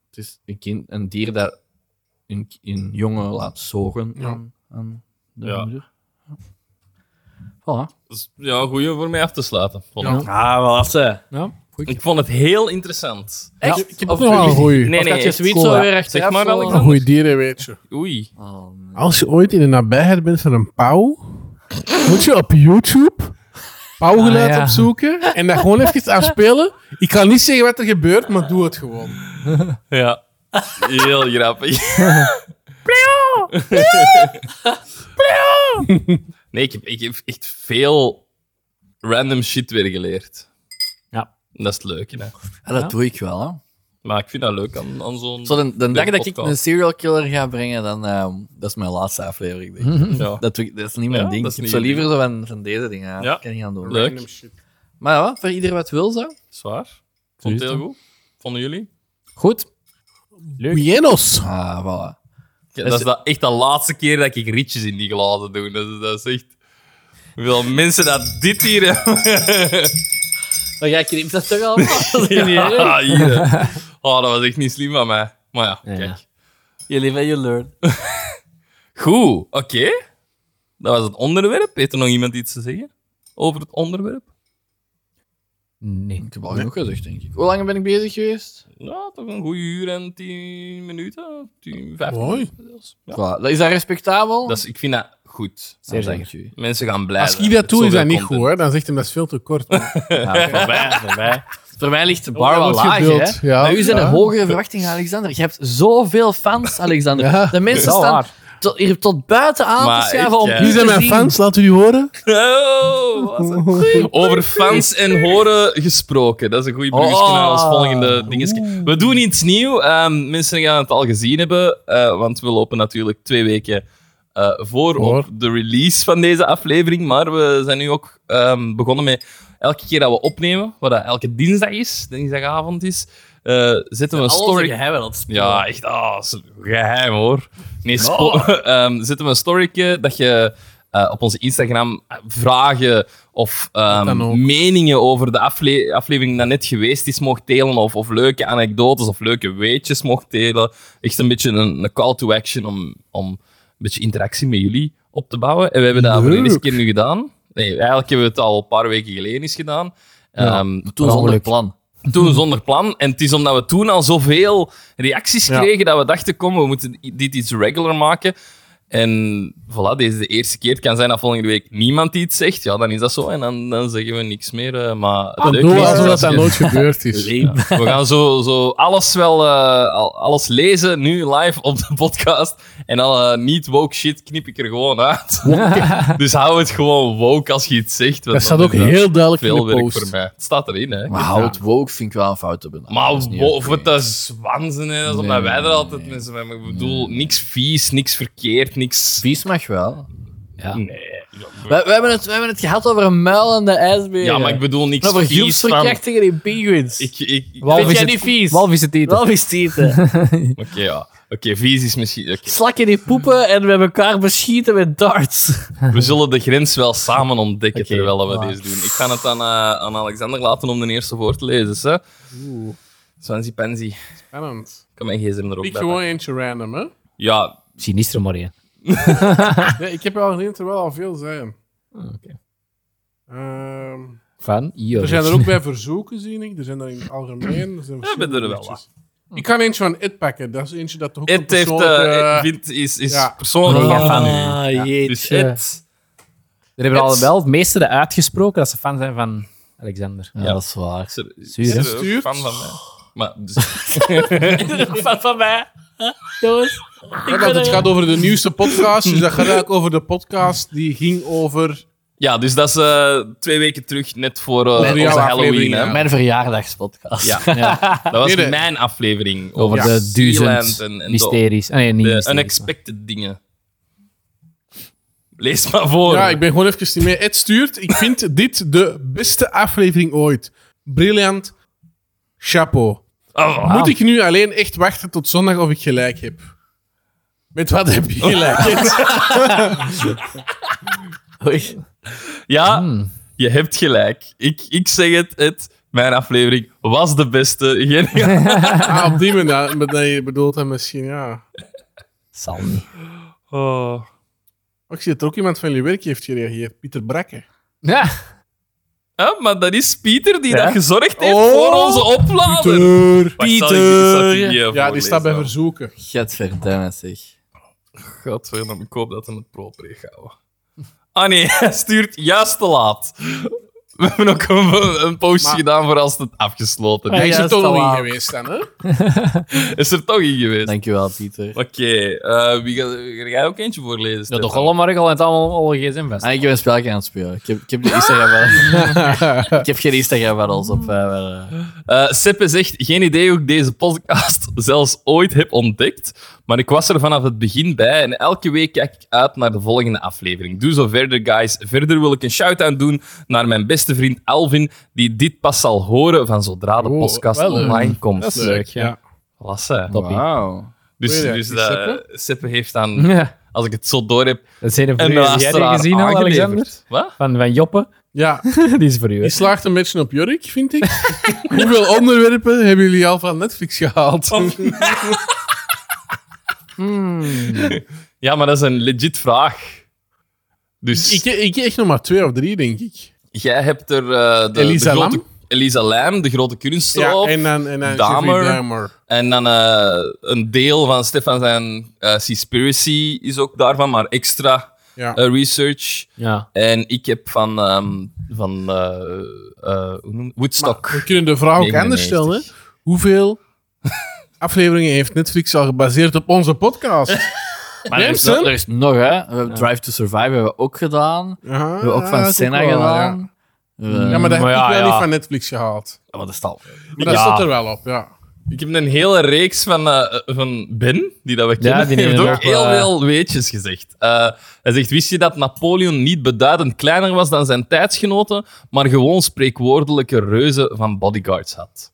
Speaker 3: het is een, kind, een dier dat een, een jongen laat zogen aan, aan de
Speaker 2: Ja.
Speaker 3: moeder. Ja. Voilà.
Speaker 2: Dat is, Dus, ja, goeie voor mij af te sluiten. vond ik.
Speaker 5: Ah, wel als ze.
Speaker 2: Ik vond het heel interessant.
Speaker 3: Echt?
Speaker 1: Ik heb nog wel een goeie.
Speaker 2: Nee,
Speaker 3: Of dat
Speaker 2: nee.
Speaker 3: je
Speaker 2: echt.
Speaker 3: zoiets
Speaker 5: cool,
Speaker 3: zo
Speaker 5: hè.
Speaker 3: weer
Speaker 2: Zeg
Speaker 3: achteraf
Speaker 2: maar,
Speaker 3: zo-
Speaker 2: Alexander.
Speaker 1: Een goeie dieren, weet je.
Speaker 2: Oei.
Speaker 3: Oh, nee.
Speaker 1: Als je ooit in de nabijheid bent van een pauw, moet je op YouTube pauwgeluid
Speaker 5: Ah, ja.
Speaker 1: opzoeken en daar gewoon even afspelen. Ik kan niet zeggen wat er gebeurt, maar doe het gewoon.
Speaker 2: Ja. Heel grappig. <laughs> Pleo! Nee, ik heb, ik heb echt veel random shit weer geleerd.
Speaker 5: Ja.
Speaker 2: En Dat is leuk, hè.
Speaker 3: Ja, dat doe ik wel, hè.
Speaker 2: Maar ik vind dat leuk aan, aan zo'n...
Speaker 3: Zo, de, de dag dat ik
Speaker 2: podcast.
Speaker 3: een serial killer ga brengen, dan, ehm, dat is mijn laatste aflevering. Denk ik.
Speaker 2: Ja.
Speaker 3: Dat, doe ik- dat is niet mijn
Speaker 2: Ja,
Speaker 3: ding.
Speaker 2: dat is
Speaker 3: Ik heb
Speaker 2: niet
Speaker 3: zo
Speaker 2: je
Speaker 3: liever zo van, van deze dingen. Ja.
Speaker 2: Ja.
Speaker 3: Dat kan ik niet aan doen.
Speaker 2: Leuk.
Speaker 1: Random shit.
Speaker 3: Maar ja, voor ieder wat wil, zo.
Speaker 2: Zwaar. Vond het heel goed. Vonden jullie?
Speaker 5: Goed.
Speaker 1: Bienos.
Speaker 3: Ah, voilà.
Speaker 2: dat is dat echt de laatste keer dat ik rietjes in die glazen doe. Dat is, dat is echt... Hoeveel mensen dat dit hier hebben.
Speaker 3: Maar jij knipt dat toch al?
Speaker 2: Ja, <laughs> hier. hè. Oh, dat was echt niet slim van mij. Maar ja, kijk.
Speaker 3: You live and you learn.
Speaker 2: Goed, oké. Dat was het onderwerp. Heeft er nog iemand iets te zeggen over het onderwerp?
Speaker 5: Nee.
Speaker 3: Ik heb al genoeg gezegd, denk ik. Hoe lang ben ik bezig geweest?
Speaker 2: Ja, toch een goede uur en tien minuten. Tien, vijftien
Speaker 1: Mooi.
Speaker 2: minuten zelfs. Ja.
Speaker 3: Voilà. Is dat respectabel?
Speaker 2: Dat is, ik vind dat goed.
Speaker 3: Zeer
Speaker 5: zeker.
Speaker 3: dank u.
Speaker 2: Mensen gaan blij
Speaker 1: Als
Speaker 2: zijn.
Speaker 1: ik
Speaker 2: Er
Speaker 1: dat doe, is dat
Speaker 2: zoveel
Speaker 1: niet goed,
Speaker 2: content.
Speaker 1: hoor. Dan zegt hem dat is veel te kort.
Speaker 5: Voorbij, voorbij.
Speaker 3: Voor mij ligt de bar wel
Speaker 1: Dat wordt
Speaker 3: laag,
Speaker 1: geduld,
Speaker 3: hè.
Speaker 1: ja.
Speaker 3: Bij u zijn er
Speaker 1: Ja.
Speaker 3: hogere verwachtingen, Alexander. Je hebt zoveel fans, Alexander.
Speaker 1: Ja.
Speaker 3: De mensen
Speaker 5: Wel
Speaker 3: staan
Speaker 5: waar.
Speaker 3: tot, hier tot buiten aan
Speaker 2: Maar
Speaker 3: te schuiven
Speaker 2: echt,
Speaker 3: om
Speaker 2: ja.
Speaker 3: u
Speaker 1: Wie zijn
Speaker 3: te
Speaker 1: mijn
Speaker 3: zien.
Speaker 1: fans? Laat u die horen.
Speaker 2: <laughs> Oh, wat een- Over fans en horen gesproken. Dat is een goede bruggetje
Speaker 3: Oh.
Speaker 2: naar ons volgende dingetje. We doen iets nieuws. Ehm, mensen gaan het al gezien hebben, eh, want we lopen natuurlijk twee weken eh, voor op
Speaker 1: Voor.
Speaker 2: de release van deze aflevering. Maar we zijn nu ook ehm, begonnen met elke keer dat we opnemen, wat dat elke dinsdag is, dinsdagavond is, eh, zetten we een story... Ja, echt. ah, is een geheim hoor. Nee, spo- <laughs> Ehm, zetten we een storytje dat je eh, op onze Instagram vragen of ehm,
Speaker 1: dan ook.
Speaker 2: meningen over de afle- aflevering die net geweest is mocht delen. Of, of leuke anekdotes of leuke weetjes mocht delen. Echt een beetje een, een call to action om, om een beetje interactie met jullie op te bouwen. En we hebben dat voor de
Speaker 1: Leuk.
Speaker 2: eerste keer nu gedaan. Nee, eigenlijk hebben we het al een paar weken geleden eens gedaan. Ehm,
Speaker 3: Toen zonder plan.
Speaker 2: toen zonder plan. En het is omdat we toen al zoveel reacties
Speaker 1: Ja.
Speaker 2: kregen dat we dachten, kom, we moeten i- dit iets regular maken. En voilà, deze is de eerste keer. Het kan zijn dat volgende week niemand iets zegt. Ja, dan is dat zo. En dan, dan zeggen we niks meer. eh, Maar het
Speaker 1: Dan
Speaker 2: leuke
Speaker 1: doen we
Speaker 2: is
Speaker 1: alsof dat,
Speaker 2: je-
Speaker 1: dat nooit gebeurd is.
Speaker 2: Ja, <laughs> we gaan zo, zo alles wel eh, al- alles lezen, nu live op de podcast. En alle niet-woke shit knip ik er gewoon
Speaker 1: <laughs>
Speaker 2: uit. dus hou het gewoon woke als je iets zegt. want
Speaker 1: Dat staat
Speaker 2: dan
Speaker 1: ook
Speaker 2: is dat
Speaker 1: heel duidelijk in
Speaker 2: veel
Speaker 1: de
Speaker 2: werk voor
Speaker 1: post.
Speaker 2: mij. Het staat erin, hè.
Speaker 3: Maar hout woke vind ik wel een fout te benaderen.
Speaker 2: Maar
Speaker 3: Dat is niet
Speaker 2: wo-
Speaker 3: oké.
Speaker 2: of het dat zwanzen is, omdat
Speaker 3: Nee,
Speaker 2: wij er altijd
Speaker 3: nee.
Speaker 2: mensen mee Ik bedoel, niks vies, niks verkeerd, niks.
Speaker 3: Vies mag wel.
Speaker 2: Nee.
Speaker 3: We, we, hebben het, we hebben het gehad over een muilende ijsbeer.
Speaker 2: Ja, Nou, maar ik bedoel niks
Speaker 3: Over
Speaker 2: vies. Van... Ik,
Speaker 3: groepsverkrachtingen in penguins.
Speaker 2: ik, ik-
Speaker 5: Walvis
Speaker 2: Vind jij
Speaker 5: het-
Speaker 2: niet vies?
Speaker 5: Walvis het eten.
Speaker 3: Wel is tieten.
Speaker 2: Oké, ja. Oké, vies is misschien.
Speaker 3: <laughs>
Speaker 2: oké.
Speaker 3: Slakken die poepen en we elkaar beschieten met darts.
Speaker 2: We zullen de grens wel samen ontdekken
Speaker 5: Oké,
Speaker 2: terwijl we
Speaker 5: voilà.
Speaker 2: deze doen. Ik ga het aan, eh, aan Alexander laten om de eerste voor te lezen. Hè? Swansea Pansy. Ik
Speaker 1: Spannend.
Speaker 2: kan mijn gsm er ook bij.
Speaker 1: Ik
Speaker 2: pakken.
Speaker 1: gewoon eentje random, hè.
Speaker 2: Ja,
Speaker 5: Sinistre maar één.
Speaker 1: Ja, ik heb al gezien dat er wel al veel zijn.
Speaker 2: Ah,
Speaker 5: oké.
Speaker 1: Ehm,
Speaker 5: Van Joris.
Speaker 1: er zijn er ook bij verzoeken, zie ik. Er zijn er in het algemeen. Er zijn verschillende
Speaker 2: hebben er wel
Speaker 1: liedjes. Ik kan eentje van It pakken. Dat is eentje dat toch ook een
Speaker 2: Ed heeft,
Speaker 1: persoonlijke...
Speaker 2: eh, Ed vindt, is, is
Speaker 1: ja.
Speaker 2: persoonlijk
Speaker 5: Ja.
Speaker 2: fan van u.
Speaker 3: Ah, jeetje.
Speaker 2: Dus Ed.
Speaker 5: Er hebben
Speaker 2: Het-
Speaker 5: al wel de meesten dat uitgesproken dat ze fan zijn van Alexander.
Speaker 3: Ja, dat is waar.
Speaker 2: Ze- ze-
Speaker 5: Zuur, hè?
Speaker 2: ze- ze-
Speaker 1: Stuurt.
Speaker 2: fan van mij. Maar, dus,
Speaker 5: Fan van mij. Jongens.
Speaker 1: Ja, dat het gaat over de nieuwste podcast. Dus dat gaat eigenlijk over de podcast die ging over.
Speaker 2: ja, dus dat is eh, twee weken terug, net voor eh,
Speaker 1: Over jouw
Speaker 2: onze Halloween.
Speaker 1: aflevering,
Speaker 2: Hè?
Speaker 1: ja.
Speaker 3: Mijn verjaardagspodcast.
Speaker 2: Ja.
Speaker 5: Ja,
Speaker 2: Dat was
Speaker 1: Nee, nee.
Speaker 2: mijn aflevering.
Speaker 5: <laughs> over
Speaker 2: Over
Speaker 5: de
Speaker 2: Sealand
Speaker 5: duizend
Speaker 2: en, en de,
Speaker 5: mysteries. Ah, nee, niet
Speaker 2: de
Speaker 5: mysteries,
Speaker 2: unexpected dingen. Lees maar voor.
Speaker 1: Ja, ik ben gewoon even niet mee. Ed stuurt. Ik vind dit de beste aflevering ooit. Briljant. Chapeau.
Speaker 2: Oh, wow.
Speaker 1: Moet ik nu alleen echt wachten tot zondag of ik gelijk heb? Met wat heb je gelijk?
Speaker 3: Oei.
Speaker 2: Ja,
Speaker 5: Hmm.
Speaker 2: je hebt gelijk. Ik, ik zeg het, het, mijn aflevering was de beste. Geniaal.
Speaker 1: Ah, op die manier met- dat je bedoelt hem misschien, ja.
Speaker 5: Zal niet.
Speaker 2: Oh.
Speaker 1: Oh, Ik zie dat er ook iemand van jullie werk heeft gereageerd. Pieter Brakke.
Speaker 5: Ja.
Speaker 2: Ah, maar dat is Pieter die
Speaker 5: Ja.
Speaker 2: dat gezorgd heeft
Speaker 1: Oh,
Speaker 2: voor onze oplader.
Speaker 1: Pieter!
Speaker 2: Wacht, zal ik- zal ik die, eh,
Speaker 1: Ja, die
Speaker 2: voorlezen?
Speaker 1: staat bij verzoeken.
Speaker 3: Gadverdamme zeg.
Speaker 2: Godverdomme, ik hoop dat hij het proper heeft gehouden. Ah nee, <laughs> hij stuurt juist te laat. We hebben ook een, een postje
Speaker 1: Maar-
Speaker 2: gedaan voor als het afgesloten
Speaker 1: Hij
Speaker 2: is.
Speaker 1: is
Speaker 3: ja,
Speaker 1: er toch
Speaker 3: dat is
Speaker 1: nog
Speaker 3: wel-
Speaker 1: in geweest dan, hè?
Speaker 2: Is er toch in geweest?
Speaker 3: Dankjewel, Pieter.
Speaker 2: Oké, eh, wie gaat ga jij ook eentje voorlezen?
Speaker 5: Ja,
Speaker 2: Stefan?
Speaker 5: toch allemaal regel en het allemaal al gsm vast.
Speaker 3: Ah, ik heb een spelletje aan het spelen. Ik heb, ik heb, de
Speaker 1: <laughs>
Speaker 3: Instagram- ik heb geen Instagram-battles op. eh, maar, eh,
Speaker 2: Eh, Seppe zegt, geen idee hoe ik deze podcast <laughs> zelfs ooit heb ontdekt, maar ik was er vanaf het begin bij en elke week kijk ik uit naar de volgende aflevering. Doe zo verder, guys. Verder wil ik een shout-out doen naar mijn beste vriend Alvin, die dit pas zal horen van zodra de
Speaker 1: Oh,
Speaker 2: podcast
Speaker 1: wel leuk.
Speaker 2: online komt.
Speaker 1: Dat is leuk, ja.
Speaker 2: Lasse.
Speaker 5: Toppie.
Speaker 3: Wauw.
Speaker 2: Dus,
Speaker 1: Goeie,
Speaker 2: dus
Speaker 1: die
Speaker 2: dat- Seppe?
Speaker 1: Seppe? <laughs>
Speaker 2: heeft dan,
Speaker 5: <laughs> Ja.
Speaker 2: als ik het zo door heb,
Speaker 5: Dat zijn een
Speaker 2: een
Speaker 5: vrienden. Heb jij die
Speaker 2: luisteraar
Speaker 5: gezien al,
Speaker 2: aangeleverd.
Speaker 5: Alexander?
Speaker 2: Wat?
Speaker 5: Van, van Joppe. <laughs>
Speaker 1: Ja,
Speaker 5: die is voor u. hè.
Speaker 1: die slaagt een beetje op jurk, vind ik. <laughs> Hoeveel onderwerpen hebben jullie al van Netflix gehaald?
Speaker 2: Ja, maar dat is een legit vraag. Dus...
Speaker 1: ik, ik echt nog maar twee of drie, denk ik.
Speaker 2: Jij hebt er eh, de,
Speaker 1: Elisa
Speaker 2: de grote,
Speaker 1: Lam?
Speaker 2: Elisa Lam, de grote kunstroof.
Speaker 1: Ja, en dan, en dan
Speaker 2: Dahmer.
Speaker 1: Jeffrey Dahmer.
Speaker 2: En dan eh, een deel van Stefan zijn eh Seaspiracy is ook daarvan, maar extra
Speaker 1: Ja.
Speaker 2: eh, research.
Speaker 5: Ja.
Speaker 2: En ik heb van, ehm, van eh, eh, hoe noem- Woodstock.
Speaker 1: We kunnen de vraag ook anders
Speaker 2: 99.
Speaker 1: stellen. hè. Hoeveel <laughs> afleveringen heeft Netflix al gebaseerd op onze podcast?
Speaker 3: Maar er is,
Speaker 1: Remsen?
Speaker 3: nog- er is nog, hè. We hebben Drive to Survive hebben we ook gedaan. We
Speaker 1: Aha,
Speaker 3: hebben ook
Speaker 1: ja,
Speaker 3: van
Speaker 1: dat is
Speaker 3: Senna
Speaker 1: Ah, wel,
Speaker 3: gedaan.
Speaker 1: Ja,
Speaker 3: Eh,
Speaker 1: Ja, maar dat heb
Speaker 5: Maar
Speaker 1: ik
Speaker 5: ja,
Speaker 1: wel
Speaker 5: ja.
Speaker 1: niet van Netflix gehaald.
Speaker 3: ja, maar dat is al.
Speaker 1: Maar dat
Speaker 5: Ja.
Speaker 1: staat er wel op, ja.
Speaker 2: Ik heb een hele reeks van, eh, van Ben, die dat we kennen,
Speaker 5: die
Speaker 2: heeft ook
Speaker 5: inderdaad
Speaker 2: heel
Speaker 5: wel, eh,
Speaker 2: veel weetjes gezegd. Eh, hij zegt, wist je dat Napoleon niet beduidend kleiner was dan zijn tijdsgenoten, maar gewoon spreekwoordelijke reuzen van bodyguards had?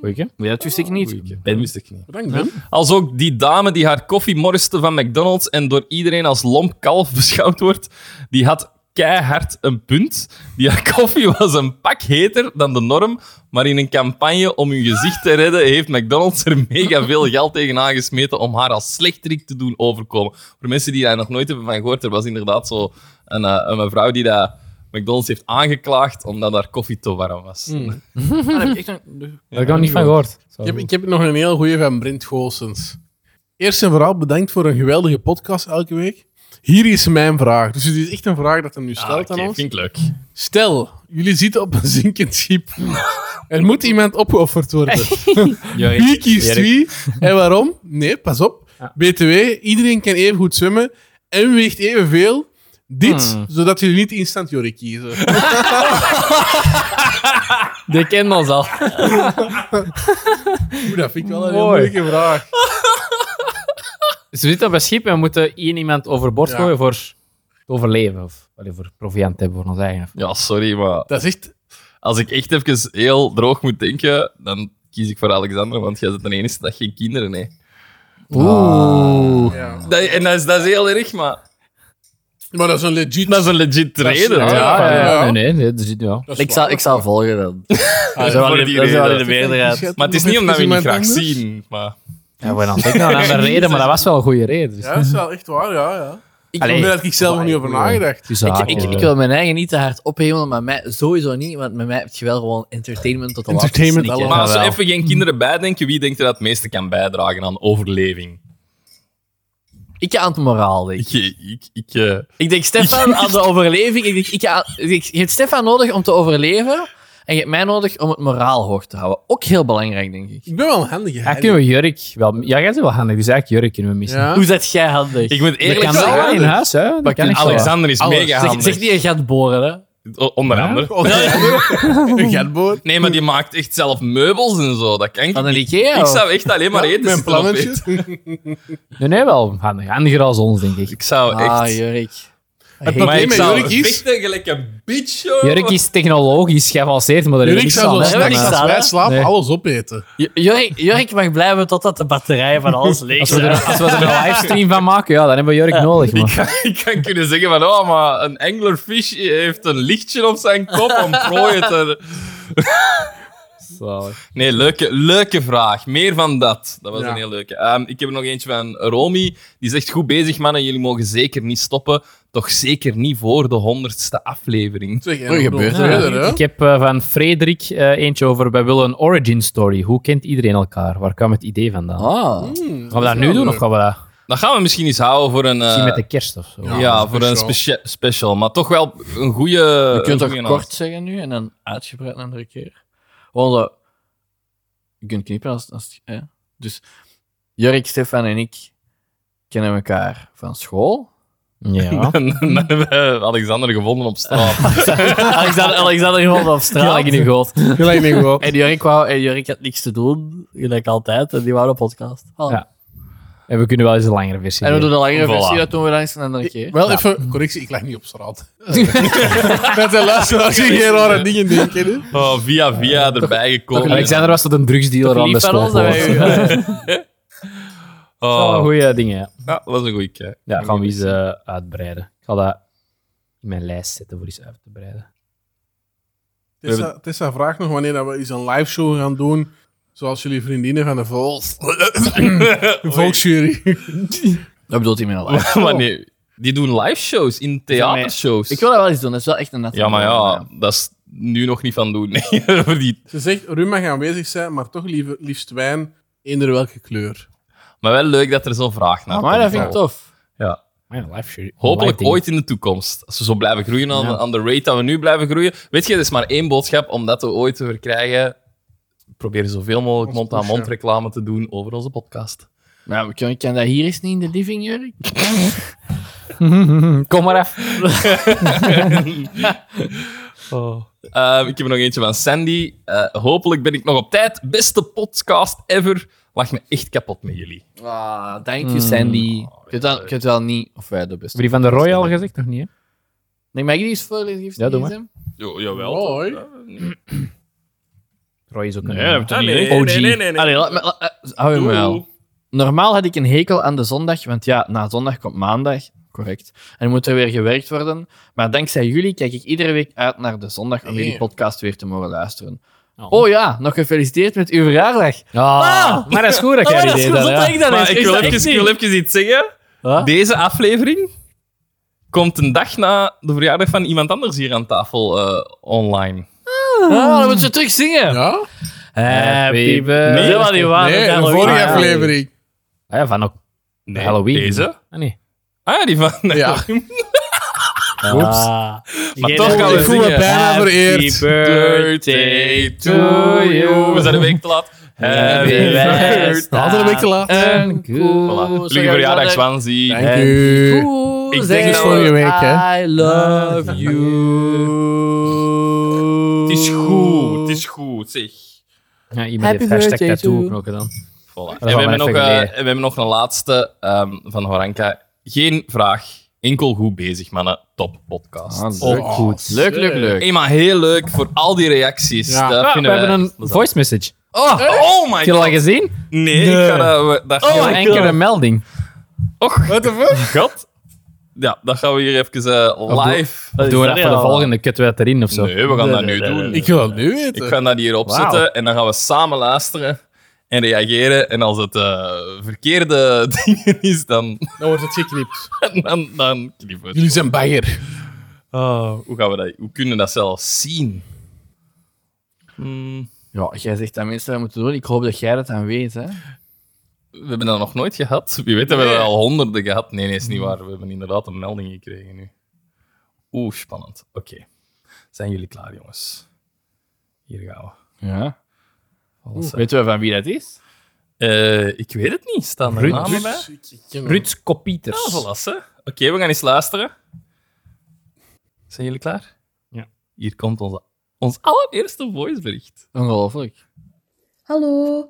Speaker 5: Goeie, hè?
Speaker 3: Ja, dat wist ik niet.
Speaker 2: Ben wist ik niet.
Speaker 1: Bedankt, Ben.
Speaker 2: Als ook die dame die haar koffie morste van McDonald's en door iedereen als lomp kalf beschouwd wordt, die had keihard een punt. Die haar koffie was een pak heter dan de norm, maar in een campagne om hun gezicht te redden heeft McDonald's er mega veel geld tegen aangesmeten om haar als slechterik te doen overkomen. Voor mensen die daar nog nooit hebben van gehoord, er was inderdaad zo een, eh, een mevrouw die dat McDonald's heeft aangeklaagd omdat haar koffie te warm was.
Speaker 1: Hmm.
Speaker 2: Ah,
Speaker 3: Daar heb ik echt nog-
Speaker 5: Daar heb ik nog niet van gehoord. Zo.
Speaker 1: Ik heb, ik heb nog een heel goeie van Brent Goossens. Eerst en vooral bedankt voor een geweldige podcast elke week. Hier is mijn vraag. Dus het is echt een vraag dat hem nu
Speaker 2: Ah,
Speaker 1: stelt
Speaker 2: oké,
Speaker 1: aan ons.
Speaker 2: vind ik leuk.
Speaker 1: Stel, jullie zitten op een zinkend schip. Er moet iemand opgeofferd worden. Wie kiest
Speaker 2: <laughs>
Speaker 1: wie en waarom? Nee, pas op. BTW, iedereen kan even goed zwemmen en weegt evenveel. Dit,
Speaker 2: Hmm.
Speaker 1: zodat jullie niet instant Jorik kiezen.
Speaker 2: <laughs>
Speaker 5: Die kent ons al.
Speaker 1: Oeh, dat vind ik wel een heel
Speaker 5: Mooi.
Speaker 1: moeilijke vraag.
Speaker 5: <laughs> Ze zitten op een schip en we moeten één iemand overboord
Speaker 1: Ja.
Speaker 5: gooien voor het overleven. Of allee, voor proviant te hebben voor ons eigen.
Speaker 2: Ja, sorry, maar...
Speaker 1: Dat is echt...
Speaker 2: Als ik echt even heel droog moet denken, dan kies ik voor Alexander, want jij bent de enige dat geen kinderen heeft.
Speaker 5: Oeh.
Speaker 1: Ah, Ja.
Speaker 2: Dat, en dat is, dat is heel erg, maar...
Speaker 1: Maar dat is een legit...
Speaker 2: Dat is een legit
Speaker 1: is-
Speaker 2: reden.
Speaker 1: ja,
Speaker 2: ja.
Speaker 1: ja.
Speaker 5: Nee, nee, nee, dat zit ja.
Speaker 1: dat is
Speaker 3: Ik zal,
Speaker 1: waar.
Speaker 3: ik zal volgen
Speaker 2: <laughs>
Speaker 3: dan.
Speaker 2: is
Speaker 3: wel
Speaker 2: Ah, voor
Speaker 3: in-
Speaker 2: die
Speaker 3: dat is wel
Speaker 2: reden.
Speaker 3: in de meerderheid.
Speaker 2: Maar het is niet omdat we niet
Speaker 1: Iemand
Speaker 2: graag
Speaker 1: anders?
Speaker 2: zien, maar...
Speaker 5: Ja, we hadden natuurlijk nog <laughs> een andere reden, maar dat was wel een goede reden. Dus.
Speaker 1: Ja, dat is wel echt waar, ja. ja. Ik
Speaker 5: Allee.
Speaker 1: probeer dat ik zelf nog niet over nagedacht.
Speaker 5: Dus
Speaker 3: Ik,
Speaker 5: ja,
Speaker 3: ik,
Speaker 5: gewoon,
Speaker 3: ik wil mijn eigen niet te hard ophemelen, maar mij sowieso niet, want met mij heb je wel gewoon entertainment tot de
Speaker 1: Entertainment
Speaker 3: laatste snik, hè.
Speaker 2: Maar als we
Speaker 5: jawel.
Speaker 2: even geen kinderen bijdenken, wie denkt er dat het meeste kan bijdragen aan overleving?
Speaker 3: Ik ga aan het moraal, denk
Speaker 2: Ik...
Speaker 3: ik.
Speaker 2: ik, ik eh,
Speaker 3: Ik denk
Speaker 1: <laughs>
Speaker 3: Stefan aan de overleving. Ik denk, ik ga, ik denk, je hebt Stefan nodig om te overleven en je hebt mij nodig om het moraal hoog te houden. Ook heel belangrijk, denk ik.
Speaker 1: Ik ben wel een handige.
Speaker 5: Ja, kunnen we Jurk wel... Ja, jij bent wel handig, dus eigenlijk Jurk kunnen we missen.
Speaker 1: Ja.
Speaker 3: Hoe zet jij handig?
Speaker 2: ik moet
Speaker 5: Dat
Speaker 2: eerlijk
Speaker 5: kan wel
Speaker 2: zeggen,
Speaker 5: in huis, hè. Dat kan echt wel.
Speaker 2: Alexander is
Speaker 3: Alles.
Speaker 2: mega
Speaker 3: Zeg,
Speaker 2: handig.
Speaker 3: zeg niet, je gaat boren, hè.
Speaker 2: O- Onder andere.
Speaker 1: Oh,
Speaker 2: <laughs>
Speaker 1: ja. Een gatboot.
Speaker 2: Nee, maar die maakt echt zelf meubels en zo. Dat kan ik
Speaker 3: Van een
Speaker 2: niet.
Speaker 3: Ikea.
Speaker 2: Ik
Speaker 3: of-
Speaker 2: zou echt alleen maar eten
Speaker 1: Mijn
Speaker 2: zitten op
Speaker 1: plannetjes.
Speaker 5: Nee, nee, wel handig. Handiger als ons, denk ik.
Speaker 2: Ik zou
Speaker 3: Ah,
Speaker 2: echt...
Speaker 3: Jurk.
Speaker 1: Het
Speaker 5: Hey,
Speaker 1: probleem
Speaker 2: ik
Speaker 1: met
Speaker 2: zou
Speaker 1: Jurik is...
Speaker 2: vechten gelijk een bitch, joh.
Speaker 5: Jurk is technologisch geavanceerd, maar daar heb ik
Speaker 1: Jurik
Speaker 5: niks
Speaker 1: zou
Speaker 5: aan.
Speaker 1: zo
Speaker 5: hè.
Speaker 4: hebben we
Speaker 1: straks, als
Speaker 4: niks aan,
Speaker 1: wij
Speaker 4: hè?
Speaker 1: slapen,
Speaker 5: Nee.
Speaker 1: alles opeten.
Speaker 4: Ju- Jurk, Jurk mag blijven totdat de batterijen van alles leeg
Speaker 5: Als we,
Speaker 4: zijn.
Speaker 5: er, als we er een livestream van maken, ja, dan hebben we Jurk nodig. Man.
Speaker 2: Ik kan, <laughs> ik kan kunnen zeggen van, oh, maar een anglerfish heeft een lichtje op zijn kop om prooien te...
Speaker 5: Zalig.
Speaker 2: Nee, leuke, leuke vraag. Meer van dat. Dat was
Speaker 1: Ja.
Speaker 2: een heel leuke. Ehm, ik heb er nog eentje van Romy. Die zegt, goed bezig mannen, jullie mogen zeker niet stoppen. Toch zeker niet voor de honderdste aflevering.
Speaker 1: Zeg, en nog
Speaker 3: Oei, gebeurt
Speaker 1: een
Speaker 3: er,
Speaker 1: verder, hè?
Speaker 5: Ik heb eh, van Frederik eh, eentje over. Wij willen een origin story. Hoe kent iedereen elkaar? Waar kwam het idee vandaan?
Speaker 3: Ah.
Speaker 5: Hmm. gaan we dat nu doen of gaan we dat
Speaker 2: Dan gaan we misschien eens houden voor een... eh,
Speaker 5: misschien met de kerst of zo?
Speaker 2: ja,
Speaker 1: Ja, een
Speaker 2: voor een
Speaker 1: special.
Speaker 2: specia- special. Maar toch wel een goede...
Speaker 3: Je kunt
Speaker 2: Eh, een
Speaker 3: toch
Speaker 2: goeie
Speaker 3: kort zeggen nu en dan uitgebreid een andere keer. Gewoon zo. Je kunt knippen als. als hè? Dus Jurk, Stefan en ik kennen elkaar van school.
Speaker 2: <laughs>
Speaker 5: Ja.
Speaker 2: Dan hebben we Alexander gevonden op straat.
Speaker 4: <laughs>
Speaker 5: <laughs>
Speaker 4: Alexander, Alexander gewoon op straat.
Speaker 5: Gelijk in uw goot.
Speaker 4: Gelijk niet gewoon.
Speaker 3: En Jurk wou.
Speaker 4: En Jurk had niks te doen, gelijk altijd. En die wou een podcast. Oh.
Speaker 5: Ja. En we kunnen wel eens een langere versie
Speaker 3: En we doen
Speaker 5: doen.
Speaker 3: een langere
Speaker 2: Voilà.
Speaker 3: versie, dat doen we dan eens een andere keer.
Speaker 1: <laughs> Wel even, correctie, ik lag niet op straat. <laughs> Met de luisteraars die geen rare dingen denken. hè.
Speaker 2: Oh, via via erbij gekomen.
Speaker 5: Alexander was tot een drugsdealer aan de
Speaker 3: Lief van
Speaker 5: school.
Speaker 3: ons dat wij
Speaker 5: geworden.
Speaker 3: u- <laughs>
Speaker 5: Wel
Speaker 2: Oh,
Speaker 5: Goeie dingen, ja.
Speaker 2: ja, dat was een goeie kijk.
Speaker 5: Ja, gaan we eens eh, uitbreiden. Ik ga dat in mijn lijst zetten voor eens uit te breiden.
Speaker 1: Tessa, Tessa vraagt nog wanneer dat we eens een live show gaan doen. Zoals jullie vriendinnen van de vol...
Speaker 2: <clears throat>
Speaker 1: Volksjury.
Speaker 3: Dat bedoelt hij met een
Speaker 2: <laughs>
Speaker 3: live.
Speaker 2: Maar nee, die doen live shows in theatershows.
Speaker 3: Ik wil dat wel eens doen, dat is wel echt een natte
Speaker 2: Ja, maar
Speaker 3: droom,
Speaker 2: ja, dat is nu nog niet van doen. <laughs> Nee, voor die-
Speaker 1: Ze zegt, Rum mag aanwezig zijn, maar toch liever, liefst wijn, eender welke kleur.
Speaker 2: maar wel leuk dat er zo'n vraag naar
Speaker 3: Ah, Maar dat
Speaker 2: komt.
Speaker 3: vind ik tof.
Speaker 2: Ja.
Speaker 5: Mijn live show.
Speaker 2: Hopelijk
Speaker 5: live
Speaker 2: ooit in de toekomst. Als we zo blijven groeien aan,
Speaker 5: Ja.
Speaker 2: aan de rate dat we nu blijven groeien. Weet je, er is maar één boodschap om dat we ooit te verkrijgen. Probeer zoveel mogelijk
Speaker 1: Ons
Speaker 2: mond-aan-mond
Speaker 1: pushen.
Speaker 2: reclame te doen over onze podcast.
Speaker 3: Nou, we kunnen- kan dat hier eens niet in de living, <laughs> Jurk?
Speaker 5: dingen. Kom maar af.
Speaker 2: Ehm, ik heb er nog eentje van Sandy. Eh, hopelijk ben ik nog op tijd. Beste podcast ever. Lach me echt kapot met jullie.
Speaker 3: Ah, thank you, Sandy. Je hebt dan- je hebt wel niet, of wij de
Speaker 5: Heb
Speaker 3: beste.
Speaker 5: je van de Royal gezegd? Nog niet, hè?
Speaker 3: Nee, mag ik die eens voorlezen? Geef
Speaker 5: Ja, doe maar.
Speaker 3: eens, hè?
Speaker 2: Jo, jawel.
Speaker 1: Mooi.
Speaker 5: Roy is ook een...
Speaker 2: Ah, nee,
Speaker 5: OG.
Speaker 2: nee, nee, nee, nee.
Speaker 3: Allee, laat me- la- eh, hou je
Speaker 2: Doe.
Speaker 3: wel. Normaal had ik een hekel aan de zondag, want ja, na zondag komt maandag. Correct. En moet er weer gewerkt worden. Maar dankzij jullie kijk ik iedere week uit naar de zondag om jullie
Speaker 1: Yeah.
Speaker 3: podcast weer te mogen luisteren.
Speaker 5: Oh.
Speaker 3: Oh, ja, nog gefeliciteerd met uw verjaardag.
Speaker 5: Ah, maar dat is goed dat
Speaker 4: Oh,
Speaker 5: jij
Speaker 4: dat
Speaker 5: die
Speaker 4: is
Speaker 5: deed.
Speaker 4: goed,
Speaker 5: dan,
Speaker 4: dat
Speaker 5: ja.
Speaker 4: denk ik dan eens.
Speaker 2: Maar ik
Speaker 4: Is
Speaker 2: wil,
Speaker 4: dat echt
Speaker 2: even, ik
Speaker 4: niet?
Speaker 2: wil even iets zeggen.
Speaker 5: Huh?
Speaker 2: Deze aflevering komt een dag na de verjaardag van iemand anders hier aan tafel eh, online.
Speaker 3: Oh, dan moeten ze terug zingen.
Speaker 1: Ja?
Speaker 5: Happy birthday.
Speaker 4: Happy birthday. Nee, maar die waren
Speaker 1: nee,
Speaker 4: het
Speaker 1: de
Speaker 4: Halloween.
Speaker 1: vorige
Speaker 4: Ah, ja.
Speaker 1: aflevering.
Speaker 5: Ah, ja, van ook.
Speaker 2: Nee,
Speaker 5: Halloween.
Speaker 2: Deze?
Speaker 5: Ah, nee.
Speaker 2: Ah ja, die van...
Speaker 1: Ja.
Speaker 5: Oeps.
Speaker 4: Ah.
Speaker 2: <laughs> Maar
Speaker 4: Geen
Speaker 2: toch gaan we
Speaker 1: Ik voel me
Speaker 2: zingen.
Speaker 1: bijna vereerd.
Speaker 2: Birthday to you. We zijn een week te laat. Happy birthday.
Speaker 1: Altijd een beetje te laat.
Speaker 3: En
Speaker 2: Voilà.
Speaker 3: goed.
Speaker 2: Lieve verjaardag, Zwanzie.
Speaker 1: Dank u.
Speaker 2: Ik
Speaker 3: zeg
Speaker 2: denk
Speaker 1: Het is
Speaker 2: dat
Speaker 3: nou,
Speaker 1: vorige week, hè.
Speaker 3: I love you.
Speaker 2: Het is goed, het is goed, zeg.
Speaker 5: Ja, iemand
Speaker 3: Happy
Speaker 5: heeft hashtag
Speaker 3: birthday
Speaker 5: tattoo
Speaker 3: to-
Speaker 5: ook nog gedaan.
Speaker 2: Voilà. En
Speaker 5: gaan we
Speaker 2: we, hebben nog,
Speaker 5: even
Speaker 2: eh,
Speaker 5: leren.
Speaker 2: en we hebben nog een laatste ehm, van Horanka. Geen vraag, enkel goed bezig, mannen. Top podcast.
Speaker 3: Ah,
Speaker 2: Oh,
Speaker 3: leuk.
Speaker 1: goed.
Speaker 3: Leuk, leuk, leuk.
Speaker 2: Hey, maar heel leuk voor al die reacties.
Speaker 1: Ja.
Speaker 2: Dat
Speaker 5: Ah, we
Speaker 2: vinden wij
Speaker 5: hebben een
Speaker 2: plezant.
Speaker 5: voice message.
Speaker 2: Oh, oh
Speaker 5: Heb
Speaker 2: my
Speaker 5: je dat al
Speaker 2: god.
Speaker 5: gezien? Oh,
Speaker 2: Nee, Oh, ik ga dat... we- dat gaan
Speaker 5: Een
Speaker 2: we-
Speaker 5: enkele melding.
Speaker 2: Och,
Speaker 1: What the fuck?
Speaker 2: god. Ja, dat gaan we hier even eh, live...
Speaker 4: Dat is
Speaker 5: Doe
Speaker 4: dat
Speaker 5: dat voor de
Speaker 4: al.
Speaker 5: volgende kutten we dat erin of zo.
Speaker 2: Nee, we gaan dat nu
Speaker 4: Nee, nee,
Speaker 2: doen.
Speaker 4: nee.
Speaker 1: Ik wil het nu
Speaker 2: Ik
Speaker 1: weten.
Speaker 2: ga dat hier opzetten en dan gaan we samen luisteren en reageren. En als het eh, verkeerde <laughs> dingen is, dan,
Speaker 1: Dan wordt het geknipt.
Speaker 2: dan, dan knippen we het.
Speaker 1: Jullie zijn bagger.
Speaker 2: Hoe, gaan we dat, hoe kunnen we dat zelfs zien? Hmm,
Speaker 3: Ja, jij zegt dat mensen dat moeten doen. Ik hoop dat jij dat dan weet, hè.
Speaker 2: we hebben dat nog nooit gehad. Wie weet hebben we dat al honderden gehad. Nee, nee, is niet waar. We hebben inderdaad een melding gekregen nu. Oeh, spannend. Oké. Zijn jullie klaar, jongens? Hier gaan we.
Speaker 3: Ja.
Speaker 2: Alles,
Speaker 3: Weten we van wie dat is?
Speaker 2: eh. Eh, ik weet het niet. Staan er
Speaker 5: Ruud-
Speaker 2: namen bij?
Speaker 1: Dus ik- ik ken hem.
Speaker 5: Ruud
Speaker 2: Ah,
Speaker 5: Kopieters.
Speaker 2: voilà, hè. Oké, we gaan eens luisteren. Zijn jullie klaar?
Speaker 5: Ja.
Speaker 2: Hier komt onze, ons allereerste voicebericht.
Speaker 3: Ongelooflijk.
Speaker 6: Hallo.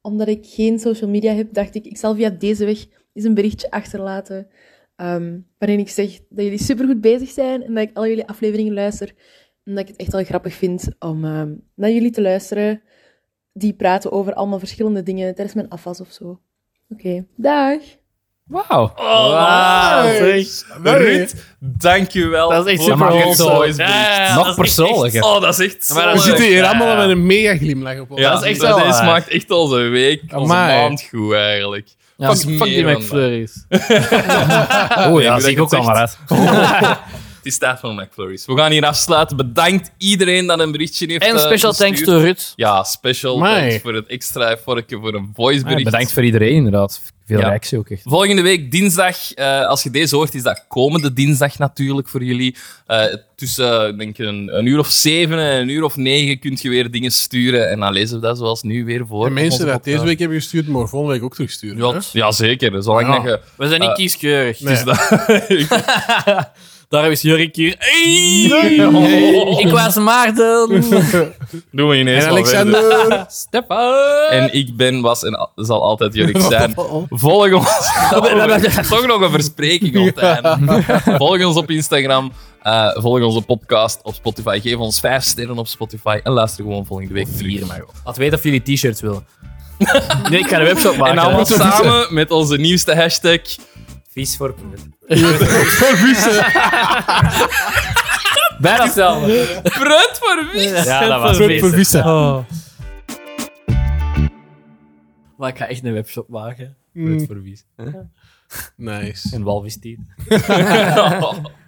Speaker 6: Omdat ik geen social media heb, dacht ik, ik zal via deze weg eens een berichtje achterlaten. ehm, waarin ik zeg dat jullie supergoed bezig zijn en dat ik al jullie afleveringen luister. En dat ik het echt wel grappig vind om ehm, naar jullie te luisteren. Die praten over allemaal verschillende dingen tijdens mijn afwas of zo. Oké, dag!
Speaker 5: Wauw.
Speaker 2: Ruud, dankjewel.
Speaker 3: Dat is echt
Speaker 2: voor
Speaker 3: super
Speaker 2: je
Speaker 5: awesome.
Speaker 2: voice
Speaker 1: eh,
Speaker 2: boost. Dat
Speaker 5: Nog
Speaker 2: is
Speaker 5: persoonlijker.
Speaker 2: echt- Oh, dat is echt
Speaker 3: Maar
Speaker 1: We
Speaker 3: dat
Speaker 2: zalig.
Speaker 3: is-
Speaker 1: zitten hier
Speaker 3: ja.
Speaker 1: allemaal met een mega glimlach op.
Speaker 2: Ja,
Speaker 1: ons.
Speaker 2: dat is echt
Speaker 3: wel
Speaker 2: dat is,
Speaker 3: waar.
Speaker 2: maakt echt onze week, onze
Speaker 1: Amai.
Speaker 2: maand goed eigenlijk.
Speaker 3: Ja,
Speaker 2: Fuck
Speaker 3: fuck
Speaker 2: meer
Speaker 3: die
Speaker 2: dan
Speaker 5: <laughs>
Speaker 3: McFlurries.
Speaker 5: Oh ja,
Speaker 2: dat
Speaker 5: zie
Speaker 2: ik
Speaker 5: ik ook
Speaker 2: het
Speaker 5: allemaal uit.
Speaker 2: Het is tijd voor McFlurries. We gaan hier afsluiten. Bedankt iedereen dat een berichtje heeft
Speaker 3: En
Speaker 2: eh,
Speaker 3: special thanks
Speaker 2: gestuurd.
Speaker 3: to Rut.
Speaker 2: Ja, special
Speaker 1: Amai.
Speaker 2: thanks voor het extra effortje, voor een voicebericht.
Speaker 5: Ah, Bedankt voor iedereen, inderdaad. Veel
Speaker 2: Ja.
Speaker 5: reactie ook echt.
Speaker 2: Volgende week, dinsdag, eh, als je deze hoort, is dat komende dinsdag natuurlijk voor jullie. Eh, tussen eh, denk ik, een, een uur of zeven en een uur of negen kun je weer dingen sturen. En dan lezen we dat zoals nu weer voor.
Speaker 1: De mensen
Speaker 2: Onze
Speaker 1: dat deze
Speaker 2: podcast.
Speaker 1: week hebben gestuurd, mogen volgende week ook terugsturen. hè?
Speaker 2: Ja, t- ja, zeker. Zolang
Speaker 1: Ja.
Speaker 2: dat je...
Speaker 3: We zijn niet kieskeurig.
Speaker 1: Nee.
Speaker 3: Dus dat- Daarom is Jurk hier. Hey! Ik was Maarten.
Speaker 2: Doen we ineens
Speaker 1: En
Speaker 2: wel
Speaker 1: Alexander.
Speaker 3: Stefan.
Speaker 2: En ik ben, was en al- zal altijd Jurk zijn. Volg <laughs> ons. <laughs> Toch nog een verspreking op het einde. Volg ons op Instagram. eh, volg onze podcast op Spotify. Geef ons vijf sterren op Spotify. En luister gewoon volgende week vier. Maar
Speaker 5: Laat weten of jullie t-shirts willen. nee, ik ga een webshop maken.
Speaker 2: en allemaal samen met onze nieuwste hashtag.
Speaker 5: Vies voor Bijna hetzelfde.
Speaker 2: Prut voor wie?
Speaker 5: <laughs> Ja, dat was
Speaker 4: Voor- voor
Speaker 5: beter.
Speaker 4: vissen. Oh.
Speaker 3: Maar ik ga echt een webshop maken.
Speaker 5: Prut voor vies.
Speaker 1: Nice.
Speaker 5: Een walvis die.
Speaker 2: Ja.